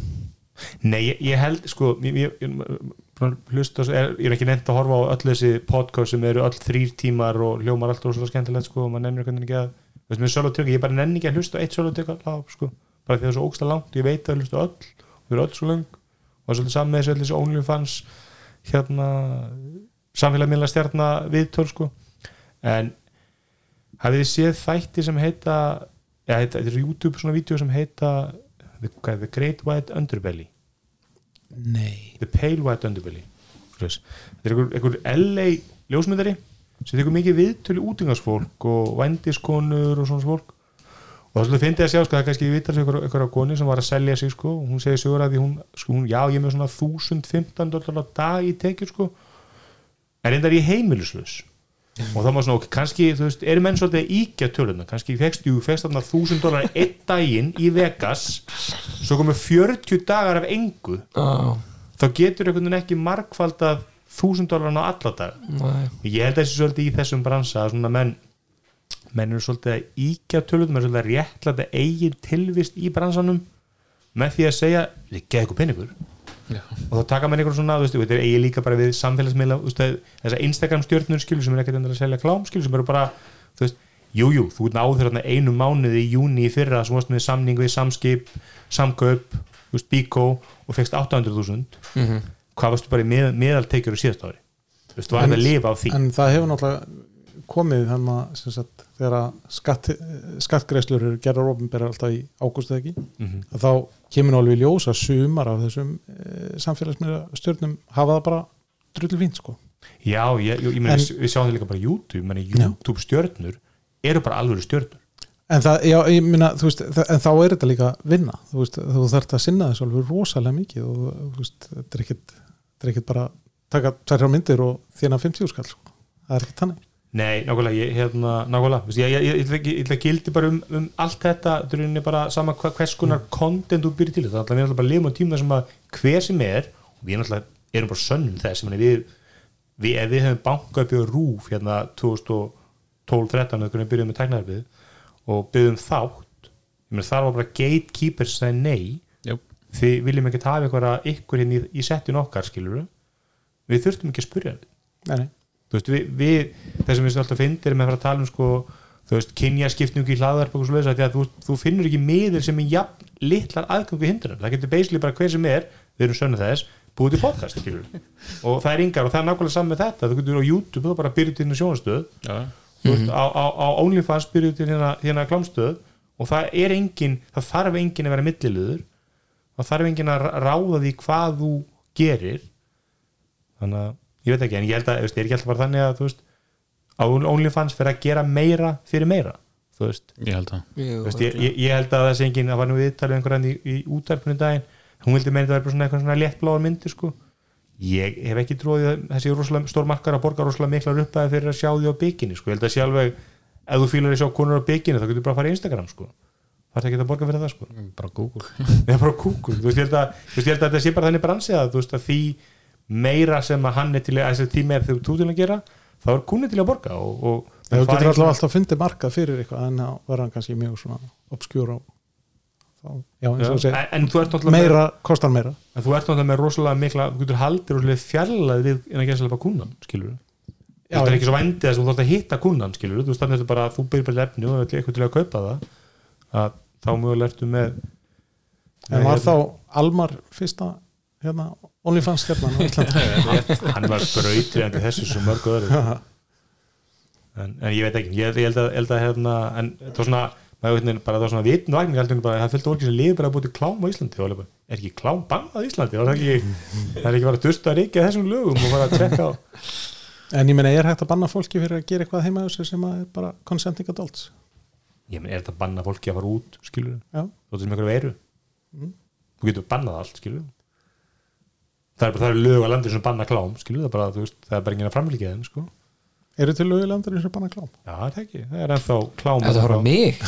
Speaker 2: Nei, ég, ég held sko ég, ég, ég, búin að hlusta, er, ég er ekki nefnt að horfa á öll þessi podcast sem eru öll þrýr tímar og hljómar allt og skemmtilegt sko og maður nennir einhvern veginn ekki að þú veist, með sölutök, ég bara nenni ekki að hlusta á eitt sölutök sko, bara því það er svo ógsta langt ég veit að hlusta á öll, þau eru öll svo lang og það er svolítið saman með þessu öll þessi OnlyFans hérna samfélagmiðla stjarnar viðtöl sko en hafið þið séð þætti sem heita eða heita, þetta er YouTube svona vídeo sem heita The, hvað, The Great White Underbelly
Speaker 3: Nei,
Speaker 2: The Pale White Underbelly Svoleiðis. þetta er einhver, einhver LA ljósmyndari sem tekur mikið viðtölu útingarsfólk og vændiskonur og svona fólk og það svolítið fyndi að sjá sko, það er kannski viðtal sem einhverja koni sem var að selja sig sko, og hún segir sögur að því hún, sko, hún já ég er með svona 1015 dólar á dag í tekjur sko en reyndar ég heimilislaus og það var svona ok, kannski, þú veist, eru menn svolítið að íkja töluna, kannski fegst jú, fegst þarna 1000 dólar einn daginn í Vegas svo komu 40 dagar af engu
Speaker 5: Já,
Speaker 2: þá getur einhvern veginn ekki markfald af þúsund dólarna á alla dag
Speaker 5: nei.
Speaker 2: ég held að þessi svolítið í þessum bransa að svona menn menn eru svolítið að íkja tölum menn eru svolítið að réttlæta eigin tilvist í bransanum með því að segja þið geðu ykkur peningur
Speaker 4: Já,
Speaker 2: og þá taka menn einhvern svona, þú veist, þetta er eigin líka bara við samfélagsmiðla, þú veist, þessar Instagram stjórnur skilur sem er ekkert endur að selja klám skilur sem eru bara, þú veist, jú, jú, þú ert náður þarna einu mánuði í júni í fyrra sem varst með samning við samskip, samkaup, þú veist, bíkó og fegst 800.000
Speaker 3: Mhm.
Speaker 2: hvað varstu bara í með, meðaltekjur á síðast ári þú veist, þú varst
Speaker 3: En-
Speaker 2: að lifa á því
Speaker 3: en það hefur náttúrulega komið hann að sem sagt, þegar að skatt, skattgreislur eru gerðar ofinbera alltaf í ágústu eða ekki
Speaker 2: Mhm.
Speaker 3: að þá kemur nú alveg í ljós að sumar af þessum e, samfélagsmiðla stjórnum hafa það bara drullu fínt sko
Speaker 2: já, ég, ég, ég meni,
Speaker 3: En-
Speaker 2: við sjáum það líka bara á YouTube, meni, YouTube stjórnur eru bara alvöru stjórnur
Speaker 3: En það, já, ég minna, þú veist, þa- en þá er þetta líka vinna, þú veist, þú þarft að sinna þessu alveg rosalega mikið og þú veist, þetta er ekkit, þetta er ekkit bara taka tverjar myndir og þína 50 skall, sko, það er ekkit þannig.
Speaker 2: Nei, nákvæmlega, ég, hérna, nákvæmlega Vist, ég, ég, ég, ætla ekki- ég ætla að gildi bara um, um allt þetta þetta er rauninni bara sama hva, hvers konar content þú byrjir til þetta, þannig að við erum bara lifum á tíma sem að hver sem er, og við náttúrulega erum bara sönnum þess, menn við, við ef við höfum bankað upp í rúf hérna 2012-13 þegar við byrjuðum með tæknaðarbið og byrjuðum þátt, ég menn þar var bara gatekeepers sem sagði nei
Speaker 4: Jú.
Speaker 2: þið viljum ekki hafa ykkur að ykkur hérna í, í settin okkar skilur við þurftum ekki að spyrja þetta
Speaker 3: Nei, nei.
Speaker 2: þú veist, við, við þessum við alltaf fyndir með að fara að tala um sko, þú veist, kynjaskipningu í hlaðarp og svo leiðis að því að þú, þú finnur ekki miður sem er jafn litlar aðgangu hindrar það getur basically bara hver sem er, við erum sönnu þess búið til podcast, skilur og það er yngar og það er nákvæmlega saman með þetta þú getur á YouTube, þú bara byrjuð til hérna sjónastöð
Speaker 4: já
Speaker 2: þú veist, á, á, á OnlyFans byrjuð til hérna, hérna klámstöð og það er engin, það þarf engin að vera milliluður það þarf engin að ra- ráða því hvað þú gerir þannig að ég veit ekki, en ég held að, þú veist, er ekki alltaf bara þannig að þú veist, að OnlyFans fyrir að gera meira fyrir meira, þú veist
Speaker 4: ég held að
Speaker 5: Jú,
Speaker 2: Þú veist, ég, ég, ég held að það sé engin að var nú viðtalið einhverjan í, í útarpunum daginn hún vildi meina að það er bara svona eitthvað svona léttbláar myndir sko. ég hef ekki tróðið þessi rosalega stór markar að borga rosalega miklar uppæði fyrir að sjá því á bygginni sko. ég held að sjálf ef þú fílar í sjá konur á bygginni þá getur bara að fara í Instagram sko. þarf ekki að borga fyrir það sko.
Speaker 3: Mm,
Speaker 4: bara Google
Speaker 2: Nei, bara kúkur, þú veist, ég held að, þú veist, ég held að þetta sé bara þannig bransið að þú veist að því meira sem að hann er til að þessi því meira þegar þú til að gera þá er kunni til að borga og, og
Speaker 3: Þú
Speaker 2: fara í
Speaker 3: getur
Speaker 2: svona-
Speaker 3: allavega alltaf fundið markað fyrir eitthvað en þá verður hann kannski mjög svona obskjúra þá, já, eins og þú segir
Speaker 2: en, en þú ert náttúrulega
Speaker 3: meira, kostar meira
Speaker 2: en þú ert náttúrulega með rosalega mikla þú getur haldir rosalega fjarlæð við en að gera sérlega bara kunnan, skilur
Speaker 3: Já,
Speaker 2: þetta er
Speaker 3: já.
Speaker 2: ekki svo vendið þess að þú þarfst að hitta kunnan, skilur þú stannir þetta bara að þú byrjar bara lefni og það er eitthvað til að kaupa það að þá mögulega ertu með
Speaker 3: en
Speaker 2: með
Speaker 3: var þá
Speaker 2: hérna-
Speaker 3: Almar fyrsta hérna, OnlyFans stjarnan á Íslandi
Speaker 2: hann var brautriðandi þessu sem mörg öðru en, en ég veit ekki, ég, ég held að, held að hérna, en það var svona maður veit bara það var svona vitnvægning alltaf bara það fylgdi orkið sem liði bara að búti klám á Íslandi og alveg bara, er ekki klám bannað á Íslandi það er ekki, það er ekki bara að dusta að ríkja þessum lögum og fara að trekka á
Speaker 3: en ég meina er hægt að banna fólki fyrir að gera eitthvað heima á þessu sem að er bara consenting adults
Speaker 2: ég menn, er þetta að banna fólki að fara út skilur,
Speaker 3: já,
Speaker 2: þú veist sem einhverju veiru þú getur bannað allt, skilur það er bara, það er lög að landi sem banna klám, skilur, það er bara, þú veist það er bara enginn að framlíkja þeim, sko
Speaker 3: eru til lögu landur eins og banna klám
Speaker 2: já, það er ekki, það er ennþá klám
Speaker 5: Þetta horfa á mig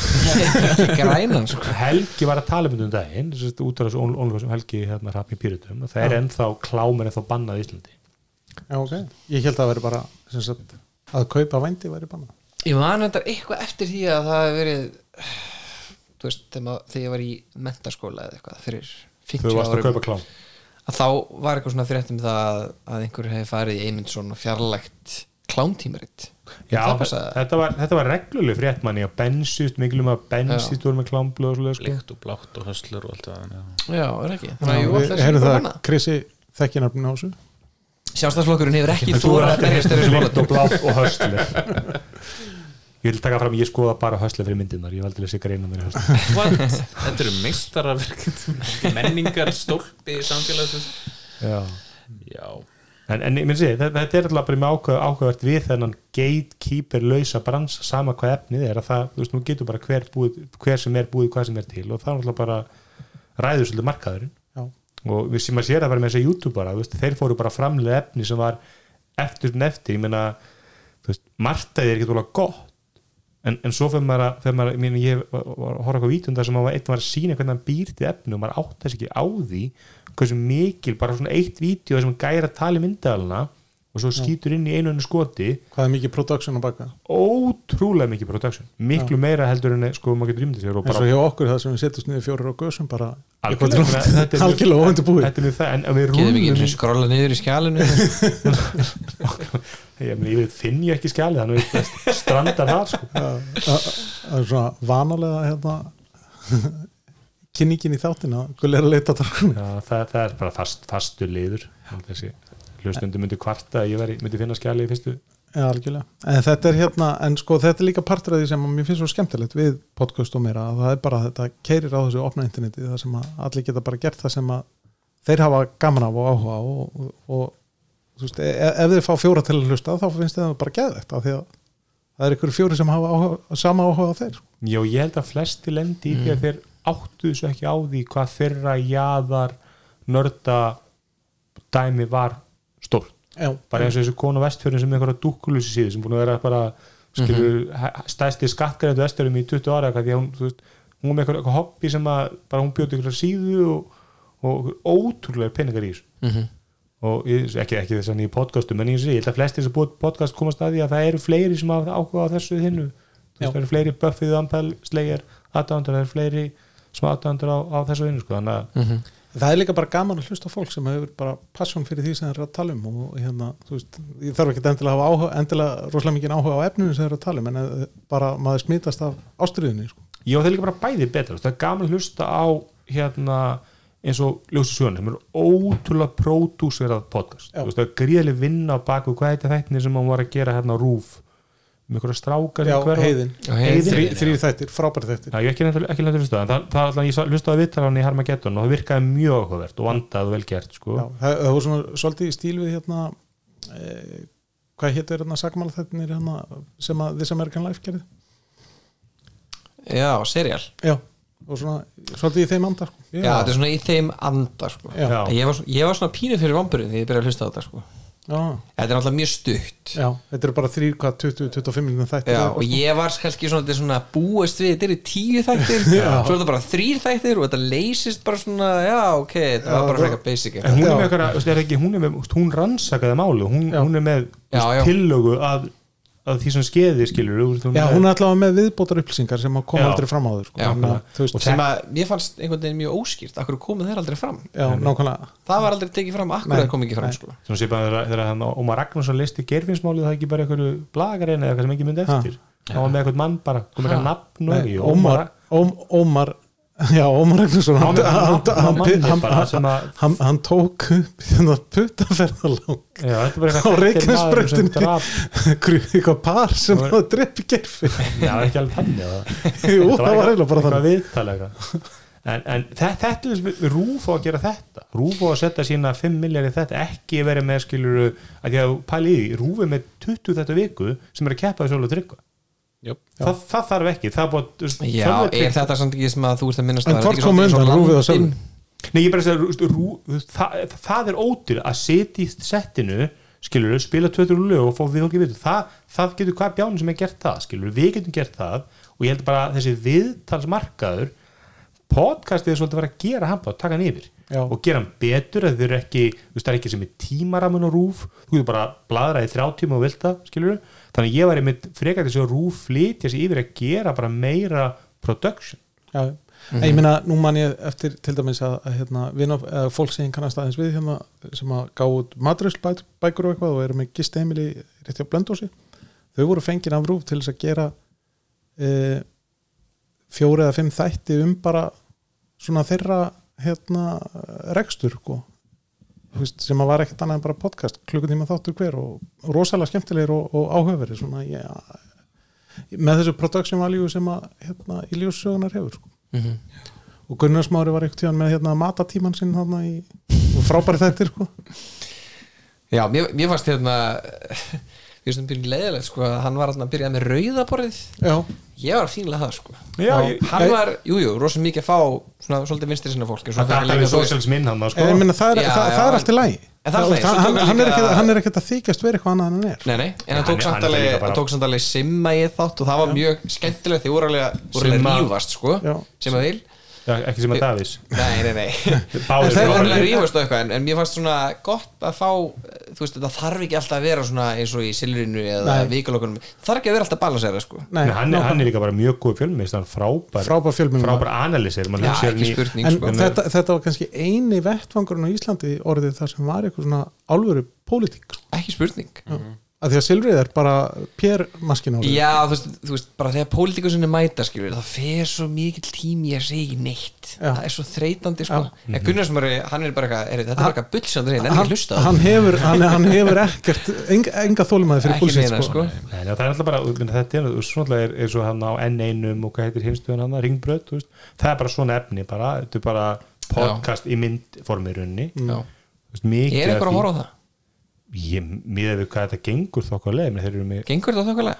Speaker 5: Ekki grænan sko.
Speaker 2: Helgi var að tala um þetta um daginn sérst, út af þessu ón- ónlega sem Helgi hérna hrapp í pyrutum það er ennþá klám er ennþá bannað í Íslandi
Speaker 3: já, ok, ég held að það veri bara sem sagt, að kaupa vændi væri banna
Speaker 5: Ég man þetta eitthvað eftir því að það hef verið Þú veist, þegar maður- þegar ég var í mentaskóla eða eitthvað fyrir
Speaker 2: þau
Speaker 5: 50
Speaker 2: varst að
Speaker 5: árum
Speaker 2: kaupa klám
Speaker 5: að þá var eitthvað svona fréttum það að einhver hefði farið í Eymundsson og fjarlægt klámtímarit
Speaker 2: Já,
Speaker 5: það passaði.
Speaker 2: þetta var, þetta var regluleg frétt manni og bensist, mikil um að bensist voru með klámblöð og svoleið sko.
Speaker 4: líkt og blátt og höslur og allt það en, já.
Speaker 5: Já, er ekki
Speaker 3: Já, við
Speaker 5: um
Speaker 3: heyrum það að Krissi þekkinarfinn á þessu
Speaker 5: Sjálfstæðsflokkurinn hefur ekki
Speaker 2: En þú er
Speaker 5: þórað að
Speaker 2: alltaf
Speaker 5: berjast þeirra
Speaker 2: slitt og
Speaker 5: skóla
Speaker 2: blátt og höstli Ég vil taka fram, ég skoða bara höstli fyrir myndirnar, ég valdi að lesa greina mér höstli
Speaker 4: What? þetta eru meistaraverk menningar stólpi samfélagsins
Speaker 2: Já
Speaker 4: já,
Speaker 2: En, en minn sé, þetta, þetta er alltaf bara með ákveð, ákveðvert við þennan gatekeeper lausa brans sama hvað efnið er að það, þú veist, nú getur bara hver, búið, hver sem er búið hvað sem er til og það er alltaf bara ræður svolítið markaðurinn
Speaker 3: Já.
Speaker 2: og við sem að sér það bara með þess að youtubera þú veist, þeir fóru bara framlega efni sem var eftir en eftir, ég meina þú veist, martaði er ekki tóla gott en, en svo fyrir maður að, fyrir maður, að- ég meina, ég var var að horfa eitthvað vítum þar sem maður einn var að sína hvernig hann býr til efni og maður átt þess ekki á því hversu mikil, bara svona eitt vídeo sem gæra tali myndaðalina og svo skýtur inn í einu og einu skoti
Speaker 3: hvað er mikið production á baka
Speaker 2: ótrúlega mikið production, miklu meira heldur en sko maður getur rýmdið sér og
Speaker 3: eins
Speaker 2: bara
Speaker 3: og hjá okkur það sem við setjumst niður fjórir á gösum bara
Speaker 2: Algjörlega, þetta er mjög-
Speaker 3: algjörlega óvendu búið
Speaker 2: þetta er mjög það, en en við
Speaker 5: Geðum
Speaker 2: rúlum
Speaker 5: ekki einu
Speaker 2: í-
Speaker 5: sinni skrolla niður í skjálinu
Speaker 2: ég, meina, ég veit, finn ég ekki skjalið þannig að við strandar það sko.
Speaker 3: það er svona vanalega hérna kynningin í þáttina gull er að leita tarkunni
Speaker 2: Já, það, það er bara fast, fastur liður held þessi hlustundu myndi kvarta að ég veri, myndi finna skjalið í fyrstu
Speaker 3: Já, algjörlega. En þetta er hérna, en sko þetta er líka partur af því sem að mér finnst svo skemmtilegt við podcast og meira að það er bara að þetta keirir á þessu opna interneti það sem að allir geta bara gert það sem að þeir hafa gaman af og áhuga á og, og, og þú veist, ef, ef þeir fá fjóra til að hlusta þá finnst þeim það bara geðvegt af því að það er ykkur fjóri sem hafa áhuga, sama áhuga á þeir.
Speaker 2: já, ég held að flesti lendi í því að þeir áttu þessu ekki á því hvað þeirra jaðar nörda dæmi var stórt
Speaker 3: Já,
Speaker 2: bara eins og þessu konu vestfjörðin sem er einhverja dúkkulösi síðu sem búin að vera bara skilur, mm -hmm. stæsti skattgreðandi vestfjörðum í 20 ára eitthvað því að hún, þú veist, hún var með eitthvað, eitthvað hobby sem að bara hún bjóti einhverja síðu og, og ótrúlega peningar í þessu og ég, ekki, ekki þess að nýja podcastum en ég sé, ég held að flestir sem búið podcast komast að því að það eru fleiri sem hafa áhuga á þessu hinnu, þú veist,
Speaker 3: Já.
Speaker 2: það eru fleiri Buffy the Ampel Slayer, aðdándur, það eru fleiri smá aðdándur á, á þessu hinnu sko, þannig að
Speaker 3: það er líka bara gaman að hlusta á fólk sem hefur bara passion fyrir því sem þeir eru að tala um og hérna, þú veist, ég þarf ekki endilega að hafa áhuga, endilega rosalega mikið áhuga á efninu sem þeir eru að tala um en eh, bara maður smítast af ástriðinni sko.
Speaker 2: Já, það er líka bara bæði betra þú veist, það er gaman að hlusta á hérna, eins og ljósi sjónu sem eru ótrúlega pródúserað podcast
Speaker 3: Já.
Speaker 2: Þú veist, það er gríðileg vinna á baku hvað heitir þættinni sem hann var að gera hérna á rúf með einhverja strákar í
Speaker 3: já,
Speaker 2: hverfa.
Speaker 3: heiðin,
Speaker 5: Já, heiðin,
Speaker 3: Þrý-
Speaker 5: já.
Speaker 3: þrýr þættir, frábæri þættir
Speaker 2: Já, ég er ekki nefnilega ekki nefnilega hlusta en það, það er alltaf, ég sá- hlustaði viðtalan í Harmageddon og það virkaði mjög áhugavert og vandað og vel gert sko.
Speaker 3: Já, það það var svona svolítið í stíl við hérna e, hvað hétu er hérna sagmálþættinir hérna sem að This American Life gerði
Speaker 5: já, serial
Speaker 3: já, og svona svolítið í þeim sko. andar
Speaker 5: já, þetta er svona í þeim anda sko.
Speaker 3: Já.
Speaker 2: Já.
Speaker 5: ég, var, svona- ég var svona pínu fyrir vamburinn því ég byrjaði að hlusta á þetta sko.
Speaker 3: já,
Speaker 5: þetta er náttúrulega mjög stutt
Speaker 3: já, þetta eru bara þrýr, hvað, 20-25 minna þættir
Speaker 5: Já,
Speaker 3: eða
Speaker 5: og
Speaker 3: eitthvað,
Speaker 5: ég var kannski svona, þetta er svona búist við, þetta eru tíu þættir svo er þetta bara þrýr þættir og þetta leysist bara svona, já, ok, þetta var bara frekar basic
Speaker 2: en hún er
Speaker 3: Já.
Speaker 2: með eitthvað, þú veist, er ekki, hún er með þú veist, hún rannsakaði máli, hún,
Speaker 3: Já.
Speaker 2: hún er með
Speaker 5: Já, já.
Speaker 2: tillögu að, að því sem skeði skilur þú veist,
Speaker 3: sko. já, hún er allavega með viðbótar upplýsingar sem að koma
Speaker 2: Já.
Speaker 3: aldrei fram á þau sko.
Speaker 5: Já.
Speaker 3: Þannig að, þú
Speaker 2: Og
Speaker 3: veist,
Speaker 5: sem að mér fannst einhvern veginn mjög óskýrt akkur komið þeir aldrei fram
Speaker 3: já, nákvæmlega
Speaker 5: það var aldrei tekið fram, akkur
Speaker 3: Nei,
Speaker 5: það kom ekki fram
Speaker 3: nei.
Speaker 5: sko.
Speaker 2: svona sépa þegar þegar hann Ómar Ragnarsson listi gerfinsmálið það er ekki bara einhverju blagarinn eða eitthvað sem ekki myndi
Speaker 3: Ha.
Speaker 2: eftir hann var með eitthvað mann bara, kom eitthvað nafn og
Speaker 3: Nei,
Speaker 2: ekki
Speaker 3: Ómar, Óm- Ómar já, Ómar Ragnarsson
Speaker 2: Hann
Speaker 3: hann,
Speaker 2: var með
Speaker 3: hann,
Speaker 2: nafn á
Speaker 3: hann,
Speaker 2: manni
Speaker 3: hann,
Speaker 2: bara sem
Speaker 3: hann,
Speaker 2: að-
Speaker 3: hann, hann tók upp þennan puttaferðalang
Speaker 2: já, þetta er bara eitthvað
Speaker 3: Á
Speaker 2: þekktir maður sem
Speaker 3: Reykjanesbrautinni.
Speaker 2: draf
Speaker 3: Gru- eitthvað par sem
Speaker 2: Það var-
Speaker 3: að drepi gerfi
Speaker 2: já, ekki alveg þannig að það
Speaker 3: Jú, það var eiginlega bara
Speaker 2: eitthvað
Speaker 3: þannig
Speaker 2: viðtalega en, en þe- þetta er við- rúf á að gera þetta rúf á að setja sína 5 miljar í þetta ekki verið með skilur að því að pæli í því, rúfið með 20 þetta viku sem er að keppa þessu alveg tryggva
Speaker 4: Jöp.
Speaker 2: það, það þarf ekki, það er búið að- þú veist,
Speaker 5: já,
Speaker 2: Sölvi Tryggva-
Speaker 5: er þetta samt ekki sem að þú ert að
Speaker 3: En
Speaker 5: minnast á? Er
Speaker 3: hvort
Speaker 5: þetta ekki
Speaker 3: kom
Speaker 5: svolítið
Speaker 3: undan,
Speaker 5: eins og
Speaker 3: rúfið og
Speaker 5: landinn?
Speaker 3: sölvi?
Speaker 2: Nei, ég bara segja, þú veist, rú, þú veist, það, það er ódýr að setja í settinu skilur, spila 2-3 lög og fá við okkur við það, það getur hvað bjánum sem er gert það skilur, við getum gert það og ég held bara að þessi viðtalsmarkaður podcastið er svolítið að vera að gera hann bara að taka hann yfir
Speaker 3: Já.
Speaker 2: og gera hann betur að þau eru ekki, þú veist, það er ekki sem er tímaramun og rúf, þú getur bara bladra í þrjá tíma og vilta, skilur þannig að ég væri með frekar þessi rúf flytja sig yfir að gera bara meira production
Speaker 3: Já, en ég meina, nú man ég eftir til dæmis að, að hérna, vinna, eða, fólk sem ég kannast aðeins við hérna, sem að gá út matröðsbækur og eitthvað og eru með gist heimili rétti á blöndósi þau voru fengin af rúf til þess að gera e, fjóri eða fimm þætti um bara svona þeirra hérna, rekstur sko. Þú veist, sem að var ekkert annað en bara podcast klukkutíma þáttur hver og rosalega skemmtilegir og, og áhöfveri svona, ég, með þessu production value sem að hérna, í ljóssögunar hefur sko.
Speaker 5: Mhm.
Speaker 3: og Gunnar Smári var einhvern tíðan með hérna, matatíman sinn þarna í og frábæri þættir sko.
Speaker 5: já, mér, mér fannst hérna ég finnst um byrjun leiðilegt sko, að hann var alltaf að byrja með rauðaborðið
Speaker 3: já,
Speaker 5: ég var fínlega það sko
Speaker 2: Já, ég-
Speaker 5: hann
Speaker 3: ég-
Speaker 5: var, jújú, jú, rosa mikið að fá svona svolítið vinstri sinna fólk en svo
Speaker 2: það
Speaker 5: fær
Speaker 2: er
Speaker 5: hann
Speaker 2: alveg
Speaker 5: líka svo-
Speaker 2: socials minn hann sko.
Speaker 3: en ég meina, það, er,
Speaker 5: Já,
Speaker 3: það, það
Speaker 5: já,
Speaker 3: er
Speaker 5: en-
Speaker 3: allt í lægi
Speaker 5: en það er
Speaker 3: Þú
Speaker 5: allt í lagi,
Speaker 3: veist,
Speaker 5: svo
Speaker 3: hann,
Speaker 5: tók
Speaker 3: hann,
Speaker 5: líka-
Speaker 3: er ekkert, hann er ekkert að þykjast verið eitthvað annað en hann er
Speaker 5: Nei, nei, en hann
Speaker 2: Hann
Speaker 5: tók
Speaker 2: er-
Speaker 5: samt
Speaker 2: hann er
Speaker 5: alveg
Speaker 2: líka bara-
Speaker 5: hann tók samt alveg simma í þátt og það var mjög skemmtilegt því voru alveg að- voru alveg
Speaker 2: Simma.
Speaker 5: að rífast sko,
Speaker 3: Já.
Speaker 5: sem að vil
Speaker 2: Já, ekki sem að Davís
Speaker 5: nei, nei, nei
Speaker 2: Báðir
Speaker 5: Það er
Speaker 2: bara-
Speaker 5: alveg að rífast á eitthvað en, en mér fannst svona gott að fá þú veist, þetta þarf ekki alltaf að vera svona eins og í silurinu eða
Speaker 3: Nei.
Speaker 5: vikulokunum það þarf ekki að vera alltaf balansera sko
Speaker 2: Nei, hann, er,
Speaker 3: nákvæmlega.
Speaker 2: hann er líka bara mjög góð fjölmiðist hann er frábær,
Speaker 3: Frábær fjölmiðlamaður.
Speaker 2: frábær analýsir, maður
Speaker 5: Já,
Speaker 2: hugsar hann
Speaker 5: ekki
Speaker 2: í-
Speaker 5: spurning.
Speaker 3: en
Speaker 5: sko.
Speaker 3: þetta, þetta var kannski eini vettvangurinn á Íslandi orðið þar sem var eitthvað svona álveru pólitík sko.
Speaker 5: ekki spurning
Speaker 3: að því að Silfrið er bara pérmaskin orðið
Speaker 5: já, þú veist, þú veist bara þegar pólitíkusinni mæta skilur það fer svo mikill tími að segja ekki neitt
Speaker 3: Já. Mhm.
Speaker 5: það er svo þreytandi sko en Gunnar sem hann er bara eitthvað er, þetta er bara eitthvað bullsandur hinn, en
Speaker 3: hann,
Speaker 5: ekki hlusta á
Speaker 3: hann, hefur, hann, hann hefur ekkert enga, enga þólimaði fyrir
Speaker 5: Ekki
Speaker 3: búlsitt
Speaker 5: neina,
Speaker 3: sko.
Speaker 5: sko.
Speaker 2: Nei, já, það er alltaf bara, ég meina, þetta er svona er, er svo hann á N1 og hvað heitir hinstöðan hann, ringbröð, þú veist, það er bara svona efni bara, þetta er bara podcast í myndformi í rauninni
Speaker 3: Mm.
Speaker 5: Já.
Speaker 2: Þú veist, mikið
Speaker 5: ég er eitthvað
Speaker 2: af
Speaker 5: að
Speaker 2: því-
Speaker 5: horfa á það
Speaker 2: Ég miðað við hvað þetta gengur þá hvað leið, menn þeir eru með
Speaker 5: gengur þetta þokkalega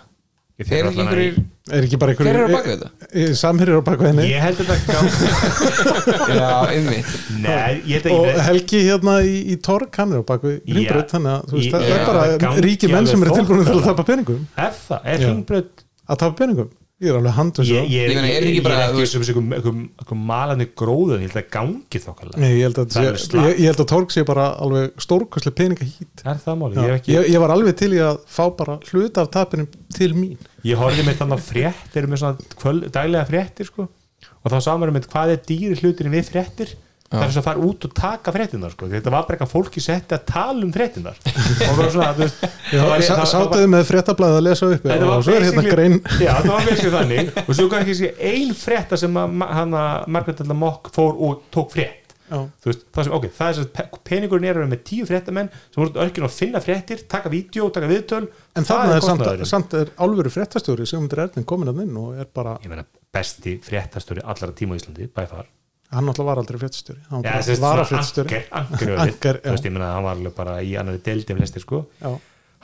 Speaker 2: þeir
Speaker 5: þeir
Speaker 2: eru
Speaker 5: eru
Speaker 2: allan að-
Speaker 5: einhverjir
Speaker 3: er ekki bara
Speaker 5: hver eru á bak
Speaker 3: einhverjum
Speaker 5: við þetta
Speaker 3: samherjur á bakveðinni
Speaker 2: Ég held að þetta gangi
Speaker 5: já, einmitt
Speaker 2: Nei, ég held að
Speaker 3: og
Speaker 2: ég-
Speaker 3: Helgi hérna í, í Torg hann er á bakvið Grimbröð
Speaker 2: Já.
Speaker 3: þannig að þú veist,
Speaker 2: Ég-
Speaker 3: það
Speaker 2: ég-
Speaker 3: er bara
Speaker 2: gangi
Speaker 3: ríki menn
Speaker 2: alveg
Speaker 3: sem eru tilbúin til að
Speaker 2: þokkalega.
Speaker 3: tapa peningum
Speaker 2: Er það, er
Speaker 3: Já.
Speaker 2: ringbröð
Speaker 3: að tapa peningum, ég er alveg um handum
Speaker 2: Ég, ég,
Speaker 5: Ég meina,
Speaker 2: ég,
Speaker 5: er
Speaker 2: ég
Speaker 5: ekki
Speaker 2: er
Speaker 5: bara, þú
Speaker 2: ekki
Speaker 5: veist-
Speaker 2: sem einhverjum malandi gróðun, ég held að gangi þokkalega
Speaker 3: Nei, ég held að,
Speaker 2: Það er
Speaker 3: ég,
Speaker 2: alveg slakt.
Speaker 3: ég, ég held að Torg sé bara alveg stórkoslega peninga hít
Speaker 2: Er það máli? Ég,
Speaker 3: ég,
Speaker 2: hef ekki,
Speaker 3: ég, var alveg til í að fá bara hluta af tapinum til mín
Speaker 2: ég horfði með þannig að frétt eru með svona kvöl, daglega fréttir sko og þá samar með hvað er dýri hluturinn við fréttir það er svo að fara út og taka fréttinnar sko. þetta var bara eitthvað fólki setti að tala um fréttinnar og það var svona þú veist, það var- það- það var-
Speaker 3: sátuðu með fréttablaðið að lesa upp
Speaker 2: Þetta
Speaker 3: og svo er hérna
Speaker 2: basically-
Speaker 3: grein
Speaker 2: Já, það var basically þannig og svo kannski sé ein frétta sem að ma- hann að Margaret Dalla Mock fór og tók frétt
Speaker 3: Já.
Speaker 2: Þú veist, það sem, ok, það er sem sagt, pe- peningurinn er að vera með tíu fréttamenn sem voru örkinn að finna fréttir, taka vídeo, taka viðtöl
Speaker 3: En þannig er samt,
Speaker 2: kostnaðurinn.
Speaker 3: samt er álveru fréttastjóri Sigmundur Ernin komin að inn og er bara
Speaker 2: ég meina, besti fréttastöri allara tíma á Íslandi, by far
Speaker 3: hann alltaf var aldrei fréttastjóri hann
Speaker 2: Já,
Speaker 3: var
Speaker 2: þessi
Speaker 3: bara varafréttastjóri
Speaker 2: anker, ankeröðið,
Speaker 3: Anker, já.
Speaker 2: þú veist, ég meina, hann var alveg bara í annari deildi með flestir, sko
Speaker 3: Já.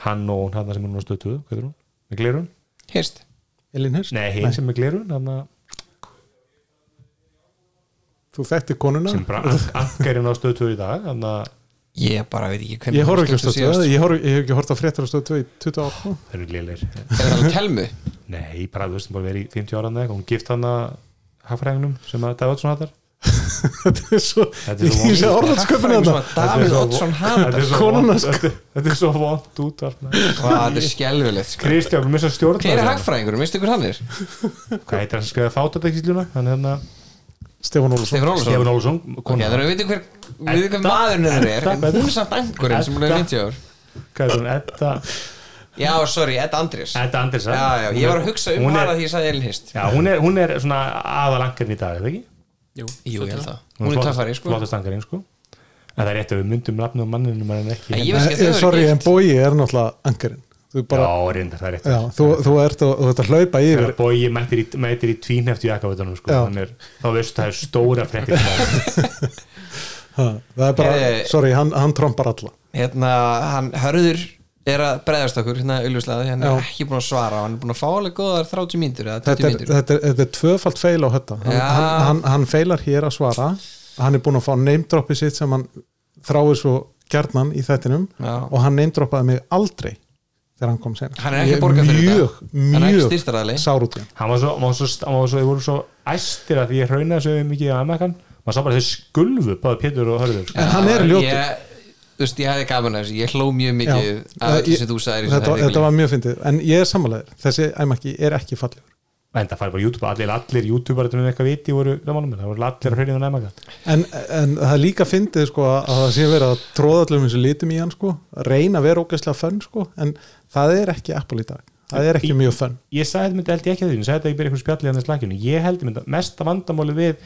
Speaker 2: hann og hún hann sem er núna stöðtuðu, hvað er hún? með glerun?
Speaker 5: Hirst
Speaker 3: Elín Hirst,
Speaker 2: Nei, hinn sem er með glerun, hann að-
Speaker 3: þú þekkti konuna
Speaker 2: sem er bara ank- ankerinn á stöðtuðu í dag hann að
Speaker 5: Ég bara veit ekki hvernig
Speaker 3: ég horf ekki á
Speaker 5: hún skipti
Speaker 3: stöðu,
Speaker 5: síðast.
Speaker 3: ég, horf, ég hef ekki hort á fréttar á stöðu 2 í 20 ár sko.
Speaker 2: það eru lélir
Speaker 5: Er það alveg telmu?
Speaker 2: Nei, bara þú veist, hún bara verið í 50 ára eða eitthvað, hún gift hann að hagfræðingnum sem að Davidsson hattar
Speaker 3: þetta er svo,
Speaker 2: Þetta er svo
Speaker 3: ég sé hérna.
Speaker 2: vond.
Speaker 3: orðansköpun
Speaker 5: Hagfræðingur
Speaker 3: þetta
Speaker 5: sem að Davíð Oddsson sko. Hadar
Speaker 3: Konuna,
Speaker 2: vond þetta, þetta er svo vond út
Speaker 5: Vá, þetta er skelvilegt sko.
Speaker 2: Kristján, mér sem stjórnar
Speaker 5: Hver er hagfræðingur, minnstu ykkur hann er?
Speaker 2: Hvað heitir hann sem skrifaði fátatekísluna? Hann hérna,
Speaker 3: Stefán Ólafsson
Speaker 5: Stefán Ólafsson
Speaker 2: Stefán Olsson
Speaker 5: Ok, þannig
Speaker 2: Konan,
Speaker 5: að við veitum hver, við veitum hver
Speaker 2: Edda.
Speaker 5: maðurinn hennar er
Speaker 2: Edda,
Speaker 5: en Hún er samt angurinn sem hún er
Speaker 2: Edda.
Speaker 5: 50 ár
Speaker 2: hvað heitir hún? Edda
Speaker 5: Já, sorry, Edda Andrés Já,
Speaker 2: Edda Anders
Speaker 5: já, ég var að hugsa um
Speaker 2: Hún er-
Speaker 5: hana því ég sagði Elin Hirst
Speaker 2: Já, hún er, hún er svona aðalangarinn í dag, eða ekki?
Speaker 4: Jú,
Speaker 5: Jú, ég
Speaker 4: það
Speaker 5: held það Hún er
Speaker 2: flottast-
Speaker 5: töffari, sko
Speaker 2: Flottast angarinn, sko En það er rétt að við myndum nafnum manninum en ekki
Speaker 5: En ég
Speaker 2: hérna.
Speaker 5: veist ekki að þau
Speaker 3: Eh,
Speaker 5: eru
Speaker 3: sorry,
Speaker 5: gift.
Speaker 3: en bói er náttúrulega ankerinn þú
Speaker 2: Já,
Speaker 3: bara,
Speaker 2: reyndar, það er rétt
Speaker 3: já, þú, þú ert að, þú ert að hlaupa yfir
Speaker 2: þegar Bogi mætir í, mætir í tvínheftu jakkafötunum sko.
Speaker 3: Já.
Speaker 2: Hann er, þá veistu það er stóra fréttir
Speaker 3: ha, það er bara,
Speaker 5: Eh,
Speaker 3: sorry, hann, hann trompar alla
Speaker 5: Hérna, hann hörður er að bregðast okkur, hérna, auðvitað Hann
Speaker 3: Já.
Speaker 5: er ekki búin að svara og hann er búin að fá alveg góðar 30 mínútur eða
Speaker 3: þetta
Speaker 5: 20
Speaker 3: er,
Speaker 5: mínútur
Speaker 3: þetta, er, þetta er tvöfalt feil á þetta hann,
Speaker 5: Já.
Speaker 3: hann, hann, hann feilar hér að svara hann er búin að fá neymdroppi sitt sem hann þráir svo gjarnan í þettinum
Speaker 5: Já.
Speaker 3: og hann neymdroppaði mig aldrei þegar hann kom senast
Speaker 5: Hann er ekki að borga fyrir
Speaker 3: mjög,
Speaker 5: þetta. Hann er ekki
Speaker 3: mjög
Speaker 5: styrktaraðili.
Speaker 3: sár út í hann
Speaker 2: Hann var svo, hann var svo, hann var svo, ég voru svo æstir að því ég hraunaði svo mikið á Amerikan maður sá bara þau skulfu, báði Pétur og Hörður sko.
Speaker 3: en hann er ljótur.
Speaker 5: Ég, þú veist, ég hefði gaman af þessu Ég hló mjög mikið
Speaker 3: Já.
Speaker 5: af
Speaker 3: Ég-
Speaker 5: öllu sem þú sagðir í þessu
Speaker 3: þetta,
Speaker 5: þætti.
Speaker 3: þetta var mjög fyndið, en ég er sammálaður þessi æmakki er ekki fallegur
Speaker 2: en það fær bara YouTube, allir, allir YouTuber sem eitthvað viti voru samanum minn, það voru allir að um hraunið á Amerikan
Speaker 3: en, en það er líka fyndið sko, að það sé verið að tróða allum eins og lítum í hann sko, reyna að vera ógeðslega fönn sko, en það er ekki Apple í dag það er ekki mjög fönn
Speaker 2: Ég sagði þetta myndi held ég ekki að því, ég sagði þetta ekki byrja ykkur spjallið hann í slækjunni, ég held ég myndi mesta vandamáli við,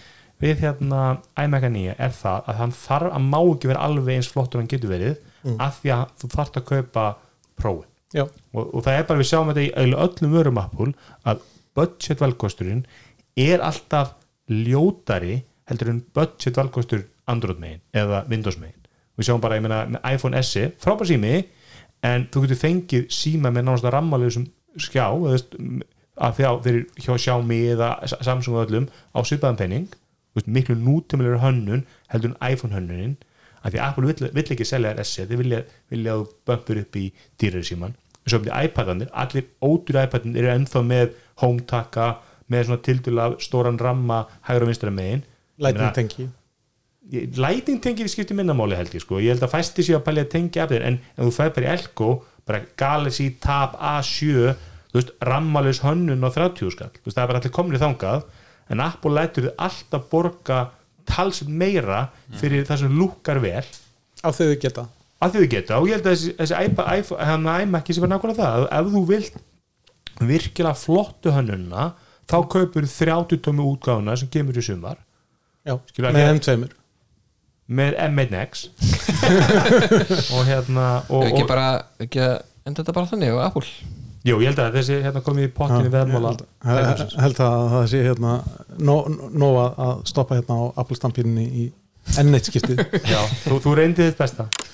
Speaker 2: við hérna iMac 9 er það að hann þarf að má ekki vera alveg eins flottur og hann getur verið af því að þú þarft að kaupa prófið
Speaker 3: Já.
Speaker 2: og, og það er bara við sjáum þetta í eiginlega öllum vörum Apple að budget valkosturinn er alltaf ljótari heldur en budget valkostur Android megin eða Windows megin við sjáum bara, ég meina, með iPhone S E, frábær sími, en þú getur fengið síma með náttúrulega rammalöðsum skjá, eða þú veist, m- að þjá fyrir hjá Xiaomi eða S- Samsung og öllum á svipaðan penning þú veist, miklu nútimilegur hönnun heldur en iPhone hönnunin af því að Apple vill, vill ekki selja þér S-ið þeir vilja, vilja að þú bömpur upp í dýrari síman svo um því iPadanir, allir ódýr iPadanir eru ennþá með home taka með svona tildulega stóran ramma hægra og vinstra megin
Speaker 3: Lightning tengi
Speaker 2: Lightning tengið skiptir minnamáli held ég sko ég held að fæsti sér að pælja að tengja af þeir en ef þú fæði bara í Elko bara Galaxy Tab A7 þú veist, rammalus hönnun á 30 skall þú veist, það er bara allir komnir þangað en Apple lætur þið alltaf borga talsum meira fyrir það sem lúkar vel
Speaker 3: af því þau geta
Speaker 2: að því þau geta og ég held að þessi, þessi iPad- iPhone- hann iMac sé bara nákvæmlega það ef- ef þú vilt virkilega flottu hönnunna þá kaupur 30 tómi útgáfuna sem kemur í sumar
Speaker 3: já,
Speaker 2: Skilur
Speaker 3: með
Speaker 2: ekki-
Speaker 3: þeim tveimur
Speaker 2: með M1X og hérna og,
Speaker 5: Ef ekki
Speaker 2: og,
Speaker 5: bara, ekki að enda þetta bara þannig og Apple
Speaker 2: jú, ég held að þessi hérna komið í pottinu veðmála
Speaker 3: held, held að það sé hérna nóg nó að- að stoppa hérna á Apple stampinni í enn eitt skiptið
Speaker 2: Já, þú, þú reyndi þitt besta